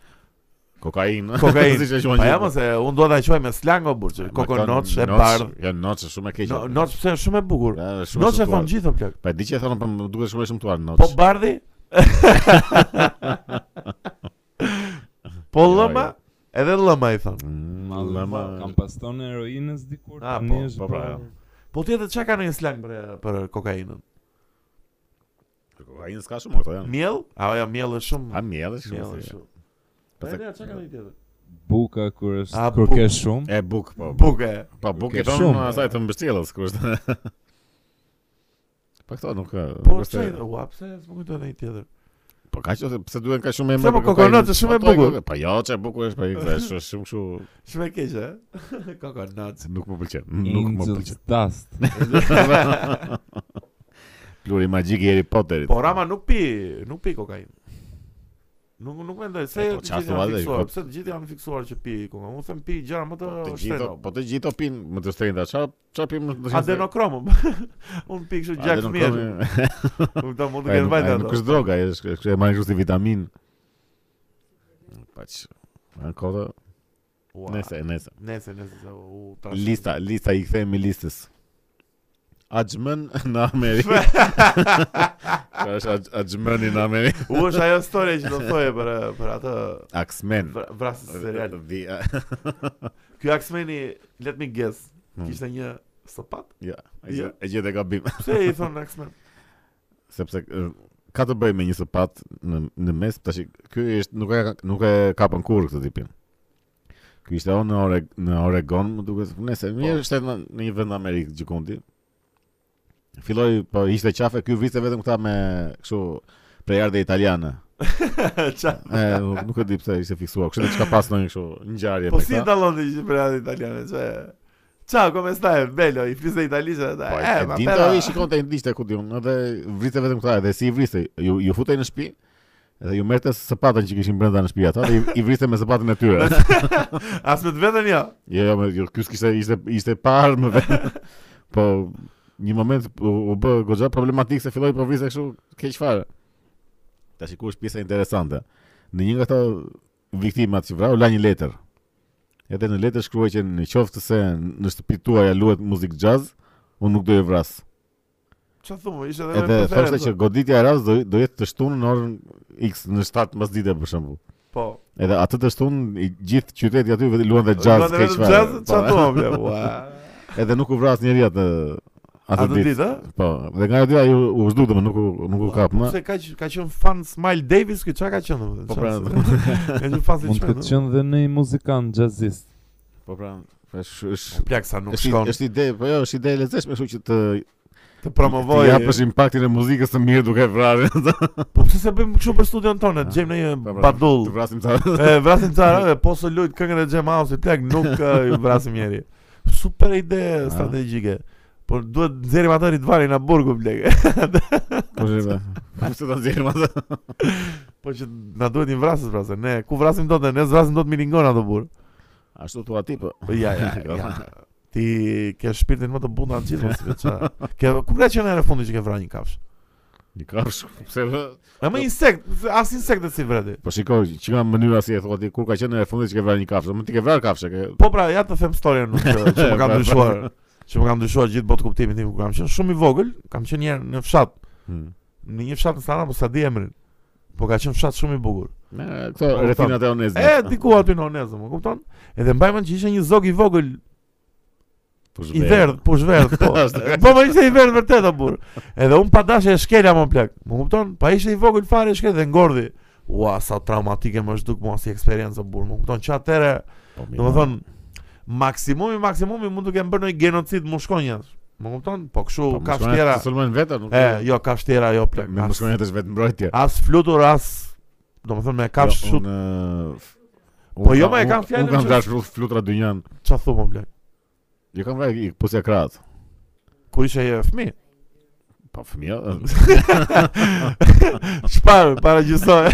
[SPEAKER 1] Kokainë.
[SPEAKER 2] Kokainë.
[SPEAKER 1] si që e quan
[SPEAKER 2] Pa ja
[SPEAKER 1] gjithë.
[SPEAKER 2] mos e unë dua ta quaj me slang o burçë.
[SPEAKER 1] Ma
[SPEAKER 2] Kokonoç
[SPEAKER 1] kanë
[SPEAKER 2] e bardh.
[SPEAKER 1] noç, Janë noç shumë e keqe.
[SPEAKER 2] é No- Noç pse është shumë e bukur.
[SPEAKER 1] Ja, shumë
[SPEAKER 2] Noç e
[SPEAKER 1] shëmtuar.
[SPEAKER 2] thon gjithë o plak.
[SPEAKER 1] Po e di që e thonë, po më duket shumë e shëmtuar noç.
[SPEAKER 2] Po bardhi? Po
[SPEAKER 1] Jo,
[SPEAKER 2] lëma?
[SPEAKER 1] jo.
[SPEAKER 2] Edhe lëma i thon.
[SPEAKER 1] Mm,
[SPEAKER 3] Mallë,
[SPEAKER 1] lama.
[SPEAKER 3] po, Kam paston heroinës dikur.
[SPEAKER 2] A,
[SPEAKER 3] tani
[SPEAKER 2] po,
[SPEAKER 3] është
[SPEAKER 1] po, pra,
[SPEAKER 3] bërë-
[SPEAKER 2] Po tjetër çka ka në një slang për për kokainën?
[SPEAKER 1] Kokainë s'ka shumë këto janë.
[SPEAKER 2] Miell? A jo, miell është
[SPEAKER 1] A
[SPEAKER 2] shumë.
[SPEAKER 1] mjellë shumë.
[SPEAKER 2] Miell është
[SPEAKER 1] si.
[SPEAKER 2] shumë. Po
[SPEAKER 1] Pastaj-
[SPEAKER 2] ja, çka ka në tjetër?
[SPEAKER 3] Buka kur
[SPEAKER 2] A,
[SPEAKER 3] është kur
[SPEAKER 2] buk-
[SPEAKER 3] ke shumë.
[SPEAKER 1] E buk po.
[SPEAKER 2] Buke.
[SPEAKER 1] Po buk
[SPEAKER 3] Ke
[SPEAKER 1] i thon
[SPEAKER 3] shumë.
[SPEAKER 1] asaj të mbështjellës kur është. Po këto nuk ka.
[SPEAKER 2] Po
[SPEAKER 1] nuk është-
[SPEAKER 2] çfarë? Ua, pse s'më kujtohet ndonjë tjetër?
[SPEAKER 1] Po ka që pse duhen ka shumë
[SPEAKER 2] Pse
[SPEAKER 1] emër.
[SPEAKER 2] po
[SPEAKER 1] për kokainë?
[SPEAKER 2] kokonot është shumë e
[SPEAKER 1] Po, to
[SPEAKER 2] bukur.
[SPEAKER 1] koko- Po jo, çe bukur është po ikse, është shumë kështu
[SPEAKER 2] Shumë e keq, ë? Kokonat.
[SPEAKER 1] nuk më pëlqen. Nuk më
[SPEAKER 3] Angel's
[SPEAKER 1] pëlqen.
[SPEAKER 3] Dust.
[SPEAKER 1] Pluri magjik i Harry Potterit.
[SPEAKER 2] Po Rama nuk pi, nuk pi kokainë. Nuk nuk mendoj se
[SPEAKER 1] E, po,
[SPEAKER 2] të
[SPEAKER 1] çfarë
[SPEAKER 2] gjithë
[SPEAKER 1] thua,
[SPEAKER 2] janë
[SPEAKER 1] dhe,
[SPEAKER 2] fiksuar,
[SPEAKER 1] po-
[SPEAKER 2] pse të gjithë janë fiksuar që pi kokainë. Unë them pi gjëra më të
[SPEAKER 1] të gjithë,
[SPEAKER 2] shtrejta.
[SPEAKER 1] po të gjithë pin më të shtrenjta. Ç'a ç'a pim më të shtrenjta?
[SPEAKER 2] Adenokrom. Unë pi kështu gjak mirë. Kupton, mund të
[SPEAKER 1] Po, Ai
[SPEAKER 2] ketë
[SPEAKER 1] nuk-
[SPEAKER 2] vajtë
[SPEAKER 1] ai Nuk
[SPEAKER 2] ato.
[SPEAKER 1] është droga, ai është është e marrë kështu si vitamin. Paç. Në kodë,
[SPEAKER 2] Ua,
[SPEAKER 1] nëse, nëse.
[SPEAKER 2] Nese, nese. se- u, tash-
[SPEAKER 1] Lista, lista i kthehemi listës. Ajmen në Amerikë. Ka është a- a gjmëni në Ameri.
[SPEAKER 2] U është ajo story që do thoje për për atë
[SPEAKER 1] Axmen.
[SPEAKER 2] vra- vrasje serial.
[SPEAKER 1] Di- a-
[SPEAKER 2] Ky Axmeni, let me guess,
[SPEAKER 1] Hmm.
[SPEAKER 2] kishte një sopat?
[SPEAKER 1] Ja, e
[SPEAKER 2] Ja.
[SPEAKER 1] gjë- e gjithë e gabim.
[SPEAKER 2] Pse i thon Axmen?
[SPEAKER 1] Sepse e, ka të bëj me një sëpat në në mes, tash ky është nuk e nuk e kapën kurrë këtë tipin. Ky ishte on në Ore, në Oregon, më duket, nëse mirë ishte në në një vend në Amerikë gjikundi. Filloi po ishte qafe, ky viste vetëm këta me kështu prejardhe italiane.
[SPEAKER 2] Ça?
[SPEAKER 1] E, nuk, nuk e di pse ishte fiksuar. Kështu diçka pas ndonjë kështu ngjarje
[SPEAKER 2] Po
[SPEAKER 1] me
[SPEAKER 2] si e
[SPEAKER 1] këta.
[SPEAKER 2] dallon ti që për italiane? Çe. Ciao, come stai? Bello, i fliste italisht ata.
[SPEAKER 1] Po e
[SPEAKER 2] Eh, ma
[SPEAKER 1] din
[SPEAKER 2] però-
[SPEAKER 1] ai shikonte ndishte ku diun, edhe vriste vetëm këta, edhe si i vriste, ju ju futej në shtëpi. Edhe ju merrte sapatën që kishin brenda në shtëpi ata, dhe i- i vriste me sapatën e tyre.
[SPEAKER 2] As me të vetën jo.
[SPEAKER 1] Jo, jo, me, jo, ky s'kishte ishte ishte parë më vetë. po një moment u, u bë goxha problematik se filloi po vriste kështu keq fare. Tash ku është pjesa interesante. Në një nga ato viktimat që vrau la një letër. Edhe në letër shkruaj që në qoftë se në shtëpi tuaja luhet muzikë jazz, unë nuk do e vras.
[SPEAKER 2] Çfarë thumë, ishte edhe po.
[SPEAKER 1] Edhe
[SPEAKER 2] me
[SPEAKER 1] thoshte
[SPEAKER 2] preferencë.
[SPEAKER 1] që goditja e rast do, do jetë të shtunë në orën X në 7 mësdite për shembull.
[SPEAKER 2] po.
[SPEAKER 1] Edhe atë të shtunë i gjithë qyteti aty vetë luan dhe
[SPEAKER 2] Do
[SPEAKER 1] jazz
[SPEAKER 2] të
[SPEAKER 1] keq
[SPEAKER 2] vetëm
[SPEAKER 1] fare.
[SPEAKER 2] jazz,
[SPEAKER 1] Po.
[SPEAKER 2] çfarë thumë, ble, ua.
[SPEAKER 1] Edhe nuk u vras njeri atë
[SPEAKER 2] A
[SPEAKER 1] atë
[SPEAKER 2] do
[SPEAKER 1] ditë.
[SPEAKER 2] ditë? ë?
[SPEAKER 1] Po, dhe nga ajo dia ju u zhduk domun nuk u nuk u kap më.
[SPEAKER 2] Se ka q- ka qenë fan Smile Davis, ky çka ka qenë domethënë?
[SPEAKER 1] Po,
[SPEAKER 2] çfarë?
[SPEAKER 1] pra.
[SPEAKER 2] Ka qenë fan si
[SPEAKER 3] Mund të
[SPEAKER 2] çfarë?
[SPEAKER 3] qenë dhe në një muzikant jazzist.
[SPEAKER 1] Po pra, është është
[SPEAKER 2] Plak sa nuk
[SPEAKER 1] është
[SPEAKER 2] shkon.
[SPEAKER 1] është ide, po jo, është ide e lezetshme, kështu që të
[SPEAKER 2] Të
[SPEAKER 1] të
[SPEAKER 2] promovoj.
[SPEAKER 1] japësh impaktin e muzikës të mirë duke vrarë.
[SPEAKER 2] Po pse se bëjmë kështu për studion tonë? Gjejmë në një
[SPEAKER 1] Po, pra,
[SPEAKER 2] badull.
[SPEAKER 1] Të vrasim Po, ta.
[SPEAKER 2] E vrasim çfarë? e, Po se lut këngën e Jam House-it tek nuk e, ju vrasim njëri. Super ide
[SPEAKER 1] Ah.
[SPEAKER 2] strategjike. Por duhet nxjerrim atë Ridvanin në burgu blek.
[SPEAKER 1] Po zhve. Pse ta zgjerim atë?
[SPEAKER 2] po që na duhet një vrasës pra se ne ku vrasim dot ne zvrasim dot milingon ato burr.
[SPEAKER 1] Ashtu thua ti po.
[SPEAKER 2] Po ja ja. ja. Ti ke shpirtin më të bunda të gjithë mos vetë. Ke ku ka qenë herë fundi që ke vrarë një kafsh.
[SPEAKER 1] Një kafsh. Pse vë?
[SPEAKER 2] E më insekt, as insektet si vreti.
[SPEAKER 1] Po shikoj, që nga mënyra si e thua ti, kur ka qenë e fundit që ke vrarë një kafshë, më ti ke vrarë kafshë, ke
[SPEAKER 2] Po pra, ja të them storyn nuk që që më kam ndryshuar. Që më kam ndryshuar gjithë botë kuptimin tim kur kam qenë shumë i vogël, kam qenë një herë në fshat
[SPEAKER 1] Hmm.
[SPEAKER 2] në një fshat në Sana, po sa di emrin. Po ka qenë fshat shumë i bukur.
[SPEAKER 1] Me këto rethinat e onezit.
[SPEAKER 2] Po, E diku aty në Onezë, më kupton? Edhe mbaj mend që ishte një zog i vogël,
[SPEAKER 1] Po
[SPEAKER 2] i verdh, push verdh, po. po më ishte i verdh vërtet o burr. Edhe un pa dashje e shkela më plak. Më kupton? Pa ishte i vogël fare e shkel dhe ngordhi. Ua, sa traumatike më është duk mua si eksperiencë o burr. Më kupton? Që atëre, domethën maksimumi maksimumi mund të kem bërë një genocid mushkonjash. Më kupton? Po kështu ka shtjera.
[SPEAKER 1] Sulmën vetën, nuk.
[SPEAKER 2] E, jo, ka shtjera, jo plak.
[SPEAKER 1] Me
[SPEAKER 2] as-
[SPEAKER 1] mushkonjat është vetë mbrojtje.
[SPEAKER 2] As flutur, as Do më thënë me kap
[SPEAKER 1] Jo,
[SPEAKER 2] shut
[SPEAKER 1] unë,
[SPEAKER 2] Po
[SPEAKER 1] unë
[SPEAKER 2] jo,
[SPEAKER 1] kam-
[SPEAKER 2] ma, e kam
[SPEAKER 1] unë-
[SPEAKER 2] fjalën
[SPEAKER 1] Unë kam
[SPEAKER 2] që-
[SPEAKER 1] vrarë flut- flutra dynjan.
[SPEAKER 2] Qa thu më blek
[SPEAKER 1] Jo kam vrarë i pusja krahat.
[SPEAKER 2] Kur ishe e fëmi
[SPEAKER 1] Po fëmijë. ë,
[SPEAKER 2] Shparë, para gjysoj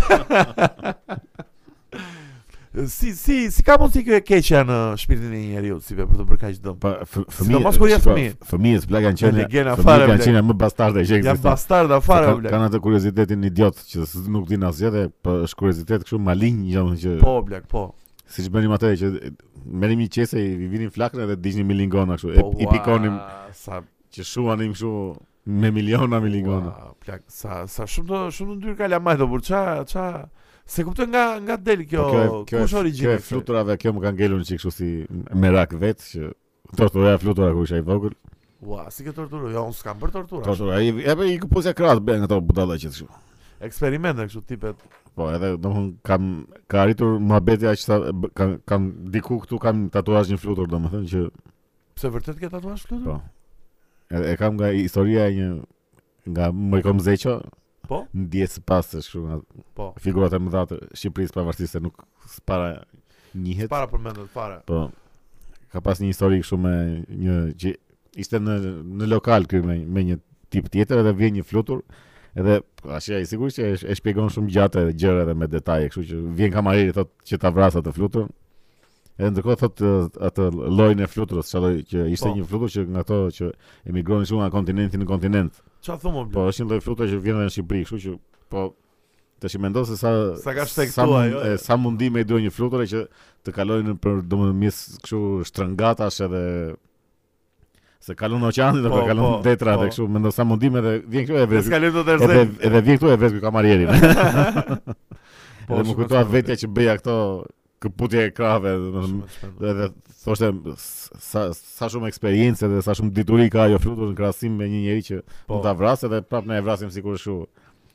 [SPEAKER 2] Si, si, si ka mundësi kjo e keqja në shpirtin e njeriu si be për të bërë kaq dëm?
[SPEAKER 1] Po fë- fëmijë.
[SPEAKER 2] Sidomos kur je
[SPEAKER 1] shiko,
[SPEAKER 2] fëmijë.
[SPEAKER 1] Fëmijët bla kanë qenë.
[SPEAKER 2] Legjena fare,
[SPEAKER 1] Fëmijët kanë
[SPEAKER 2] bla.
[SPEAKER 1] qenë më bastarde që
[SPEAKER 2] Jam
[SPEAKER 1] ekziston.
[SPEAKER 2] bastarda fare o
[SPEAKER 1] Kanë
[SPEAKER 2] blek
[SPEAKER 1] kanë atë kuriozitetin idiot që s- nuk din asgjë dhe po është kuriozitet kështu malinj domethënë që
[SPEAKER 2] Po blek, po.
[SPEAKER 1] siç bënim atë që e, merrim një qese i vinin flakën dhe diqnim milingona kështu.
[SPEAKER 2] po
[SPEAKER 1] e- I
[SPEAKER 2] ua,
[SPEAKER 1] pikonim
[SPEAKER 2] sa
[SPEAKER 1] që shuanim kështu me miliona milingona.
[SPEAKER 2] ua, Blek, sa sa shumë të shumë të ndyr ka lamaj do burr. Ça ça se kuptoj nga nga del kjo.
[SPEAKER 1] Po, e- kjo,
[SPEAKER 2] kush
[SPEAKER 1] e-
[SPEAKER 2] origjina?
[SPEAKER 1] Kjo e fluturave, kjo më ka ngelur çik kështu si merak vet që tortura e flutura kur isha i vogël.
[SPEAKER 2] Ua, si ke torturë? Jo, unë s'kam bërë tortura.
[SPEAKER 1] Tortura, i e i kupozja krahas bën ato budalla që kështu.
[SPEAKER 2] Eksperimente kështu tipet.
[SPEAKER 1] Po, edhe domthon kam ka arritur muhabeti aq sa b- kam kam diku këtu kam tatuazh një flutur domethënë që
[SPEAKER 2] Pse vërtet ke tatuazh flutur?
[SPEAKER 1] Po. e, e kam nga historia e një nga Mërkom Zeqo.
[SPEAKER 2] Po?
[SPEAKER 1] Ndjes pas është kështu nga
[SPEAKER 2] Po.
[SPEAKER 1] figurat e mëdha të Shqipërisë pavarësisht se nuk para njihet.
[SPEAKER 2] Para përmendet fare.
[SPEAKER 1] Po. Ka pas një histori kështu me një që ishte në në lokal këtu me me një tip tjetër edhe vjen një flutur. Edhe tash ai sigurisht që e, e shpjegon shumë gjatë edhe gjëra edhe me detaje, kështu që vjen kamarieri thotë që ta vrasë atë flutur. Edhe ndërkohë thotë eh, atë llojin e fluturës, çfarë lloj që ishte
[SPEAKER 2] Po.
[SPEAKER 1] një flutur që nga ato që emigronin shumë nga kontinenti në kontinent.
[SPEAKER 2] Ça thumë bla?
[SPEAKER 1] Po është një lloj flutur që vjen edhe në Shqipëri, kështu që po tash i mendon se sa
[SPEAKER 2] Sa ka shtek
[SPEAKER 1] sa,
[SPEAKER 2] tua,
[SPEAKER 1] mund-
[SPEAKER 2] jo?
[SPEAKER 1] e, sa mundime i duhet një flutore që të kalojnë për domethënë mes kështu shtrëngatash edhe se kalon oqeanin apo
[SPEAKER 2] Po,
[SPEAKER 1] kalon
[SPEAKER 2] po,
[SPEAKER 1] detrat
[SPEAKER 2] po.
[SPEAKER 1] e kështu, mendon sa mundime dhe vjen këtu e
[SPEAKER 2] Ne
[SPEAKER 1] vez.
[SPEAKER 2] skalim do të
[SPEAKER 1] Edhe
[SPEAKER 2] rrezë.
[SPEAKER 1] edhe vjen këtu e vez ky kamarierin.
[SPEAKER 2] Po,
[SPEAKER 1] Edhe më
[SPEAKER 2] shumë
[SPEAKER 1] kujtoa
[SPEAKER 2] shumë
[SPEAKER 1] vetja që bëja këto këputje e krave, domethënë
[SPEAKER 2] shumë shpejt.
[SPEAKER 1] edhe thoshte s- sa sa shumë eksperiencë dhe sa shumë dituri ka ajo flutur në krahasim me një njerëz që
[SPEAKER 2] Po.
[SPEAKER 1] mund ta vrasë dhe prapë ne e vrasim sikur kështu.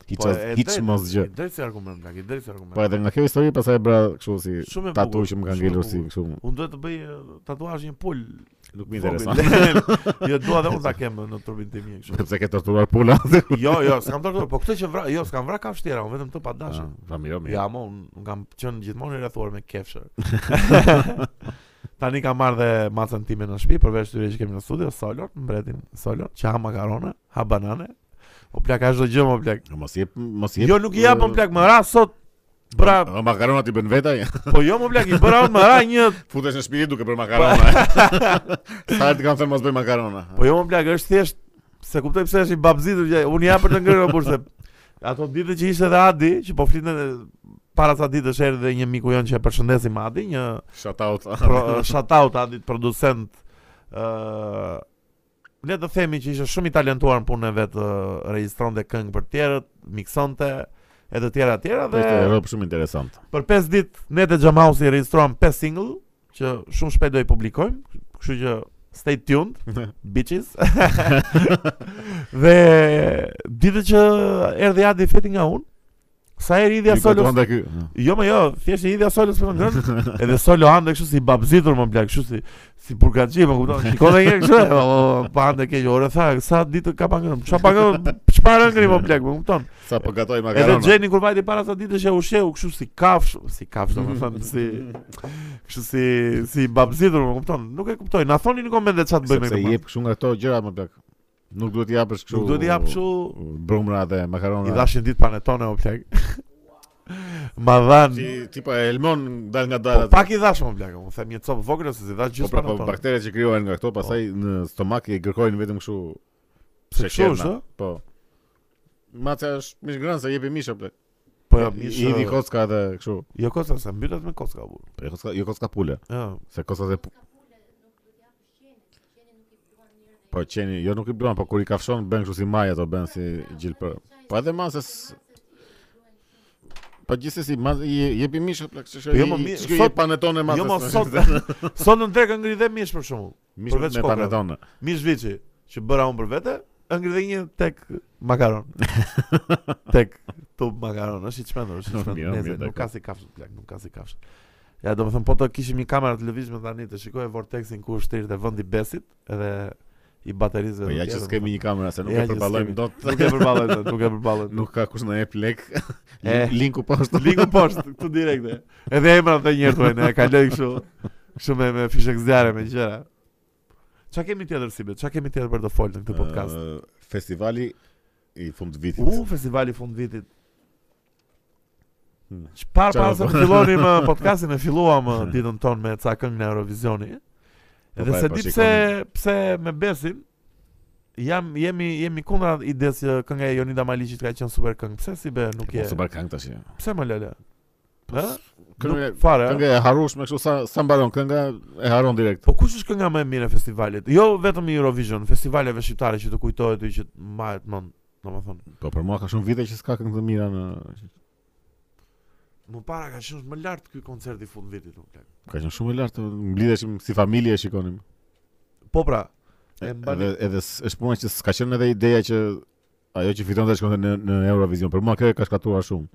[SPEAKER 1] Hiç
[SPEAKER 2] Po, e
[SPEAKER 1] hiç
[SPEAKER 2] drejtë,
[SPEAKER 1] mos gjë.
[SPEAKER 2] e Drejtë si argument, plak, i drejtë si argument.
[SPEAKER 1] Po edhe nga kjo histori pastaj e bra kështu si
[SPEAKER 2] Shumë e
[SPEAKER 1] tatu
[SPEAKER 2] bukur,
[SPEAKER 1] që më kanë
[SPEAKER 2] shumë e
[SPEAKER 1] ngelur si
[SPEAKER 2] bukur.
[SPEAKER 1] kështu.
[SPEAKER 2] Unë duhet të bëj e, tatuazh një pul.
[SPEAKER 1] Nuk më intereson.
[SPEAKER 2] jo dua dhe unë ta kem në trupin tim një kështu.
[SPEAKER 1] Sepse ke torturuar pula.
[SPEAKER 2] Jo, jo, s'kam dorë, po këtë që vra, jo, s'kam vra kafshë tjera, unë vetëm të pa dashur.
[SPEAKER 1] Pa Ah, pra mirë, mirë.
[SPEAKER 2] Ja, mo, unë unë kam qenë gjithmonë i rrethuar me kefshër. Tani kam marrë dhe macën time në shtëpi, përveç tyre që kemi në studio, solor, mbretin, solor, që ha makarona, ha banane. O plak, ka çdo gjë, mo plak.
[SPEAKER 1] Mos jep, mos jep.
[SPEAKER 2] Jo, nuk i japën
[SPEAKER 1] eh,
[SPEAKER 2] plak, më ra sot Bra,
[SPEAKER 1] O, makaronat i bën vetaj.
[SPEAKER 2] po jo më plak, i bëra unë më ra një
[SPEAKER 1] Futesh në shtëpi duke për makarona. Sa herë të kam thënë mos bëj makarona.
[SPEAKER 2] Po jo më plak, është thjesht se kuptoj pse është i babzitur gjaj. Unë jam për të ngrënë por se ato ditë që ishte edhe Adi, që po flitën para sa ditësh erdhi dhe një miku jon që e përshëndesim Adi, një
[SPEAKER 1] Shout out.
[SPEAKER 2] pro, uh, shout out Adit producent ë le të themi që ishte shumë i talentuar në punën e vet, ë, regjistronte këngë për tjerët, miksonte e të tjera të tjera
[SPEAKER 1] Është
[SPEAKER 2] dhe
[SPEAKER 1] rrop shumë interesant.
[SPEAKER 2] për 5 ditë ne te Xhamausi regjistruam 5 single që shumë shpejt do i publikojmë, kështu që stay tuned bitches. dhe ditë që erdhi Adi feti nga unë, sa herë idhja solo.
[SPEAKER 1] Ndaj ky.
[SPEAKER 2] Jo, më jo, thjesht idhja solos për ngrën. Edhe solo ande kështu si babzitur më blaq, kështu si si burgaxhi, më kupton? Shikon edhe një kështu, e, o, pa ande keq orë tha, sa ditë ka pa ngrën. Çfarë pa ngrën? Çfarë ngri më blaq, më kupton?
[SPEAKER 1] Sa po gatoj
[SPEAKER 2] Edhe
[SPEAKER 1] makarona.
[SPEAKER 2] Gjeni kur vajti para sa ditësh e u sheu kështu si kafsh, si kafsh domethënë si kështu si si babzitur, më kupton? Nuk e kuptoj. Na thoni në komente çfarë të bëjmë me
[SPEAKER 1] Sepse
[SPEAKER 2] këtë.
[SPEAKER 1] i jep kështu nga këto gjëra më plak. Nuk duhet i japësh kështu.
[SPEAKER 2] Nuk do t'i jap kështu
[SPEAKER 1] brumra dhe
[SPEAKER 2] i
[SPEAKER 1] makarona.
[SPEAKER 2] dashin ditë panetone o plak. Ma dhan.
[SPEAKER 1] Ti tipo e elmon dal nga
[SPEAKER 2] Po
[SPEAKER 1] dal.
[SPEAKER 2] pak i dash më plak, unë them një copë vogël ose si dash
[SPEAKER 1] Po
[SPEAKER 2] gjithë
[SPEAKER 1] pra, po
[SPEAKER 2] panetone.
[SPEAKER 1] bakteret që krijohen nga këto, pastaj në stomak i kërkojnë vetëm kështu
[SPEAKER 2] Se kështu
[SPEAKER 1] sheqerna.
[SPEAKER 2] është, ë?
[SPEAKER 1] Po. Maca është mish gran se jepi mish apo.
[SPEAKER 2] Po ja,
[SPEAKER 1] I vi
[SPEAKER 2] mishë.
[SPEAKER 1] kocka edhe kështu.
[SPEAKER 2] Jo kocka se mbytet me kocka u.
[SPEAKER 1] Po, Jo kocka, jo kocka pule,
[SPEAKER 2] Ja.
[SPEAKER 1] se kocka dhe pu- Po qeni, jo nuk i bluan, po kur i kafshon bën kështu si maja ato bën si gjilë për. Po edhe masë s- Po gjithsesi, ma i jepi mish apo kështu.
[SPEAKER 2] Po jo, mo, mi-
[SPEAKER 1] çka
[SPEAKER 2] sot-
[SPEAKER 1] jep panetone masë.
[SPEAKER 2] Jo mos sot. Sot në drekë ngri dhe mish për shembull.
[SPEAKER 1] mish
[SPEAKER 2] përveç
[SPEAKER 1] me
[SPEAKER 2] kokave.
[SPEAKER 1] panetone.
[SPEAKER 2] Mish viçi që bëra unë për vete, ngri dhe një tek makaron. tek tub makaron, është i çmendur, është i
[SPEAKER 1] Mirë,
[SPEAKER 2] çmendur.
[SPEAKER 1] mirë,
[SPEAKER 2] Neze, Nuk
[SPEAKER 1] dakor.
[SPEAKER 2] ka si kafshë plak, nuk ka si kafshë. Ja, do më thëmë, po të kishim një kamerë televizme tani të shikoj Vortexin ku është tirë dhe vëndi besit edhe i baterizve
[SPEAKER 1] Po ja që s'kemi një kamerë se nuk
[SPEAKER 2] Ja
[SPEAKER 1] e
[SPEAKER 2] që
[SPEAKER 1] përballojmë
[SPEAKER 2] s'kemi.
[SPEAKER 1] dot.
[SPEAKER 2] Nuk e përballet, nuk e përballet.
[SPEAKER 1] Nuk ka kush na jep lek.
[SPEAKER 2] E.
[SPEAKER 1] Linku po poshtë.
[SPEAKER 2] Ligu poshtë, këtu direkte. Edhe emra të njërë të e kaloj kështu. Kështu me, me fishek zjarre me gjëra. Qa kemi tjetër si be? Qa kemi tjetër për të folë në këtë podcast?
[SPEAKER 1] Ë, Festivali i fund vitit.
[SPEAKER 2] U, festivali fund vitit.
[SPEAKER 1] Hmm.
[SPEAKER 2] Që parë
[SPEAKER 1] Qa
[SPEAKER 2] para
[SPEAKER 1] do
[SPEAKER 2] se
[SPEAKER 1] po-
[SPEAKER 2] të fillonim ë, podcastin e filluam ë, ditën tonë me ca këngë në Eurovisioni.
[SPEAKER 1] Po,
[SPEAKER 2] Edhe
[SPEAKER 1] pra,
[SPEAKER 2] se
[SPEAKER 1] po,
[SPEAKER 2] di pse
[SPEAKER 1] shikonin.
[SPEAKER 2] pse me Besin jam jemi jemi kundra ides që kënga e Jonida Maliqit ka qenë super këngë. Pse si be nuk je?
[SPEAKER 1] Mos u barkang Po, tash. ja.
[SPEAKER 2] Pse më lele? Ë?
[SPEAKER 1] Po, Kënga
[SPEAKER 2] Nuk fare. ë?
[SPEAKER 1] kënga e harrueshme kështu sa sa mbaron kënga e harron direkt.
[SPEAKER 2] Po kush është kënga më e mirë e festivalit? Jo vetëm i Eurovision, festivaleve shqiptare që të kujtohet ty që mbahet mend, domethënë.
[SPEAKER 1] Po për mua ka shumë vite që s'ka këngë të mira në
[SPEAKER 2] Më para ka qenë më lart ky koncert i fund vitit, nuk plak.
[SPEAKER 1] ka qenë shumë e lartë, mblidheshim si familje e shikonim.
[SPEAKER 2] Po pra, e mbani
[SPEAKER 1] Edhe edhe s- është puna që s'ka qenë edhe ideja që ajo që fiton të shkonte në, në Eurovision. Për mua kjo e ka shkatruar shumë.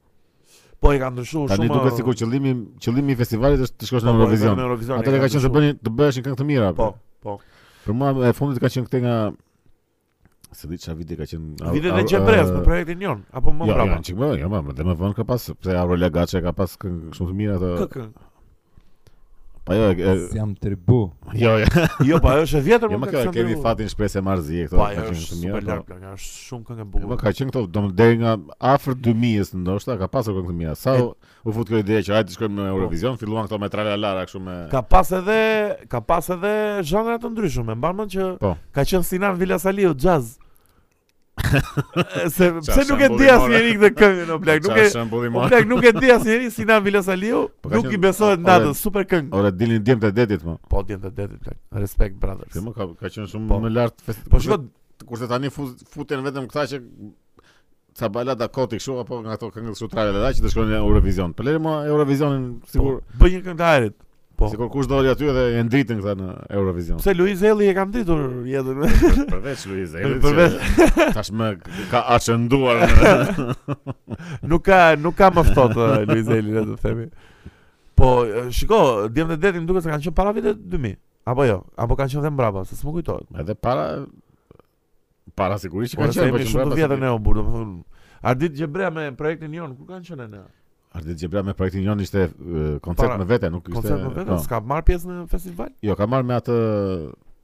[SPEAKER 2] po i ka ndryshuar
[SPEAKER 1] Tani
[SPEAKER 2] shumë. po,
[SPEAKER 1] duket sikur qëllimi qëllimi i festivalit është të shkosh Po, në Eurovision.
[SPEAKER 2] Eurovision
[SPEAKER 1] Atëherë ka qenë të bëni të bëheshin këngë të mira.
[SPEAKER 2] Po,
[SPEAKER 1] po.
[SPEAKER 2] po.
[SPEAKER 1] Për mua e fundit ka qenë këtë nga se di çfarë vite ka qenë. au-
[SPEAKER 2] Vitet
[SPEAKER 1] au-
[SPEAKER 2] e Gjebres
[SPEAKER 1] ë,
[SPEAKER 2] me projektin jon apo më pra,
[SPEAKER 1] Jo, jo,
[SPEAKER 2] mbrapa.
[SPEAKER 1] çik më, jo, më, dhe më vonë ka pas, pse Aurelia Gaçe ka pas këngë shumë të mira ato.
[SPEAKER 2] Kë këngë?
[SPEAKER 1] Po jo, e- e-
[SPEAKER 3] Si jam tribu.
[SPEAKER 1] jo, jo.
[SPEAKER 2] Jo, po ajo është e vjetër
[SPEAKER 1] Jo, më kjo e kemi fatin shpresë e marrëzie këto.
[SPEAKER 2] Po
[SPEAKER 1] ka
[SPEAKER 2] ajo
[SPEAKER 1] qenë
[SPEAKER 2] është
[SPEAKER 1] të mira,
[SPEAKER 2] super
[SPEAKER 1] po.
[SPEAKER 2] lart, plak, është shumë këngë e
[SPEAKER 1] Jo, Po
[SPEAKER 2] bukur.
[SPEAKER 1] ka qenë këto, domethënë deri nga afër 2000-s ndoshta ka pasur këngë të mira. Sa
[SPEAKER 2] E-
[SPEAKER 1] u- u fut kjo ide që hajde të shkojmë në Eurovision, filluan këto me tralalara kështu me
[SPEAKER 2] Ka pas edhe ka pas edhe zhanra të ndryshme. Mban mend që
[SPEAKER 1] Po.
[SPEAKER 2] ka qenë Sinan Vila Saliu jazz. Se pse nuk e di
[SPEAKER 1] shambulli
[SPEAKER 2] asnjëri këtë këngë në blak, nuk
[SPEAKER 1] Qa
[SPEAKER 2] e po
[SPEAKER 1] shembulli
[SPEAKER 2] O
[SPEAKER 1] marr.
[SPEAKER 2] plak nuk e di asnjëri si na Vilos Aliu,
[SPEAKER 1] Po ka
[SPEAKER 2] nuk
[SPEAKER 1] qenë-
[SPEAKER 2] i besohet
[SPEAKER 1] o-
[SPEAKER 2] natës,
[SPEAKER 1] ore-
[SPEAKER 2] super këngë.
[SPEAKER 1] Ora dilin djemt e detit më.
[SPEAKER 2] Po djem të detit plak. Respect brothers.
[SPEAKER 1] Kjo më ka ka qenë shumë
[SPEAKER 2] Po.
[SPEAKER 1] më lart. fest-
[SPEAKER 2] Po shiko-
[SPEAKER 1] kurse tani fu- futen vetëm këta që ca balada koti kështu apo nga ato këngë kështu trajale da që të shkojnë në Eurovision. Po lere më Eurovisionin sigur
[SPEAKER 2] Po, bëj një këngë të ajrit. po.
[SPEAKER 1] sigur kush doli aty dhe e ndritën këta në Eurovision.
[SPEAKER 2] Pse Luiz Elli e ka nditur jetën.
[SPEAKER 1] Përveç Luiz Elit.
[SPEAKER 2] Përveç
[SPEAKER 1] tashmë ka açënduar në
[SPEAKER 2] nuk ka nuk ka më ftohtë eh, Luiz Elli, le të themi. Po eh, shiko, djem të detit më duket se kanë qenë para vitit 2000. Apo jo, apo kanë qenë dhe mbrapa, se s'më kujtohet.
[SPEAKER 1] edhe para para sigurisht që
[SPEAKER 2] Po
[SPEAKER 1] ka
[SPEAKER 2] se
[SPEAKER 1] qenë
[SPEAKER 2] jemi
[SPEAKER 1] që
[SPEAKER 2] shumë
[SPEAKER 1] mbrapa
[SPEAKER 2] të
[SPEAKER 1] se-
[SPEAKER 2] vjetër në Obur, domethënë Ardit Gjebrea me projektin jon, ku kanë qenë ne?
[SPEAKER 1] Ardit Gjebra me projektin jon ishte e, koncert
[SPEAKER 2] Para-
[SPEAKER 1] me vete, nuk ishte.
[SPEAKER 2] Koncert me vete,
[SPEAKER 1] po.
[SPEAKER 2] s'ka marr pjesë në festival?
[SPEAKER 1] Jo, ka marrë me atë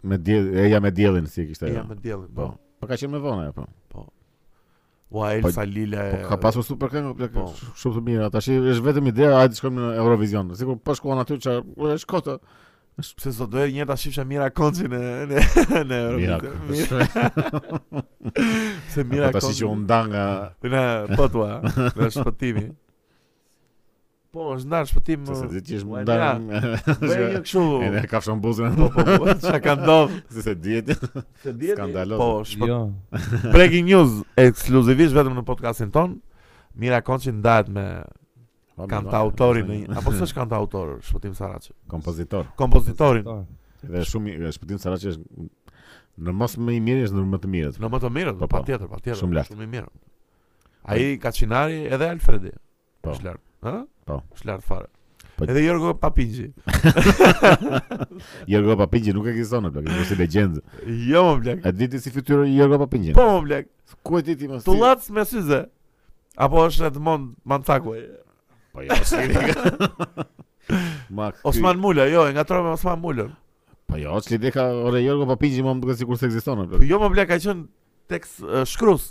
[SPEAKER 1] me diell, eja me diellin si e kishte.
[SPEAKER 2] Ja,
[SPEAKER 1] ajo.
[SPEAKER 2] me diellin,
[SPEAKER 1] Po.
[SPEAKER 2] po.
[SPEAKER 1] Po ka qenë me vonë ajo, po.
[SPEAKER 2] Ua Elsa Lila.
[SPEAKER 1] Po
[SPEAKER 2] e-
[SPEAKER 1] ka pasur super këngë, plak,
[SPEAKER 2] po.
[SPEAKER 1] sh- shumë të mira. Tash është vetëm ideja, hajde shkojmë në Eurovision. Sigur po shkuan aty çfarë, është shkotë.
[SPEAKER 2] pse sot do një ta shifsha Mira Konçi në në
[SPEAKER 1] Mira.
[SPEAKER 2] në Eurovision. Pse Mira
[SPEAKER 1] Mira, tash
[SPEAKER 2] Konçi.
[SPEAKER 1] që u nda nga
[SPEAKER 2] Në po tua, në shpëtimi. Po, është ndar shpëtim.
[SPEAKER 1] se se di që është
[SPEAKER 2] Ua,
[SPEAKER 1] nda.
[SPEAKER 2] Elina, Bëj një kështu.
[SPEAKER 1] Edhe ka fshon buzën.
[SPEAKER 2] Po, po, po, çka ka ndodhur?
[SPEAKER 1] Se se dihet.
[SPEAKER 2] Se dihet.
[SPEAKER 1] Skandaloze.
[SPEAKER 2] Po, shpë-
[SPEAKER 3] Jo.
[SPEAKER 2] breaking news ekskluzivisht vetëm në podcastin ton. Mira Konçi ndahet me kantautorin në një- apo s'është kantautor, shpëtim Saraçi.
[SPEAKER 1] kompozitor. Po,
[SPEAKER 2] Kompozitorin.
[SPEAKER 1] Dhe shumë i- shpëtim Saraçi është në mos më i miri është në më të mirët.
[SPEAKER 2] Në më të mirën,
[SPEAKER 1] Po,
[SPEAKER 2] po,
[SPEAKER 1] po.
[SPEAKER 2] patjetër, patjetër.
[SPEAKER 1] Shumë Po. lart.
[SPEAKER 2] Shumë i mirë. Ai Kaçinari edhe Alfredi.
[SPEAKER 1] Po.
[SPEAKER 2] Është lart. Ë?
[SPEAKER 1] Po.
[SPEAKER 2] Është lart fare.
[SPEAKER 1] Po-
[SPEAKER 2] Edhe Jorgo Papingji.
[SPEAKER 1] Jergo Papingji nuk ekziston, plak, është si legjendë.
[SPEAKER 2] Jo më blek.
[SPEAKER 1] A diti si fytyrë Jergo Papingji?
[SPEAKER 2] Po më blek.
[SPEAKER 1] Ku e diti mos?
[SPEAKER 2] Tullac me syze. Apo është Edmond Mancakuaj.
[SPEAKER 1] Po jo, s'lidi. Ma ky-
[SPEAKER 2] Osman Mula, jo, e ngatroj me Osman Mulën.
[SPEAKER 1] Po jo, s'lidi ka ore Jergo Papingji më duket sikur se ekziston.
[SPEAKER 2] Po jo më blek ka qenë tekst eh, shkrues.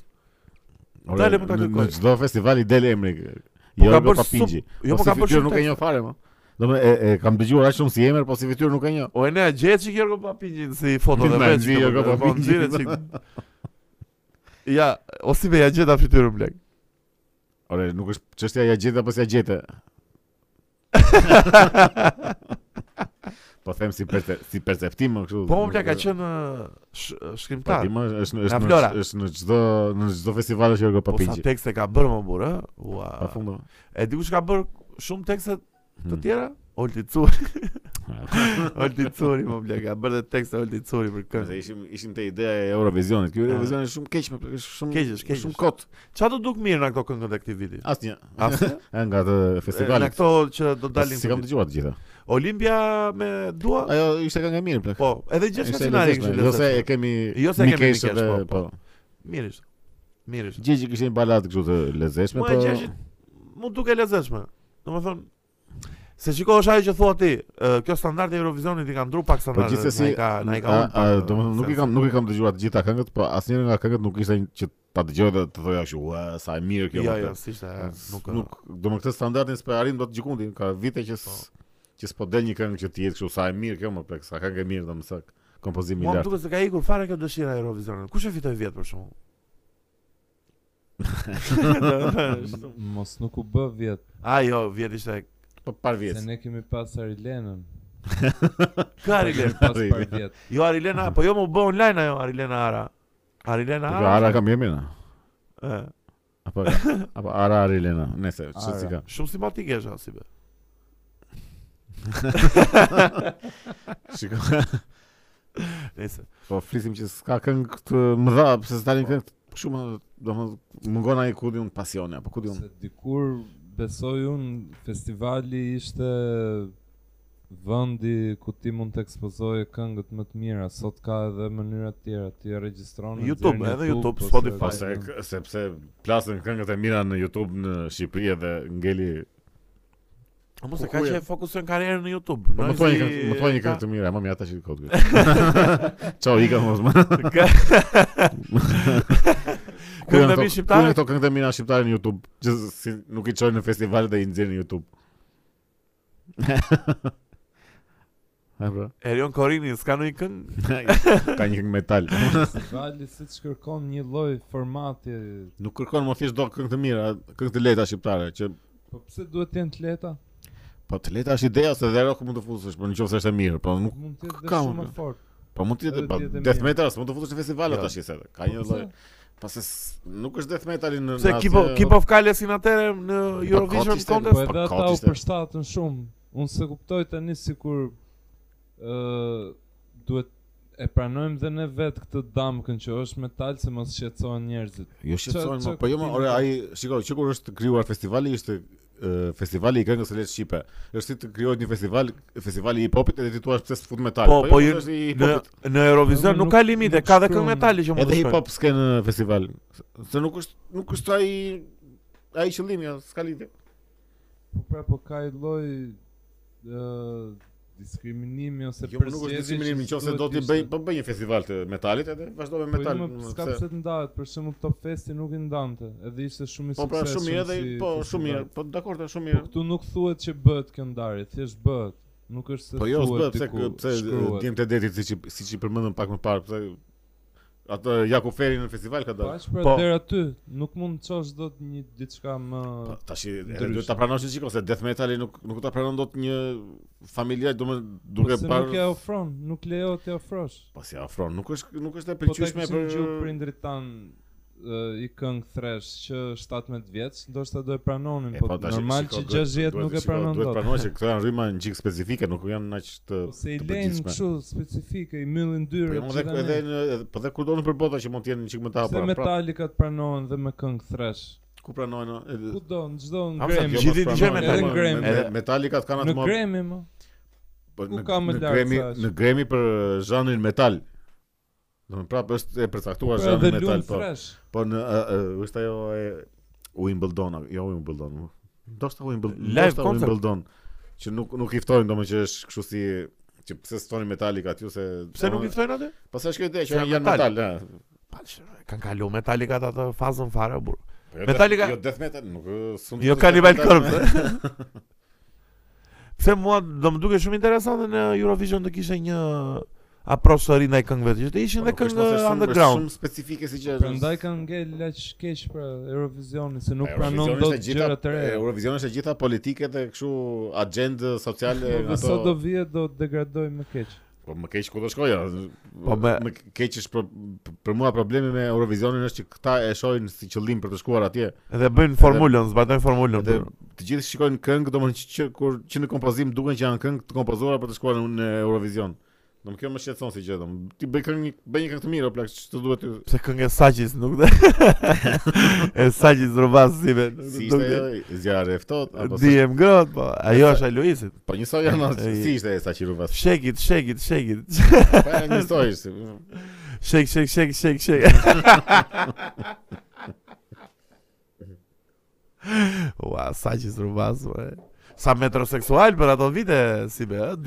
[SPEAKER 1] Ore,
[SPEAKER 2] dale më ta
[SPEAKER 1] në-
[SPEAKER 2] kërkoj.
[SPEAKER 1] Në çdo festival i del emri
[SPEAKER 2] Po ka
[SPEAKER 1] Jergo
[SPEAKER 2] bërë
[SPEAKER 1] Papingji.
[SPEAKER 2] Jo
[SPEAKER 1] Po
[SPEAKER 2] po
[SPEAKER 1] si
[SPEAKER 2] ka bërë
[SPEAKER 1] fytyrë
[SPEAKER 2] shumë
[SPEAKER 1] nuk e
[SPEAKER 2] tekst.
[SPEAKER 1] njoh fare më. Do me, e, e, kam dëgjuar aq shumë si emër, po si fytyrë nuk e njoh.
[SPEAKER 2] O e ne gjetë që Jorgo Papingjin si foto dhe
[SPEAKER 1] Na
[SPEAKER 2] veç.
[SPEAKER 1] nxirë Jorgo
[SPEAKER 2] po, po,
[SPEAKER 1] Papingjin.
[SPEAKER 2] nxirë që- Ja, ose me ja gjeta fytyrën blek.
[SPEAKER 1] Ore, nuk është çështja ja gjete apo s'ja gjete. Po them si perce, si perceptim më kështu.
[SPEAKER 2] Po më plak ka qenë uh, sh- uh, shkrimtar.
[SPEAKER 1] Patima është
[SPEAKER 2] Nga
[SPEAKER 1] është në
[SPEAKER 2] Flora.
[SPEAKER 1] është në çdo në çdo festival është Jergo
[SPEAKER 2] Po sa
[SPEAKER 1] Papingji.
[SPEAKER 2] tekste ka bërë më burë, ë? Ua.
[SPEAKER 1] Pa fund. do.
[SPEAKER 2] E di kush ka bërë shumë tekste të
[SPEAKER 1] Hmm.
[SPEAKER 2] tjera? Olti Curi. Olti Curi më plak ka bërë dhe tekste Olti Curi për
[SPEAKER 1] Se
[SPEAKER 2] këngë.
[SPEAKER 1] ishim ishim te ideja e Eurovisionit. Ky
[SPEAKER 2] Ah.
[SPEAKER 1] Eurovision është shumë keq, më plak, është shumë
[SPEAKER 2] Keq është, keq
[SPEAKER 1] shumë
[SPEAKER 2] është.
[SPEAKER 1] kot.
[SPEAKER 2] Çfarë do duk mirë në këto këngët e këtij viti?
[SPEAKER 1] Asnjë.
[SPEAKER 2] Asnjë?
[SPEAKER 1] E, Nga atë
[SPEAKER 2] Në
[SPEAKER 1] festivali.
[SPEAKER 2] këto që do dalin.
[SPEAKER 1] Si kam
[SPEAKER 2] këtë vit.
[SPEAKER 1] dëgjuar të gjitha.
[SPEAKER 2] Olimpia me dua.
[SPEAKER 1] Ajo ishte kënga e mirë plak.
[SPEAKER 2] Po, edhe gjithë stacionari kishte.
[SPEAKER 1] Jo se e
[SPEAKER 2] lezetshme.
[SPEAKER 1] kemi
[SPEAKER 2] Jo se e kemi
[SPEAKER 1] Mikesh
[SPEAKER 2] Mikesh,
[SPEAKER 1] edhe-
[SPEAKER 2] po,
[SPEAKER 1] po.
[SPEAKER 2] Mirë ishte. Mirë ishte.
[SPEAKER 1] Gjegji kishte një baladë kështu të lezetshme, po
[SPEAKER 2] Mua e gjeshit mu duke e lezetshme. Domethënë se shiko është ajo që thua ti, ë, kjo standardi i Eurovisionit i ka ndru pak
[SPEAKER 1] Po
[SPEAKER 2] standarde.
[SPEAKER 1] gjithsesi,
[SPEAKER 2] na i ka na i ka.
[SPEAKER 1] a-
[SPEAKER 2] unë po,
[SPEAKER 1] a,
[SPEAKER 2] pak,
[SPEAKER 1] domethënë nuk i
[SPEAKER 2] sensi.
[SPEAKER 1] kam nuk i kam dëgjuar të gjitha këngët, po asnjëra nga këngët nuk ishte një që ta dëgjoj dhe të thoja kështu, "Ua, sa e mirë kjo."
[SPEAKER 2] Jo,
[SPEAKER 1] po,
[SPEAKER 2] jo,
[SPEAKER 1] të-
[SPEAKER 2] s'ishte,
[SPEAKER 1] s-
[SPEAKER 2] nuk
[SPEAKER 1] nuk, domethënë këtë standardin s'po e arrim dot gjikundi, ka vite që s,
[SPEAKER 2] Po.
[SPEAKER 1] që s'po del një këngë që të jetë kështu sa e mirë kjo më plek, sa këngë e mirë domethënë sa kompozim i
[SPEAKER 2] Mua më
[SPEAKER 1] lartë.
[SPEAKER 2] duket se ka ikur fare kjo dëshira e Eurovisionit. Kush e fitoi vjet për shkakun? Domethënë,
[SPEAKER 3] M- Mos nuk u bë vjet,
[SPEAKER 2] A jo, vjet ishte
[SPEAKER 1] Po par
[SPEAKER 3] se
[SPEAKER 1] vjet.
[SPEAKER 3] ne kemi pas Arilenën.
[SPEAKER 2] Karilen.
[SPEAKER 3] Kemi pas par vjet.
[SPEAKER 2] Jo Arilena, po jo më bë online ajo Arilena Ara. Arilena
[SPEAKER 1] Po
[SPEAKER 2] Ara.
[SPEAKER 1] ara kam jemi na.
[SPEAKER 2] Ë,
[SPEAKER 1] Apo apo ara ara Elena, nëse ç'si si ka.
[SPEAKER 2] Shumë simpatike është asi be.
[SPEAKER 1] Shiko,
[SPEAKER 2] Nëse.
[SPEAKER 1] po flisim që s'ka këngë të mëdha, pse s'dalin këngë shumë domethënë mungon ai ku diun pasione apo ku diun.
[SPEAKER 3] Se dikur besoj unë festivali ishte vendi ku ti mund të ekspozoje këngët më të mira. Sot ka edhe mënyra të tjera, ti e regjistron në
[SPEAKER 2] YouTube,
[SPEAKER 3] nxjerrin
[SPEAKER 2] edhe YouTube,
[SPEAKER 3] ose-
[SPEAKER 1] Po
[SPEAKER 2] Spotify.
[SPEAKER 1] se sepse plasën këngët e mira në YouTube në Shqipëri edhe ngeli.
[SPEAKER 2] Po mos e
[SPEAKER 1] Ku-
[SPEAKER 2] ka
[SPEAKER 1] ku
[SPEAKER 2] që
[SPEAKER 1] je?
[SPEAKER 2] e fokusojnë karrierën në YouTube.
[SPEAKER 1] Po
[SPEAKER 2] Nëse-
[SPEAKER 1] më thoni këngë, më thoni këngë të mira, më mjata që kot. Ciao Ika mos më.
[SPEAKER 2] Ka-
[SPEAKER 1] Ku janë
[SPEAKER 2] Këngët e
[SPEAKER 1] ato-
[SPEAKER 2] mi shqiptare?
[SPEAKER 1] Ku janë ato këngët e mira shqiptare në YouTube? Që si nuk i çojnë në festival dhe i nxjerrin në YouTube. E pra.
[SPEAKER 2] Erion Korini s'ka ndonjë këngë?
[SPEAKER 1] Ka një këngë metal.
[SPEAKER 3] Festivali si të shkërkon një lloj formati,
[SPEAKER 1] Nuk kërkon më thjesht do këngë të mira, këngë të lehta shqiptare që
[SPEAKER 3] po pse duhet të jenë të lehta?
[SPEAKER 1] po të lehta është ideja se dhe rock mund të futesh, po nëse është e mirë, po nuk
[SPEAKER 3] Mund të jetë dhe
[SPEAKER 1] ka,
[SPEAKER 3] shumë
[SPEAKER 1] më
[SPEAKER 3] më fort.
[SPEAKER 1] po mund të jetë
[SPEAKER 3] Edhe
[SPEAKER 1] po
[SPEAKER 3] të jetë e
[SPEAKER 1] death
[SPEAKER 3] mirë. Po,
[SPEAKER 1] metal, s'mund të futesh në festivale
[SPEAKER 2] Jo.
[SPEAKER 1] tash se ka një lloj. Pas nuk është death metal në po,
[SPEAKER 2] Se
[SPEAKER 1] në
[SPEAKER 2] Kipo
[SPEAKER 1] asë-
[SPEAKER 2] Kipo Kalesin atëre në Eurovision
[SPEAKER 1] ishte-
[SPEAKER 3] Po
[SPEAKER 2] Contest?
[SPEAKER 1] Po,
[SPEAKER 3] edhe ata
[SPEAKER 1] kati
[SPEAKER 3] u
[SPEAKER 1] ishte.
[SPEAKER 3] përshtatën shumë. Unë se kuptoj tani sikur ë duhet e pranojmë dhe ne vetë këtë damkën që është metal se mos shqetësohen njerëzit.
[SPEAKER 1] Jo shqetësohen, ma,
[SPEAKER 3] Qa- qa
[SPEAKER 1] po jo më,
[SPEAKER 3] kuptimi
[SPEAKER 1] ore,
[SPEAKER 3] ka?
[SPEAKER 1] ai, shikoj, që kur është krijuar festivali ishte ë, festivali i këngës së lehtë shqipe. Është si të krijohet një festival, festivali i hip-hopit edhe ti thua pse s'fut metal.
[SPEAKER 2] Po, po,
[SPEAKER 1] jo,
[SPEAKER 2] ju-
[SPEAKER 1] është i
[SPEAKER 2] Në
[SPEAKER 1] hip-hopit.
[SPEAKER 2] në Eurovision
[SPEAKER 3] Po,
[SPEAKER 2] nuk
[SPEAKER 3] nuk-
[SPEAKER 2] ka limite,
[SPEAKER 3] nuk
[SPEAKER 2] ka edhe
[SPEAKER 3] shkruan-
[SPEAKER 2] këngë metali që mund
[SPEAKER 1] Edhe
[SPEAKER 2] të shkojnë.
[SPEAKER 1] hip-hop s'ka në festival. Se nuk është nuk është ai ai qëllimi, ja, s'ka lidhje.
[SPEAKER 3] Po pra po ka i lloj ë diskriminimi ose
[SPEAKER 1] Jo, po nuk është diskriminim nëse do të bëj, po bëj një festival të metalit edhe vazhdo me metal.
[SPEAKER 3] metal. Po
[SPEAKER 1] më,
[SPEAKER 3] s'ka
[SPEAKER 1] se-
[SPEAKER 3] pse të ndahet, për shembull Top Festi nuk i ndante, edhe ishte shumë i
[SPEAKER 1] Po pra
[SPEAKER 3] suksesshëm
[SPEAKER 1] shumë mirë edhe
[SPEAKER 3] si
[SPEAKER 1] po
[SPEAKER 3] festival.
[SPEAKER 1] shumë mirë, po dakor, është shumë
[SPEAKER 3] Po
[SPEAKER 1] mirë.
[SPEAKER 3] këtu nuk thuhet që bëhet kjo ndarje, thjesht bëhet. Nuk është se
[SPEAKER 1] Po jo, s'bë,
[SPEAKER 3] thuhet
[SPEAKER 1] pse
[SPEAKER 3] diku,
[SPEAKER 1] pse
[SPEAKER 3] shkruhet.
[SPEAKER 1] djem të detit siç i- siç i përmendëm pak më parë, pse atë Jaku Feri në festival ka
[SPEAKER 3] Po
[SPEAKER 1] dalë.
[SPEAKER 3] aq pra
[SPEAKER 2] Po.
[SPEAKER 3] deri aty, nuk mund të çosh dot një diçka më
[SPEAKER 1] Po, Tash edhe
[SPEAKER 3] ndryshe.
[SPEAKER 1] duhet ta pranosh shikoj se death metali nuk nuk ta pranon dot një familjar, domethënë duke
[SPEAKER 3] duke Po, se nuk e
[SPEAKER 1] parë
[SPEAKER 3] ofron, nuk lejo të ofrosh.
[SPEAKER 1] Po si afron, nuk është nuk është e
[SPEAKER 3] Po ta
[SPEAKER 1] pëlqyeshme
[SPEAKER 3] kishin
[SPEAKER 1] për
[SPEAKER 3] gjuhë prindrit tan ë, i këngë thresh që 17 vjeç, ndoshta do e pranonin,
[SPEAKER 1] E,
[SPEAKER 3] po,
[SPEAKER 1] po, tash,
[SPEAKER 3] normal
[SPEAKER 1] shiko,
[SPEAKER 3] që
[SPEAKER 1] duhet-
[SPEAKER 3] 60 nuk e
[SPEAKER 1] shiko,
[SPEAKER 3] pranon
[SPEAKER 1] Duhet
[SPEAKER 3] dot.
[SPEAKER 1] pranohet që këto janë rryma një çik specifike, nuk janë aq të
[SPEAKER 3] Ose i
[SPEAKER 1] të
[SPEAKER 3] lejnë
[SPEAKER 1] përgjithshme.
[SPEAKER 3] kështu specifike, i myllin
[SPEAKER 1] Po
[SPEAKER 3] dyrë.
[SPEAKER 1] jo, edhe
[SPEAKER 3] gjitha
[SPEAKER 1] edhe pra-
[SPEAKER 3] ne.
[SPEAKER 1] në edhe- po edhe kur do në për bota që mund të jenë një çik më të
[SPEAKER 3] Pse
[SPEAKER 1] hapura. prap,
[SPEAKER 3] metalikat pranohen dhe me këngë thresh.
[SPEAKER 1] Ku pranohen? edhe-
[SPEAKER 3] Ku do, në çdo në
[SPEAKER 2] Hamza,
[SPEAKER 1] Jo,
[SPEAKER 3] Grammy.
[SPEAKER 1] po,
[SPEAKER 2] Gjithë ditë
[SPEAKER 1] pranohen,
[SPEAKER 2] dëgjojmë
[SPEAKER 1] edhe
[SPEAKER 3] Metallica.
[SPEAKER 1] me-
[SPEAKER 3] Gremi.
[SPEAKER 1] me- me- Metallicat kanë atë
[SPEAKER 3] Në
[SPEAKER 1] më
[SPEAKER 3] Grammy më.
[SPEAKER 1] Po
[SPEAKER 3] Ku
[SPEAKER 1] në,
[SPEAKER 3] ka më
[SPEAKER 1] në
[SPEAKER 3] lartë
[SPEAKER 1] Grammy,
[SPEAKER 3] sa është?
[SPEAKER 1] në Grammy për uh, zhanrin metal. Do të prapë është e përcaktuar
[SPEAKER 3] Po
[SPEAKER 1] zhanri
[SPEAKER 3] edhe
[SPEAKER 1] metal,
[SPEAKER 3] lumë
[SPEAKER 1] po.
[SPEAKER 3] thresh.
[SPEAKER 1] Po në uh, uh, është ajo e Wimbledon, a- jo Wimbledon. mo. Ndoshta Wimbledon,
[SPEAKER 2] Live
[SPEAKER 1] ndoshta
[SPEAKER 2] concert.
[SPEAKER 1] Wimbledon që nuk nuk i ftojnë domethënë që është kështu si që pse stoni metalik aty se
[SPEAKER 2] Pse nuk i ftojnë atë?
[SPEAKER 1] Pastaj është kjo ide
[SPEAKER 2] Se
[SPEAKER 1] që
[SPEAKER 2] janë
[SPEAKER 1] janë
[SPEAKER 2] metal.
[SPEAKER 1] metal, ha. Po,
[SPEAKER 2] Pa, shë- Kanë kalu Metallica të atë fazën fare burr.
[SPEAKER 1] Po jo
[SPEAKER 2] Metallica-
[SPEAKER 1] death- jo death metal, nuk ë, s'u
[SPEAKER 2] Jo
[SPEAKER 1] ndodh
[SPEAKER 2] Cannibal
[SPEAKER 1] death metal.
[SPEAKER 2] Corpse. Pse mua do më duket shumë interesante në Eurovision të kishte një approach të ri ndaj këngëve. Që të ishin
[SPEAKER 1] Po,
[SPEAKER 2] dhe
[SPEAKER 1] nuk është
[SPEAKER 2] këngë
[SPEAKER 1] ose shumë-
[SPEAKER 2] underground.
[SPEAKER 1] Shumë specifike si që
[SPEAKER 3] Prandaj kanë ngel aq keq pra Eurovisionin se nuk pranon
[SPEAKER 1] Eurovisioni
[SPEAKER 3] dot
[SPEAKER 1] është e gjitha-
[SPEAKER 3] gjëra të reja.
[SPEAKER 1] Eurovisioni është e gjitha politike dhe kështu agjendë sociale
[SPEAKER 3] Po
[SPEAKER 1] nga
[SPEAKER 3] dhe sot do vije do të degradoj më keq.
[SPEAKER 1] Po më keq ku do shkoja.
[SPEAKER 2] Po,
[SPEAKER 1] Po
[SPEAKER 2] me-
[SPEAKER 1] më keq është për, për mua problemi me Eurovisionin është që këta e shohin si qëllim për të shkuar atje.
[SPEAKER 2] Edhe bëjnë formulën, zbatojnë formulën. po,
[SPEAKER 1] Dhe
[SPEAKER 2] burr.
[SPEAKER 1] të gjithë shikojnë këngë, domethënë që, që kur që në kompozim duken që janë këngë të kompozuara për të shkuar në- në Eurovision. Domethënë kjo më shqetëson si gjë, domethënë ti bëj këngë, bëj një këngë të mirë, o plak, ç'të duhet ty.
[SPEAKER 2] Pse këngë e Saqis nuk dhe E Saqis rubas si me
[SPEAKER 1] Si
[SPEAKER 2] nuk
[SPEAKER 1] ishte
[SPEAKER 2] dhe
[SPEAKER 1] ajo, zjarri e ftohtë apo si?
[SPEAKER 2] Dijem grot po Ajo është e Luisit
[SPEAKER 1] Po njësoj janë,
[SPEAKER 2] E-
[SPEAKER 1] si ishte e Saqiru pas.
[SPEAKER 2] Shekit, shekit, shekit
[SPEAKER 1] Po janë njësoj. si-
[SPEAKER 2] Shek, shek, shek, shek, shek Ua, Saqis rubas po, e. Sa metroseksual për ato vite si be ë?
[SPEAKER 1] Mirë,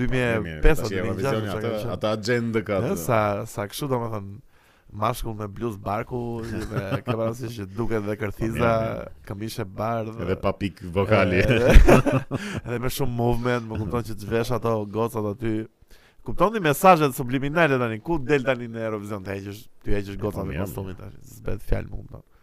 [SPEAKER 2] 2005
[SPEAKER 1] tash Eurovisioni, atë
[SPEAKER 2] 2006
[SPEAKER 1] atë agjendë ka.
[SPEAKER 2] Ë,
[SPEAKER 1] atë.
[SPEAKER 2] Sa, sa kështu do me thënë Mashkull me bluz barku Me këpërësi që duket dhe kërthiza Këmbishe bardhë
[SPEAKER 1] Edhe pa pik vokali.
[SPEAKER 2] Edhe, edhe me shumë movement, më kupton që të vesh ato gocat aty. Kupton ti mesazhet subliminale tani, ku del tani në Eurovision të heqësh, ty heqësh gocat
[SPEAKER 1] Po,
[SPEAKER 2] me
[SPEAKER 1] mirë.
[SPEAKER 2] kostumin tash. Zbet fjalë më kupton.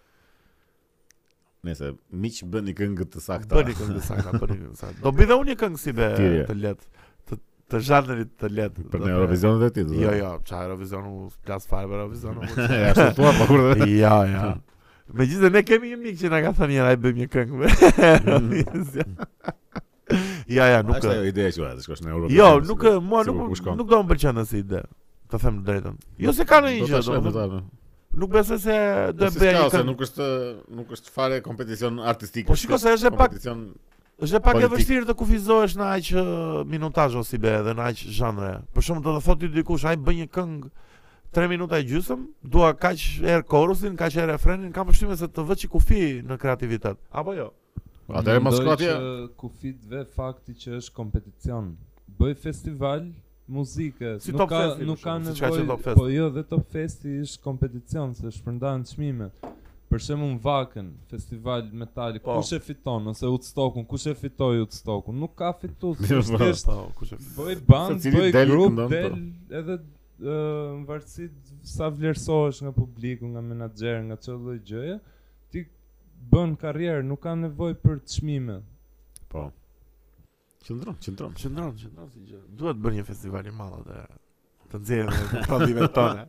[SPEAKER 1] Nëse miq bëni këngë të sakta.
[SPEAKER 2] Bëni këngë të sakta, bëni këngë të sakta. Do bëj dhe unë një këngë si be
[SPEAKER 1] Tjerje.
[SPEAKER 2] të lehtë, të të zhanrit të lehtë.
[SPEAKER 1] Për
[SPEAKER 2] do
[SPEAKER 1] në
[SPEAKER 2] të-
[SPEAKER 1] Eurovisionet e ti, do
[SPEAKER 2] Jo, jo, çfarë Eurovision u plas fare për Eurovision. u-
[SPEAKER 1] Ja, ashtu thua, po kur dhe.
[SPEAKER 2] Jo, jo. Me gjithë ne kemi një mik që na ka thënë njëra i bëjmë një këngë me Ja, ja, nuk
[SPEAKER 1] Nuk është ajo ideja që ua, të shkosh në Eurovision.
[SPEAKER 2] Jo, nuk e- mua
[SPEAKER 1] sigur
[SPEAKER 2] nuk
[SPEAKER 1] ku shkon.
[SPEAKER 2] nuk do më pëlqen as ide. Të them të drejtën. Jo se ka ndonjë gjë, do.
[SPEAKER 1] do. Po
[SPEAKER 2] më- Nuk besoj se do
[SPEAKER 1] Do
[SPEAKER 2] e
[SPEAKER 1] të
[SPEAKER 2] bëja një
[SPEAKER 1] se
[SPEAKER 2] këngë.
[SPEAKER 1] nuk është nuk është fare kompeticion artistik.
[SPEAKER 2] Po shiko se është e pak-
[SPEAKER 1] kompeticion.
[SPEAKER 2] Është pak e
[SPEAKER 1] politik.
[SPEAKER 2] vështirë të kufizohesh në aq ë, minutazh ose be edhe në aq zhanre. Për shembull, do të thotë ti dikush, ai bën një këngë 3 minuta e gjysmë, dua kaq herë korusin, kaq herë refrenin, kam përshtypjen se të vë çi kufi në kreativitet. Apo jo?
[SPEAKER 1] Atëherë mos
[SPEAKER 3] Mendoj
[SPEAKER 1] shko atje.
[SPEAKER 3] që Kufit dhe fakti që është kompeticion. Bëj festival muzike,
[SPEAKER 2] Si Top
[SPEAKER 3] nuk ka
[SPEAKER 2] Festi, për
[SPEAKER 3] nuk ka po
[SPEAKER 2] shembull, siç ka qenë Top
[SPEAKER 3] nevojë,
[SPEAKER 2] Festi.
[SPEAKER 3] po jo dhe Top Festi është kompeticion se shpërndajnë çmime. Për shembull Vakën, festival metali,
[SPEAKER 2] Po.
[SPEAKER 3] kush e fiton ose Woodstockun, kush e fitoi Woodstockun? Nuk ka fitues.
[SPEAKER 1] Mirë,
[SPEAKER 3] është
[SPEAKER 1] po.
[SPEAKER 3] thjesht
[SPEAKER 2] Po, kush e
[SPEAKER 3] bëj band,
[SPEAKER 1] Secili
[SPEAKER 3] bëj
[SPEAKER 1] del
[SPEAKER 3] grup,
[SPEAKER 1] këndon, po.
[SPEAKER 3] del edhe ë, në varësi të sa vlerësohesh nga publiku, nga menaxher, nga çdo lloj gjëje, ti bën karrierë, nuk ka nevojë për çmime.
[SPEAKER 1] Po. Qëndron, qëndron.
[SPEAKER 2] Qëndron, qëndron si gjë. Duhet bërë një festival i madh atë. Të nxjerrim në prodhimet tona.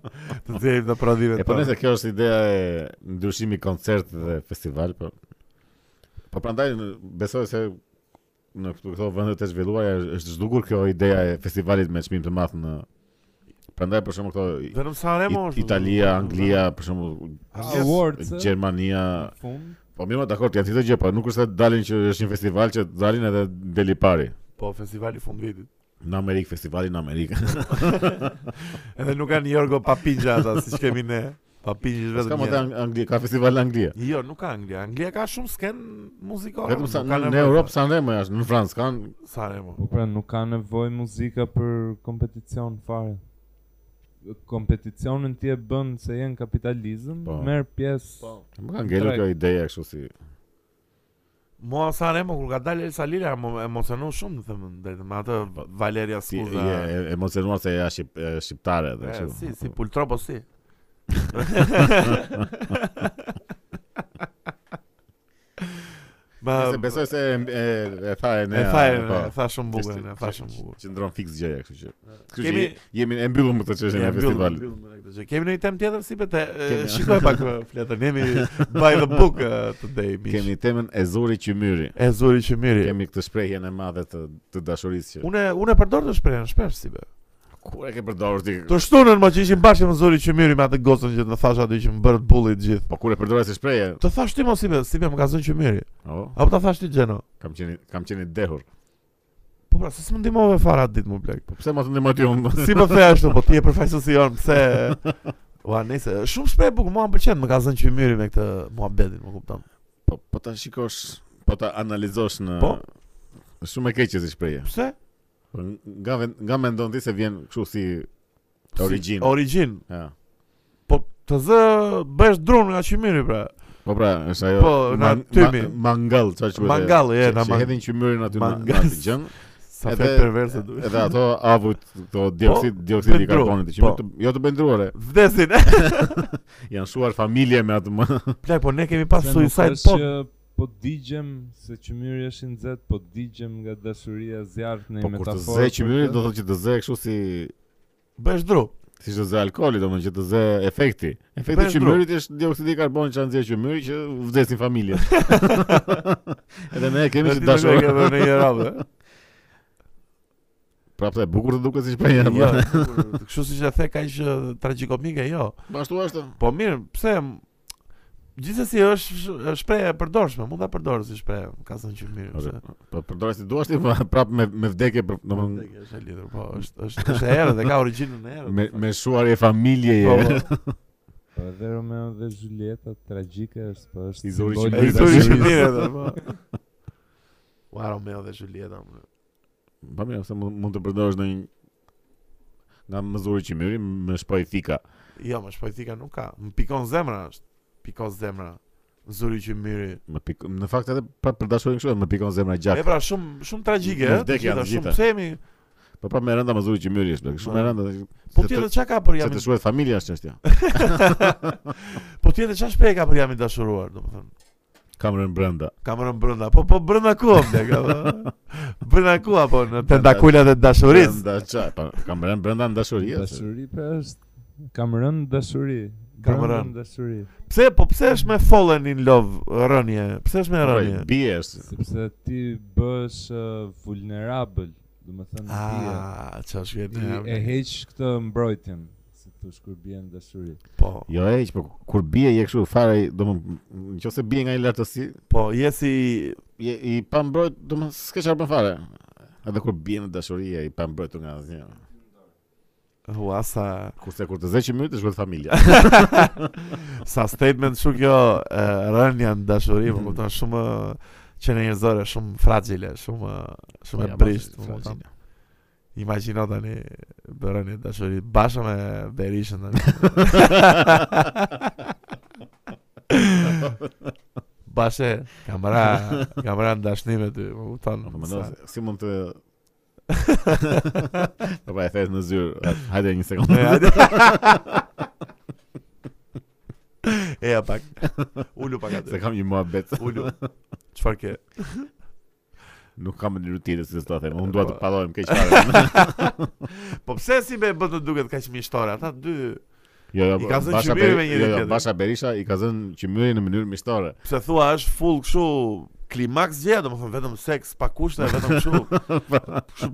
[SPEAKER 2] Të nxjerrim në prodhimet
[SPEAKER 1] E
[SPEAKER 2] tona.
[SPEAKER 1] po nëse kjo është ideja e ndryshimi koncert dhe festival, po. Po prandaj në- besoj se në këtu këto vende të zhvilluara është- është zhdukur kjo ideja e festivalit me çmim të madh në Prandaj për shembull këto i-
[SPEAKER 2] Vetëm Sanremo
[SPEAKER 1] I-
[SPEAKER 2] është.
[SPEAKER 1] Italia, Anglia, për shembull
[SPEAKER 2] Ah,
[SPEAKER 3] Awards e,
[SPEAKER 1] Gjermania,
[SPEAKER 3] në fund.
[SPEAKER 1] po mirë, dakor, janë çdo gjë, po nuk është se dalin që është një festival që dalin edhe deli pari.
[SPEAKER 2] Po festivali fund vitit.
[SPEAKER 1] Në Amerikë, festivali në Amerikë.
[SPEAKER 2] Edhe nuk kanë Jorgo Papigja ata siç kemi ne. Papigji është
[SPEAKER 1] Ska
[SPEAKER 2] vetëm.
[SPEAKER 1] më të
[SPEAKER 2] një.
[SPEAKER 1] Angli, ka festival në Anglia.
[SPEAKER 2] Jo, nuk ka Anglia. Anglia ka shumë sken muzikore.
[SPEAKER 1] Vetëm sa
[SPEAKER 2] Po, nuk ka
[SPEAKER 1] në në
[SPEAKER 2] nevojë.
[SPEAKER 1] Europë sa ndaj më është, në Francë kanë
[SPEAKER 2] Sanremo.
[SPEAKER 3] Po pra nuk ka nevojë muzika për kompeticion fare. Kompeticionin ti e bën se je në kapitalizëm,
[SPEAKER 1] Po.
[SPEAKER 3] merr pjesë.
[SPEAKER 1] më kanë ngelur
[SPEAKER 3] Drejt.
[SPEAKER 1] kjo ideja kështu si.
[SPEAKER 2] Mua Sanremo kur ka dalë Elsa Lila më emocionon shumë, them drejtën, me atë Valeria
[SPEAKER 1] Po, si
[SPEAKER 2] Scuza.
[SPEAKER 1] je e- emocionuar se ja shqip, e, shqiptare dhe
[SPEAKER 2] Eh,
[SPEAKER 1] kështu.
[SPEAKER 2] Si, si pultropo si. Ma
[SPEAKER 1] Se besoj se e, e, e tha e ne.
[SPEAKER 2] e tha e
[SPEAKER 1] po.
[SPEAKER 2] tha shumë bukur,
[SPEAKER 1] Kështu-
[SPEAKER 2] e tha shumë bukur.
[SPEAKER 1] Qëndron fiks gjëja, kështu që. Kështu që
[SPEAKER 2] Kemi-
[SPEAKER 1] jemi e mbyllur me këtë çështje në
[SPEAKER 2] Ja, mbyllëm-
[SPEAKER 1] festival.
[SPEAKER 2] mbyllëm me këtë gjë. Kemi një temë tjetër si bete,
[SPEAKER 1] Kemi.
[SPEAKER 2] shikoj pak eh, fletën, jemi by the book eh, today, mish.
[SPEAKER 1] Kemi temën e zuri qymyri.
[SPEAKER 2] E zuri që miri.
[SPEAKER 1] Kemi këtë shprehje në madhe të, të dashurisë që
[SPEAKER 2] Unë unë e përdor të shprehën shpesh si be.
[SPEAKER 1] kur e ke përdorur ti?
[SPEAKER 2] Të shtunën më që ishin bashkë me zuri që miri me atë gocën që të thash aty që më bërë bullit gjithë.
[SPEAKER 1] Po kur e përdorë si shprehje?
[SPEAKER 2] Të thash ti mos si be, si be më ka zënë që miri.
[SPEAKER 1] Oh,
[SPEAKER 2] Apo ta thash ti Gjeno?
[SPEAKER 1] kam qenë kam qenë i dehur.
[SPEAKER 2] Po pra, se s'më ndihmove fare atë ditë më blek.
[SPEAKER 1] Po pse mos ndihmoj ti unë?
[SPEAKER 2] Si më the ashtu, po ti e përfaqësuesi jon, pse Ua, nëse shumë shpejt bukur mua më pëlqen, më ka zënë qymyri me këtë muhabetin, më kupton.
[SPEAKER 1] Po po ta shikosh, po ta analizosh në
[SPEAKER 2] Po.
[SPEAKER 1] Shumë e keqe si shprehje.
[SPEAKER 2] Pse?
[SPEAKER 1] Po, Nga ven- nga mendon ti se vjen kështu si Origjinë.
[SPEAKER 2] Si, origjinë.
[SPEAKER 1] ja.
[SPEAKER 2] Po të zë bësh drun nga qymyri pra.
[SPEAKER 1] Po pra, është ajo.
[SPEAKER 2] Po, na tymi.
[SPEAKER 1] mangall, çfarë quhet?
[SPEAKER 2] Mangalli, e, na
[SPEAKER 1] mangall.
[SPEAKER 2] man-
[SPEAKER 1] Hedhin qymyrin aty në në
[SPEAKER 2] Mangal.
[SPEAKER 1] atë gjën.
[SPEAKER 2] Sa
[SPEAKER 1] Edhe-
[SPEAKER 2] fe perverse duhet.
[SPEAKER 1] Edhe ato avut, këto dioksid, dioksid i
[SPEAKER 2] bëjnë dru,
[SPEAKER 1] karbonit, që
[SPEAKER 2] po.
[SPEAKER 1] jo të- jo të bëjnë druare.
[SPEAKER 2] Vdesin. eh,
[SPEAKER 1] Janë shuar familje me atë. më-
[SPEAKER 2] Plak, po ne kemi pas
[SPEAKER 3] Se nuk
[SPEAKER 2] suicide
[SPEAKER 3] është
[SPEAKER 2] po.
[SPEAKER 3] që po digjem se qymyri është i nxehtë, po digjem nga dashuria zjarrt në
[SPEAKER 1] Po
[SPEAKER 3] një
[SPEAKER 1] kur të
[SPEAKER 3] metaforë.
[SPEAKER 1] zë
[SPEAKER 3] për
[SPEAKER 1] qymyri
[SPEAKER 3] këtë.
[SPEAKER 1] do të thotë që të zë kështu si
[SPEAKER 2] Bësh dru.
[SPEAKER 1] si të zë alkooli, domethënë që të zë efekti. Efekti i
[SPEAKER 2] Bëjnë dru.
[SPEAKER 1] qymyrit është dioksidi i karbonit që nxjerr qymyri që vdesin familje. Edhe ne kemi që
[SPEAKER 2] Edhe ti nuk e ke
[SPEAKER 1] dashur.
[SPEAKER 2] vënë në një radhë. eh. e?
[SPEAKER 1] Prapë e bukur të duket si shprehje.
[SPEAKER 2] Jo.
[SPEAKER 1] po.
[SPEAKER 2] kur- Kështu siç e the kaq eh, tragikomike, jo.
[SPEAKER 1] Po ashtu është.
[SPEAKER 2] Po mirë, pse m- Gjithsesi është sh- është shprehje e përdorshme, mund ta përdorësh si shprehje, më ka thënë qymyri.
[SPEAKER 1] Ore,
[SPEAKER 2] pse?
[SPEAKER 1] Po përdorë si duash ti, po prapë me me vdekje, për- domethënë
[SPEAKER 2] Tek është e lidhur, po, është është është e erë dhe ka origjinën e erë.
[SPEAKER 1] me me shuarje familje.
[SPEAKER 2] Po,
[SPEAKER 1] e-
[SPEAKER 2] po.
[SPEAKER 3] Po edhe Romeo dhe Julieta tragjike është, po është
[SPEAKER 1] I zori
[SPEAKER 3] simboli
[SPEAKER 1] qymyri,
[SPEAKER 2] E
[SPEAKER 3] i
[SPEAKER 1] ta
[SPEAKER 2] zuri
[SPEAKER 1] dashurisë.
[SPEAKER 2] që
[SPEAKER 3] dashurisë.
[SPEAKER 2] mirë edhe, po. Ua Romeo dhe Julieta. më.
[SPEAKER 1] Po mirë, se mund mund të përdorësh ndonjë nga mëzuri qymyri me shpoj fika.
[SPEAKER 2] Jo, më shpojtika nuk ka. Më pikon zemra është. Pikon zemra. Zuri që miri.
[SPEAKER 1] Më pik, në fakt edhe pra për dashurinë kështu më pikon zemra
[SPEAKER 2] E
[SPEAKER 1] gjak.
[SPEAKER 2] pra shumë shumë tragjike, eh,
[SPEAKER 1] Në
[SPEAKER 2] ë?
[SPEAKER 1] vdekje janë
[SPEAKER 2] Gjitha,
[SPEAKER 1] gjitha.
[SPEAKER 2] Shumë pse jemi.
[SPEAKER 1] Po prapë me rënda mëzuri qymyri është, plak, shumë e
[SPEAKER 2] Po.
[SPEAKER 1] rënda.
[SPEAKER 2] Po
[SPEAKER 1] Se
[SPEAKER 2] tjetër
[SPEAKER 1] të-
[SPEAKER 2] çka ka për
[SPEAKER 1] Se
[SPEAKER 2] jam?
[SPEAKER 1] të shuhet familja është çështja.
[SPEAKER 2] Po tjetër çfarë shpej ka për jam i dashuruar, domethënë.
[SPEAKER 1] Kam rënë brenda.
[SPEAKER 2] Kam rënë brenda. Po po brenda ku apo ka? Brenda ku apo në tentakulat e dashurisë.
[SPEAKER 1] Brenda çaj, po kam rënë brenda në dashuri. e, se-
[SPEAKER 3] Dashuri pra është kam rënë dashuri.
[SPEAKER 2] Kam
[SPEAKER 3] brëndën
[SPEAKER 2] rënë.
[SPEAKER 3] dashuri,
[SPEAKER 2] Pse po pse është me fallen in love rënje? Pse është me
[SPEAKER 1] Po,
[SPEAKER 2] rënje?
[SPEAKER 1] Bie është.
[SPEAKER 3] sepse ti bësh uh, vulnerable, domethënë ti
[SPEAKER 2] Ah, çfarë
[SPEAKER 3] ti e
[SPEAKER 2] shkjet.
[SPEAKER 3] heq këtë mbrojtjen, si thosh kur bie në dashuri.
[SPEAKER 2] Po.
[SPEAKER 1] Jo e hiq, po kur bie je kështu fare, domthon nëse bie nga një lartësi,
[SPEAKER 2] Po, je si
[SPEAKER 1] je i pa mbrojt, domthon s'ke çfarë bën fare. Edhe kur bie në dashuri je i pa mbrojtur nga asnjë.
[SPEAKER 2] Ua, sa,
[SPEAKER 1] Kurse kur të zë qymyri të shkruhet familja.
[SPEAKER 2] sa statement shumë kjo e, rënja në dashuri, më kupton shumë që në njerëzore, shumë fragile, shumë
[SPEAKER 1] Po,
[SPEAKER 2] shumë e brisht, më kupton. Imagjino tani bërën e dashuri bashkë me Berishën tani. Bashe, kamera, kamera në dashni me ty, më kupton.
[SPEAKER 1] Po mendoj se- si mund të Po pa e thes në zyrë. Hajde një sekondë.
[SPEAKER 2] E ja pak. Ulu pak
[SPEAKER 1] Se
[SPEAKER 2] atë.
[SPEAKER 1] kam një muhabet.
[SPEAKER 2] Ulu. Çfarë ke?
[SPEAKER 1] Nuk kam një rutinë si s'ta them. Unë dua të pallohem keq fare.
[SPEAKER 2] Po pse si be bën të duket kaq miqtore? Ata dy
[SPEAKER 1] Jo, jo.
[SPEAKER 2] I ka zënë
[SPEAKER 1] Basha
[SPEAKER 2] qymyri me
[SPEAKER 1] Beri- jo,
[SPEAKER 2] njëri
[SPEAKER 1] jo,
[SPEAKER 2] tjetrin.
[SPEAKER 1] Basha Berisha i ka zënë qymyrin në mënyrë mishtore.
[SPEAKER 2] pse thua është full kështu klimaks gjë, domethënë vetëm seks pa kushte, vetëm kështu. Kështu.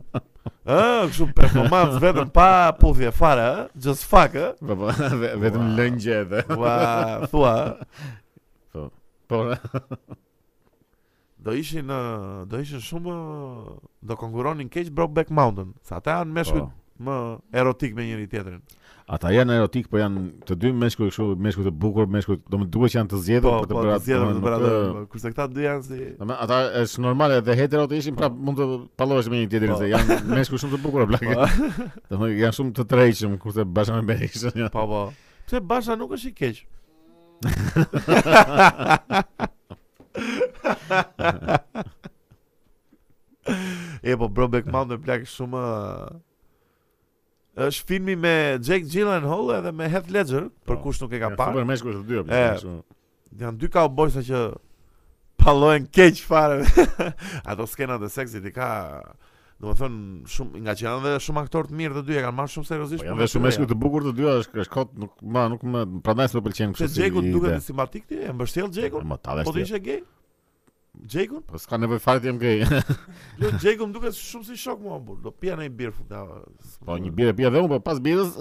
[SPEAKER 2] Ë, kështu performancë vetëm pa puthje fare, ë? Just fuck, ë?
[SPEAKER 1] Po po, ve- vetëm
[SPEAKER 2] Ua.
[SPEAKER 1] lëngje edhe.
[SPEAKER 2] Ua, thua, ë?
[SPEAKER 1] Po,
[SPEAKER 2] Do ishin ë, do ishin shumë ë, do konkuronin keq Brokeback Mountain. Sa ata janë meshkuj
[SPEAKER 1] po.
[SPEAKER 2] më erotik me njëri tjetrin.
[SPEAKER 1] Ata janë erotik, po janë të dy meshkuj kështu, meshkuj të bukur, meshkuj, do më duhet që janë të zgjedhur
[SPEAKER 2] Po,
[SPEAKER 1] për të
[SPEAKER 2] po,
[SPEAKER 1] bërë
[SPEAKER 2] të
[SPEAKER 1] atë,
[SPEAKER 2] zgjedhëm të
[SPEAKER 1] domethënë,
[SPEAKER 2] bëra
[SPEAKER 1] nuk,
[SPEAKER 2] atë, po, kurse këta dy janë si
[SPEAKER 1] domethënë, ata është normale dhe hetero të ishin, prap mund të pallohesh me një tjetrin
[SPEAKER 2] Po.
[SPEAKER 1] se janë meshkuj shumë të bukur plakë. Domethënë janë shumë të tërheqshëm kurse bashkë me Berishën. janë.
[SPEAKER 2] Po, po. Pse Basha nuk është i keq? e po Brokeback Mountain plak shumë ë, është filmi me Jake Gyllenhaal edhe me Heath Ledger, për
[SPEAKER 1] Po,
[SPEAKER 2] kush nuk e ka
[SPEAKER 1] Janë
[SPEAKER 2] parë.
[SPEAKER 1] Super meshkuj të po, dy apo
[SPEAKER 2] E. janë dy cowboysa që pallohen keq fare. Ato skenat e seksit i ka Do më thënë, shumë, nga që janë dhe shumë aktorë të mirë të dy, e kanë marrë shumë seriosisht.
[SPEAKER 1] Po janë dhe shumë meshkuj të bukur të dyja, është është kot, nuk ma nuk më prandaj s'më pëlqen
[SPEAKER 2] Se
[SPEAKER 1] kështu. si
[SPEAKER 2] Gjekun duket
[SPEAKER 1] ide.
[SPEAKER 2] i simpatik ti, e mbështjell Gjekun,
[SPEAKER 1] Ma ta
[SPEAKER 2] po të
[SPEAKER 1] vesh.
[SPEAKER 2] ishe gay. Gjekun,
[SPEAKER 1] Po s'ka nevojë fare të jem gay.
[SPEAKER 2] lo Gjekun më duket shumë si shok mua burr. Do pija në një birë futa.
[SPEAKER 1] Po një birë pija dhe unë, po pas birës.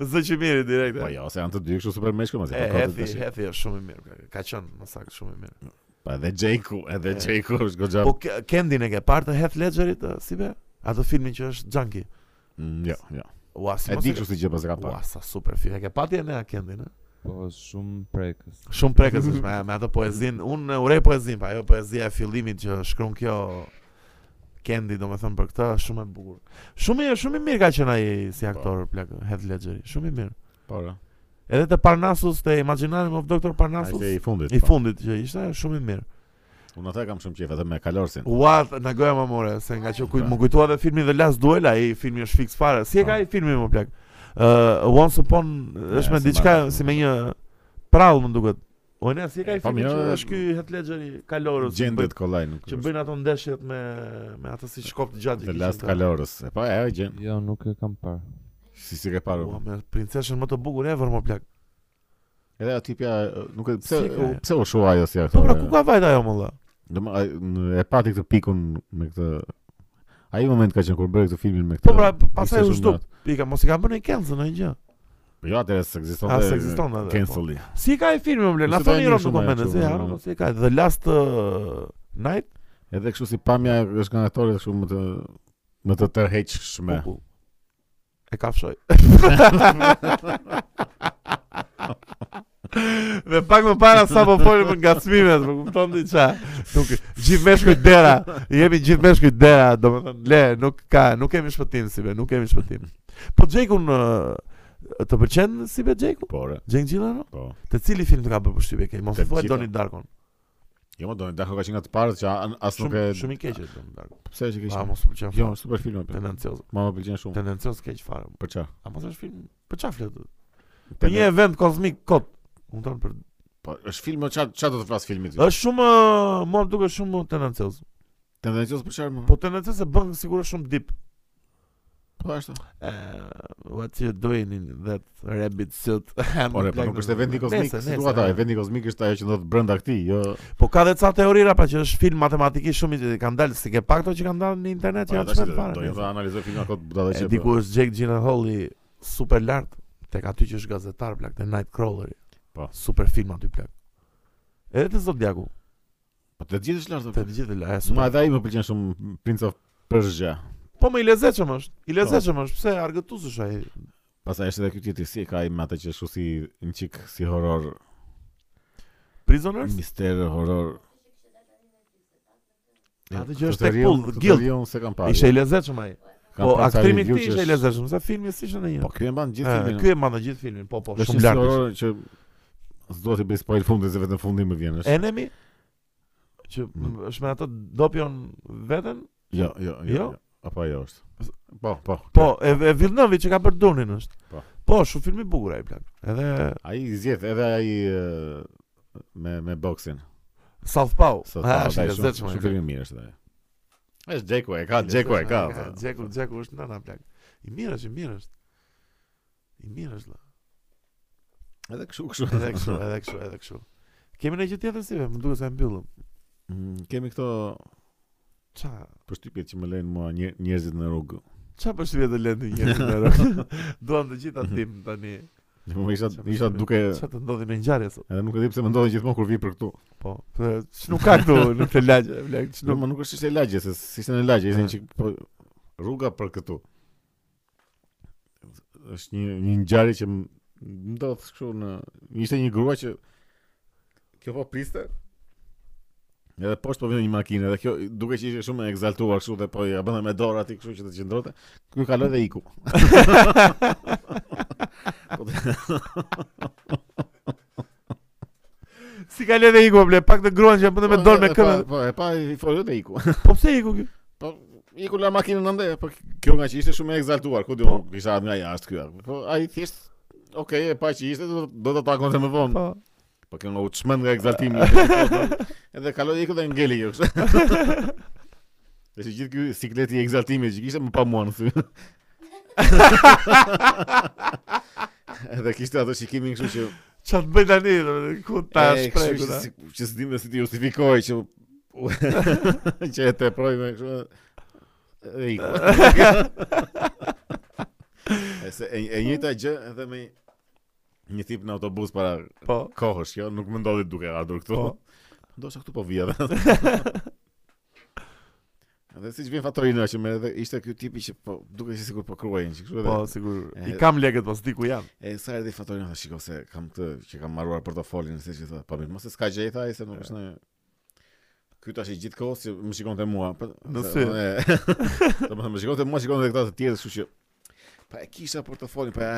[SPEAKER 2] Zë që mirë direkt.
[SPEAKER 1] Po
[SPEAKER 2] e.
[SPEAKER 1] jo, se janë të dy kështu super meshkuj, mos
[SPEAKER 2] E,
[SPEAKER 1] e ka
[SPEAKER 2] Hethi,
[SPEAKER 1] kot.
[SPEAKER 2] Hethi është shumë i mirë. ka- Ka qenë, më saktë, shumë i mirë.
[SPEAKER 1] Po edhe Jake-u, edhe
[SPEAKER 2] E.
[SPEAKER 1] Jake-u është goxha.
[SPEAKER 2] Po Ke- Kendin e ke parë të Heath Ledgerit, ë, si be? Ato filmin që është Junkie.
[SPEAKER 1] Mm, Jo, jo.
[SPEAKER 2] Ua, si
[SPEAKER 1] E
[SPEAKER 2] mos
[SPEAKER 1] di
[SPEAKER 2] e ke-
[SPEAKER 1] kështu si gjë pas e kam
[SPEAKER 2] Ua,
[SPEAKER 1] parë.
[SPEAKER 2] sa super film. E ke pati e ne a Kendin, ë?
[SPEAKER 3] Po është shumë prekës.
[SPEAKER 2] Shumë prekës është me, me ato poezin. Unë urej poezin, pa ajo poezia e fillimit që shkruan kjo Kendi, do me thëmë për këtë, është shumë e bukur. Shumë i, shumë i mirë ka qenë ai si aktor, plak, Heath Ledgeri. Shumë i mirë.
[SPEAKER 1] Po. ra.
[SPEAKER 2] Edhe te Parnasus, te Imaginarium of Dr.
[SPEAKER 1] Ai
[SPEAKER 2] Parnasus,
[SPEAKER 1] se i fundit.
[SPEAKER 2] i
[SPEAKER 1] po.
[SPEAKER 2] fundit që ishte, shumë i mirë.
[SPEAKER 1] Unë atë e kam shumë qejf edhe me Kalorsin.
[SPEAKER 2] Ua, na goja më more, se nga që kuj,
[SPEAKER 1] Po.
[SPEAKER 2] më kujtua dhe filmi The Last Duel, ai filmi është fiks fare. Si e ka
[SPEAKER 1] Po.
[SPEAKER 2] ai filmi më plak? Ë Once Upon është me
[SPEAKER 1] s'e
[SPEAKER 2] diçka
[SPEAKER 1] marr.
[SPEAKER 2] si me një prall më duket. O ne, si e ka ai
[SPEAKER 1] Po,
[SPEAKER 2] filmi
[SPEAKER 1] mirë,
[SPEAKER 2] që
[SPEAKER 1] e-
[SPEAKER 2] është ky Heath Ledgeri Kalorus po, që
[SPEAKER 1] Gjendet
[SPEAKER 2] bëjnë-
[SPEAKER 1] kollaj nuk.
[SPEAKER 2] që bëjnë ato ndeshjet me me atë si shkop të gjatë. që
[SPEAKER 1] The
[SPEAKER 2] kishin
[SPEAKER 1] Last
[SPEAKER 2] këta.
[SPEAKER 1] Kalorës. E pa ajo gjën.
[SPEAKER 3] Jo, nuk e kam parë.
[SPEAKER 1] Si si ke
[SPEAKER 2] Ua,
[SPEAKER 1] parë.
[SPEAKER 2] me princeshën më të bukur ever më plak.
[SPEAKER 1] Edhe aty pja nuk e pse
[SPEAKER 2] Si ka ajo?
[SPEAKER 1] pse u shua ajo si
[SPEAKER 2] Po pra
[SPEAKER 1] aktore.
[SPEAKER 2] ku ka vajt ajo më valla?
[SPEAKER 1] Domo ai- n- e pati këtë pikun me këtë Ai moment ka qenë kur bëri këtë filmin me këtë.
[SPEAKER 2] Po pra pastaj u
[SPEAKER 1] Ishte shumë
[SPEAKER 2] zhdup. Pika, mos i ka bërë një cancel në gjë.
[SPEAKER 1] natë. Jo, atëherë s'ekziston.
[SPEAKER 2] A, s'ekzistonte atëherë, po.
[SPEAKER 1] Canceli.
[SPEAKER 2] Si e ka ai filmi më blen? Na
[SPEAKER 1] Ishte do
[SPEAKER 2] thoni
[SPEAKER 1] një
[SPEAKER 2] rrot në
[SPEAKER 1] shumë
[SPEAKER 2] komente,
[SPEAKER 1] ajo,
[SPEAKER 2] si ja,
[SPEAKER 1] shumë,
[SPEAKER 2] po, si e ka The Last uh, Night
[SPEAKER 1] Edhe kështu si pamja është nga aktorët kështu më të më të tërheqshme.
[SPEAKER 2] U, u. E kafshoj. Dhe pak më para sa po folim për ngacmimet, më po kupton ti ça? Nuk gjithë meshkujt dera, jemi gjithë meshkujt dera, domethënë le, nuk ka, nuk kemi shpëtim si be, nuk kemi shpëtim. Po Xhekun ë, të pëlqen si be Xheku?
[SPEAKER 1] Po, re,
[SPEAKER 2] Xhen Gjillano?
[SPEAKER 1] po.
[SPEAKER 2] Te cili film të ka bërë përshtypje ke? Mos
[SPEAKER 1] Te
[SPEAKER 2] thuaj
[SPEAKER 1] gjitha.
[SPEAKER 2] Doni Darkon.
[SPEAKER 1] Jo, më doni, dako ka qenë nga të parët që an- as nuk e
[SPEAKER 2] Shumë shumë i keq është Doni Darkon.
[SPEAKER 1] pse që
[SPEAKER 2] A
[SPEAKER 1] kishin.
[SPEAKER 2] mos
[SPEAKER 1] Jo,
[SPEAKER 2] pëlqen. Jo,
[SPEAKER 1] super film apo.
[SPEAKER 2] tendencioz.
[SPEAKER 1] Ma më pëlqen shumë.
[SPEAKER 2] Tendencioz keq fare.
[SPEAKER 1] Për çfarë?
[SPEAKER 2] A mos është film? Për çfarë flet?
[SPEAKER 1] Për
[SPEAKER 2] Për një event kozmik kot. Unë tonë për...
[SPEAKER 1] Po, është film, çfarë çfarë do të flas filmi ti?
[SPEAKER 2] është shumë, ë, mua më duket shumë tendencios.
[SPEAKER 1] Tendencios për çfarë? Po,
[SPEAKER 2] Po tendencios e bën sigurisht shumë deep.
[SPEAKER 1] po ashtu.
[SPEAKER 2] Uh, what you doing in that rabbit suit?
[SPEAKER 1] Po, re, po nuk është eventi kozmik, si thua ta, eventi kozmik është ajo që ndodh brenda këtij, jo.
[SPEAKER 2] Po ka dhe ca teorira pra që është film matematikisht shumë i kanë dalë, si ke pak to që kanë dalë në internet
[SPEAKER 1] Po,
[SPEAKER 2] që
[SPEAKER 1] ja,
[SPEAKER 2] janë
[SPEAKER 1] tash
[SPEAKER 2] çfarë
[SPEAKER 1] do të
[SPEAKER 2] fare.
[SPEAKER 1] analizoj filmin kot budalla
[SPEAKER 2] E
[SPEAKER 1] që.
[SPEAKER 2] diku është Jake Gyllenhaal i super lart tek aty që është gazetar plak te Nightcrawler.
[SPEAKER 1] Po.
[SPEAKER 2] Super film aty plak. Edhe te Zodiaku,
[SPEAKER 1] Po të gjithë është lart.
[SPEAKER 2] te gjithë la, e
[SPEAKER 1] Ma
[SPEAKER 2] super.
[SPEAKER 1] edhe ai më pëlqen shumë Prince of Persia.
[SPEAKER 2] Po më i lezetshëm është.
[SPEAKER 1] Po.
[SPEAKER 2] I lezetshëm është, pse argëtues është ai.
[SPEAKER 1] Pastaj është edhe ky tjetri si e ka ai me atë që është kështu si një çik si horror,
[SPEAKER 2] Prisoners?
[SPEAKER 1] mister horror.
[SPEAKER 2] Atë që
[SPEAKER 1] Këtë
[SPEAKER 2] është tek
[SPEAKER 1] rion-
[SPEAKER 2] pull,
[SPEAKER 1] këtë
[SPEAKER 2] guild.
[SPEAKER 1] rion se kam parë.
[SPEAKER 2] Ishte i lezetshëm ai.
[SPEAKER 1] Kam
[SPEAKER 2] Po
[SPEAKER 1] parë ca
[SPEAKER 2] aktrimi i
[SPEAKER 1] review
[SPEAKER 2] këtij
[SPEAKER 1] që
[SPEAKER 2] ishte i
[SPEAKER 1] është-
[SPEAKER 2] lezetshëm, se filmi s'ishte ndonjë.
[SPEAKER 1] Po ky pra Po, e mban gjithë
[SPEAKER 2] Ë,
[SPEAKER 1] filmin.
[SPEAKER 2] Ky e mban të gjithë filmin, po po,
[SPEAKER 1] Është
[SPEAKER 2] shumë
[SPEAKER 1] si
[SPEAKER 2] lart.
[SPEAKER 1] horror që s'do të bëj spoil fundin se vetëm fundi më vjen. është.
[SPEAKER 2] Enemy që
[SPEAKER 1] Mm.
[SPEAKER 2] është me ato dopion veten,
[SPEAKER 1] Jo, jo, jo.
[SPEAKER 2] Jo?
[SPEAKER 1] jo. Apo ajo është. Po, po.
[SPEAKER 2] po e, e Villeneuve që ka bërë Dunin është.
[SPEAKER 1] Po.
[SPEAKER 2] Po, shumë film i bukur ai plak. Edhe
[SPEAKER 1] Ai zgjedh edhe ai ë, me me boksin.
[SPEAKER 2] Southpaw.
[SPEAKER 1] Sa
[SPEAKER 2] Ah,
[SPEAKER 1] ta
[SPEAKER 2] është i
[SPEAKER 1] daj shumë.
[SPEAKER 2] lezetshme.
[SPEAKER 1] Shumë film i mirë është ai. Është Jacku e ka, Jacku e ka. tha.
[SPEAKER 2] Jacku, Jacku është nëna plak. I mirë është, i mirë është. I mirë është. la.
[SPEAKER 1] Edhe kështu, kështu.
[SPEAKER 2] Edhe kështu, edhe kështu, edhe kështu. Kemi në gjë tjetër si ve, më duket se e mbyllëm.
[SPEAKER 1] Mm, Kemi këto
[SPEAKER 2] Ça,
[SPEAKER 1] përshtypjet që më lënë mua njer- njerëzit në rrugë.
[SPEAKER 2] ça për shtypje të lëndë njerëzit në rrugë. Duam të gjitha tim tani.
[SPEAKER 1] Në moment isha
[SPEAKER 2] Ça
[SPEAKER 1] isha
[SPEAKER 2] përshtypje?
[SPEAKER 1] duke
[SPEAKER 2] Ça të ndodhi në ngjarje sot?
[SPEAKER 1] edhe nuk e di pse më ndodhi gjithmonë kur vi për këtu.
[SPEAKER 2] Po, pse- ç'nuk ka këtu në këtë lagje, plak,
[SPEAKER 1] Nuk,
[SPEAKER 2] ç'nuk.
[SPEAKER 1] më nuk është ishte lagje, se si ishte në lagje, ishte
[SPEAKER 2] Ah.
[SPEAKER 1] një çik po rruga për këtu. Është një një ngjarje që m- më ndodh kështu në ishte një grua që kjo po priste. Edhe poshtë po vjen një makinë, edhe kjo duke që ishte shumë e egzaltuar kështu dhe po ja bënte me dorë aty kështu që të qëndronte. Ky kaloi dhe iku. Po të-
[SPEAKER 2] Si ka lënë iku ble, pak të gruan që e bënte me
[SPEAKER 1] po,
[SPEAKER 2] dorë me
[SPEAKER 1] e pa-
[SPEAKER 2] këmbë.
[SPEAKER 1] Po, e pa i folur dhe iku.
[SPEAKER 2] Po pse iku kjo?
[SPEAKER 1] Po iku la makinën ande, po kjo nga që ishte shumë e egzaltuar, ku diun, kisha atë nga jashtë ky. Po ai thjesht Okej, e pa që ishte, do, do të takonte më vonë.
[SPEAKER 2] Po.
[SPEAKER 1] Po kjo nga uçmend nga egzaltimi. po, edhe kaloi iku dhe ngeli jo. kështu. Dhe si gjithë ky sikleti i egzaltimit që kishte më pa mua në sy. edhe kishte ato shikimin kështu që
[SPEAKER 2] Ça të bëj tani? domethënë, Ku ta
[SPEAKER 1] E,
[SPEAKER 2] shpreh
[SPEAKER 1] kështu
[SPEAKER 2] ku ta?
[SPEAKER 1] që si- Që s'dim dhe si ti justifikoj që që e teproj me kështu. E iku. E se e, e njëjta gjë edhe me një tip në autobus para
[SPEAKER 2] Po.
[SPEAKER 1] kohësh, jo, nuk më ndodhi duke ardhur këtu.
[SPEAKER 2] Po.
[SPEAKER 1] Ndoshta këtu po vija. dhe- Edhe siç vjen fatorina që më edhe ishte ky tipi që po duke si sikur po kruajin, që kështu edhe.
[SPEAKER 2] Po, sigur. I
[SPEAKER 1] E-
[SPEAKER 2] kam legët po, pas di ku janë.
[SPEAKER 1] E sa erdhi fatorina tha shiko se kam këtë që kam marruar portofolin se që tha, po mirë, mos e s'ka gjë i tha ai se nuk është në Ky tash i gjithkohë si më shikonte mua. Po,
[SPEAKER 2] Në
[SPEAKER 1] se-
[SPEAKER 2] sy.
[SPEAKER 1] e- Domethënë më shikonte mua, shikonte edhe këta të tjerë, kështu që pa e kisha portofolin, pa e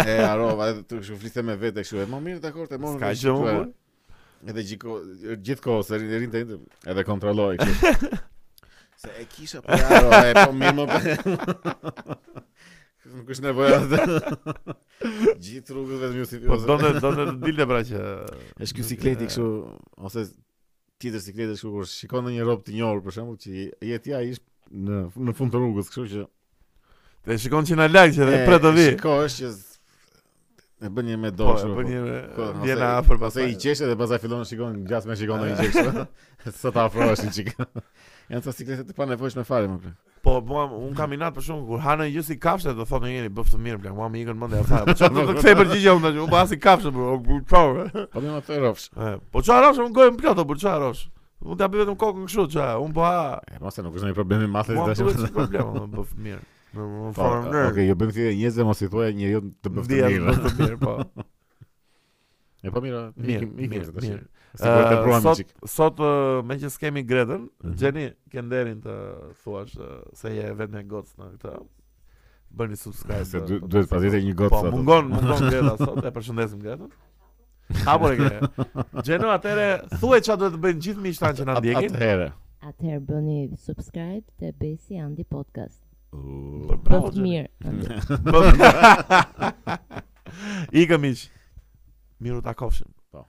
[SPEAKER 1] e harrova, edhe tu kështu fliste me vete kështu. E më mirë dakor, të morën.
[SPEAKER 2] Ska
[SPEAKER 1] vesh
[SPEAKER 2] gjë
[SPEAKER 1] këtu,
[SPEAKER 2] më
[SPEAKER 1] e-
[SPEAKER 2] po.
[SPEAKER 1] Edhe gjiko, gjithkohë se rinte rinte rinte, edhe kontrolloj kështu. se e kisha po jaro, e po mirë më për... Nuk është nevoja të... Gjithë rrugët vetëm ju si...
[SPEAKER 2] Po donte donte të dilte pra që
[SPEAKER 1] është ky sikleti kështu, ose tjetër sikleti kështu, kur shikon në një rob të njohur, për shembull, që jeti ai ish në, në fund të rrugës, kështu që...
[SPEAKER 2] Te shikon që na lag që dhe pret të vi.
[SPEAKER 1] Shiko është që... s- E bën një me
[SPEAKER 2] Po,
[SPEAKER 1] dorë. kështu,
[SPEAKER 2] po një
[SPEAKER 1] Po, ose-
[SPEAKER 2] vjen afër
[SPEAKER 1] Ose
[SPEAKER 2] pastaj.
[SPEAKER 1] i qeshe dhe pastaj fillon shikon gjatë me shikon ndonjë gjë kështu. Sa ta afrohesh një çik. Janë ca siklete të panevojshme fare më plak.
[SPEAKER 2] Po, mua un kam inat për shkakun kur hanë gjë si kafshë do thonë jeni bëf të mirë, bla, mua më ikën mendja afara. Po çfarë do të kthej përgjigje unë tash, unë bëha si kafshë, bro. u- çfarë?
[SPEAKER 1] Po më të rrofsh.
[SPEAKER 2] E, Po çfarë rosh, unë gojën plot, po çfarë rosh. Unë ta bëj vetëm kokën kështu, çfarë? Unë po ha.
[SPEAKER 1] E mos e nuk është një problem i madh
[SPEAKER 2] Mua më
[SPEAKER 1] tash.
[SPEAKER 2] duhet si problem, unë bëf mirë. Në në
[SPEAKER 1] Po, Okej,
[SPEAKER 2] formë mënyrë.
[SPEAKER 1] okay, jo bëjmë thjesht njerëz mos i thuaj njeriu të bëftë
[SPEAKER 2] Ndjehet
[SPEAKER 1] mirë.
[SPEAKER 2] bëf të mirë, po.
[SPEAKER 1] E po mirë,
[SPEAKER 2] Mirë,
[SPEAKER 1] ikim- ikim
[SPEAKER 2] mirë,
[SPEAKER 1] këtë tash.
[SPEAKER 2] mirë.
[SPEAKER 1] Sigur të
[SPEAKER 2] Eh,
[SPEAKER 1] pruam një
[SPEAKER 2] sot-
[SPEAKER 1] çik.
[SPEAKER 2] Sot uh, me që s'kemi Gretën,
[SPEAKER 1] Mhm.
[SPEAKER 2] Gjeni Kenderin të thuash uh, se je vetë me gocë në këtë. Bëni subscribe.
[SPEAKER 1] Se
[SPEAKER 2] uh,
[SPEAKER 1] e, du-
[SPEAKER 2] po-
[SPEAKER 1] duhet pasjetë një gocë
[SPEAKER 2] Po,
[SPEAKER 1] sot.
[SPEAKER 2] mungon, mungon Greta sot, e përshëndesim Gretën. Hapur e ke. Gjeno atëre, thuaj çfarë duhet të bëjnë gjithë miqtan që na
[SPEAKER 1] At-
[SPEAKER 2] ndjekin.
[SPEAKER 1] Atëherë.
[SPEAKER 4] Atëherë bëni subscribe të Besi Andi Podcast.
[SPEAKER 1] U,
[SPEAKER 2] Për- Bravo,
[SPEAKER 4] Bëftë
[SPEAKER 2] Gjeni.
[SPEAKER 4] mirë. Andi.
[SPEAKER 2] Ikë miq. Miru ta kofshim.
[SPEAKER 1] Po.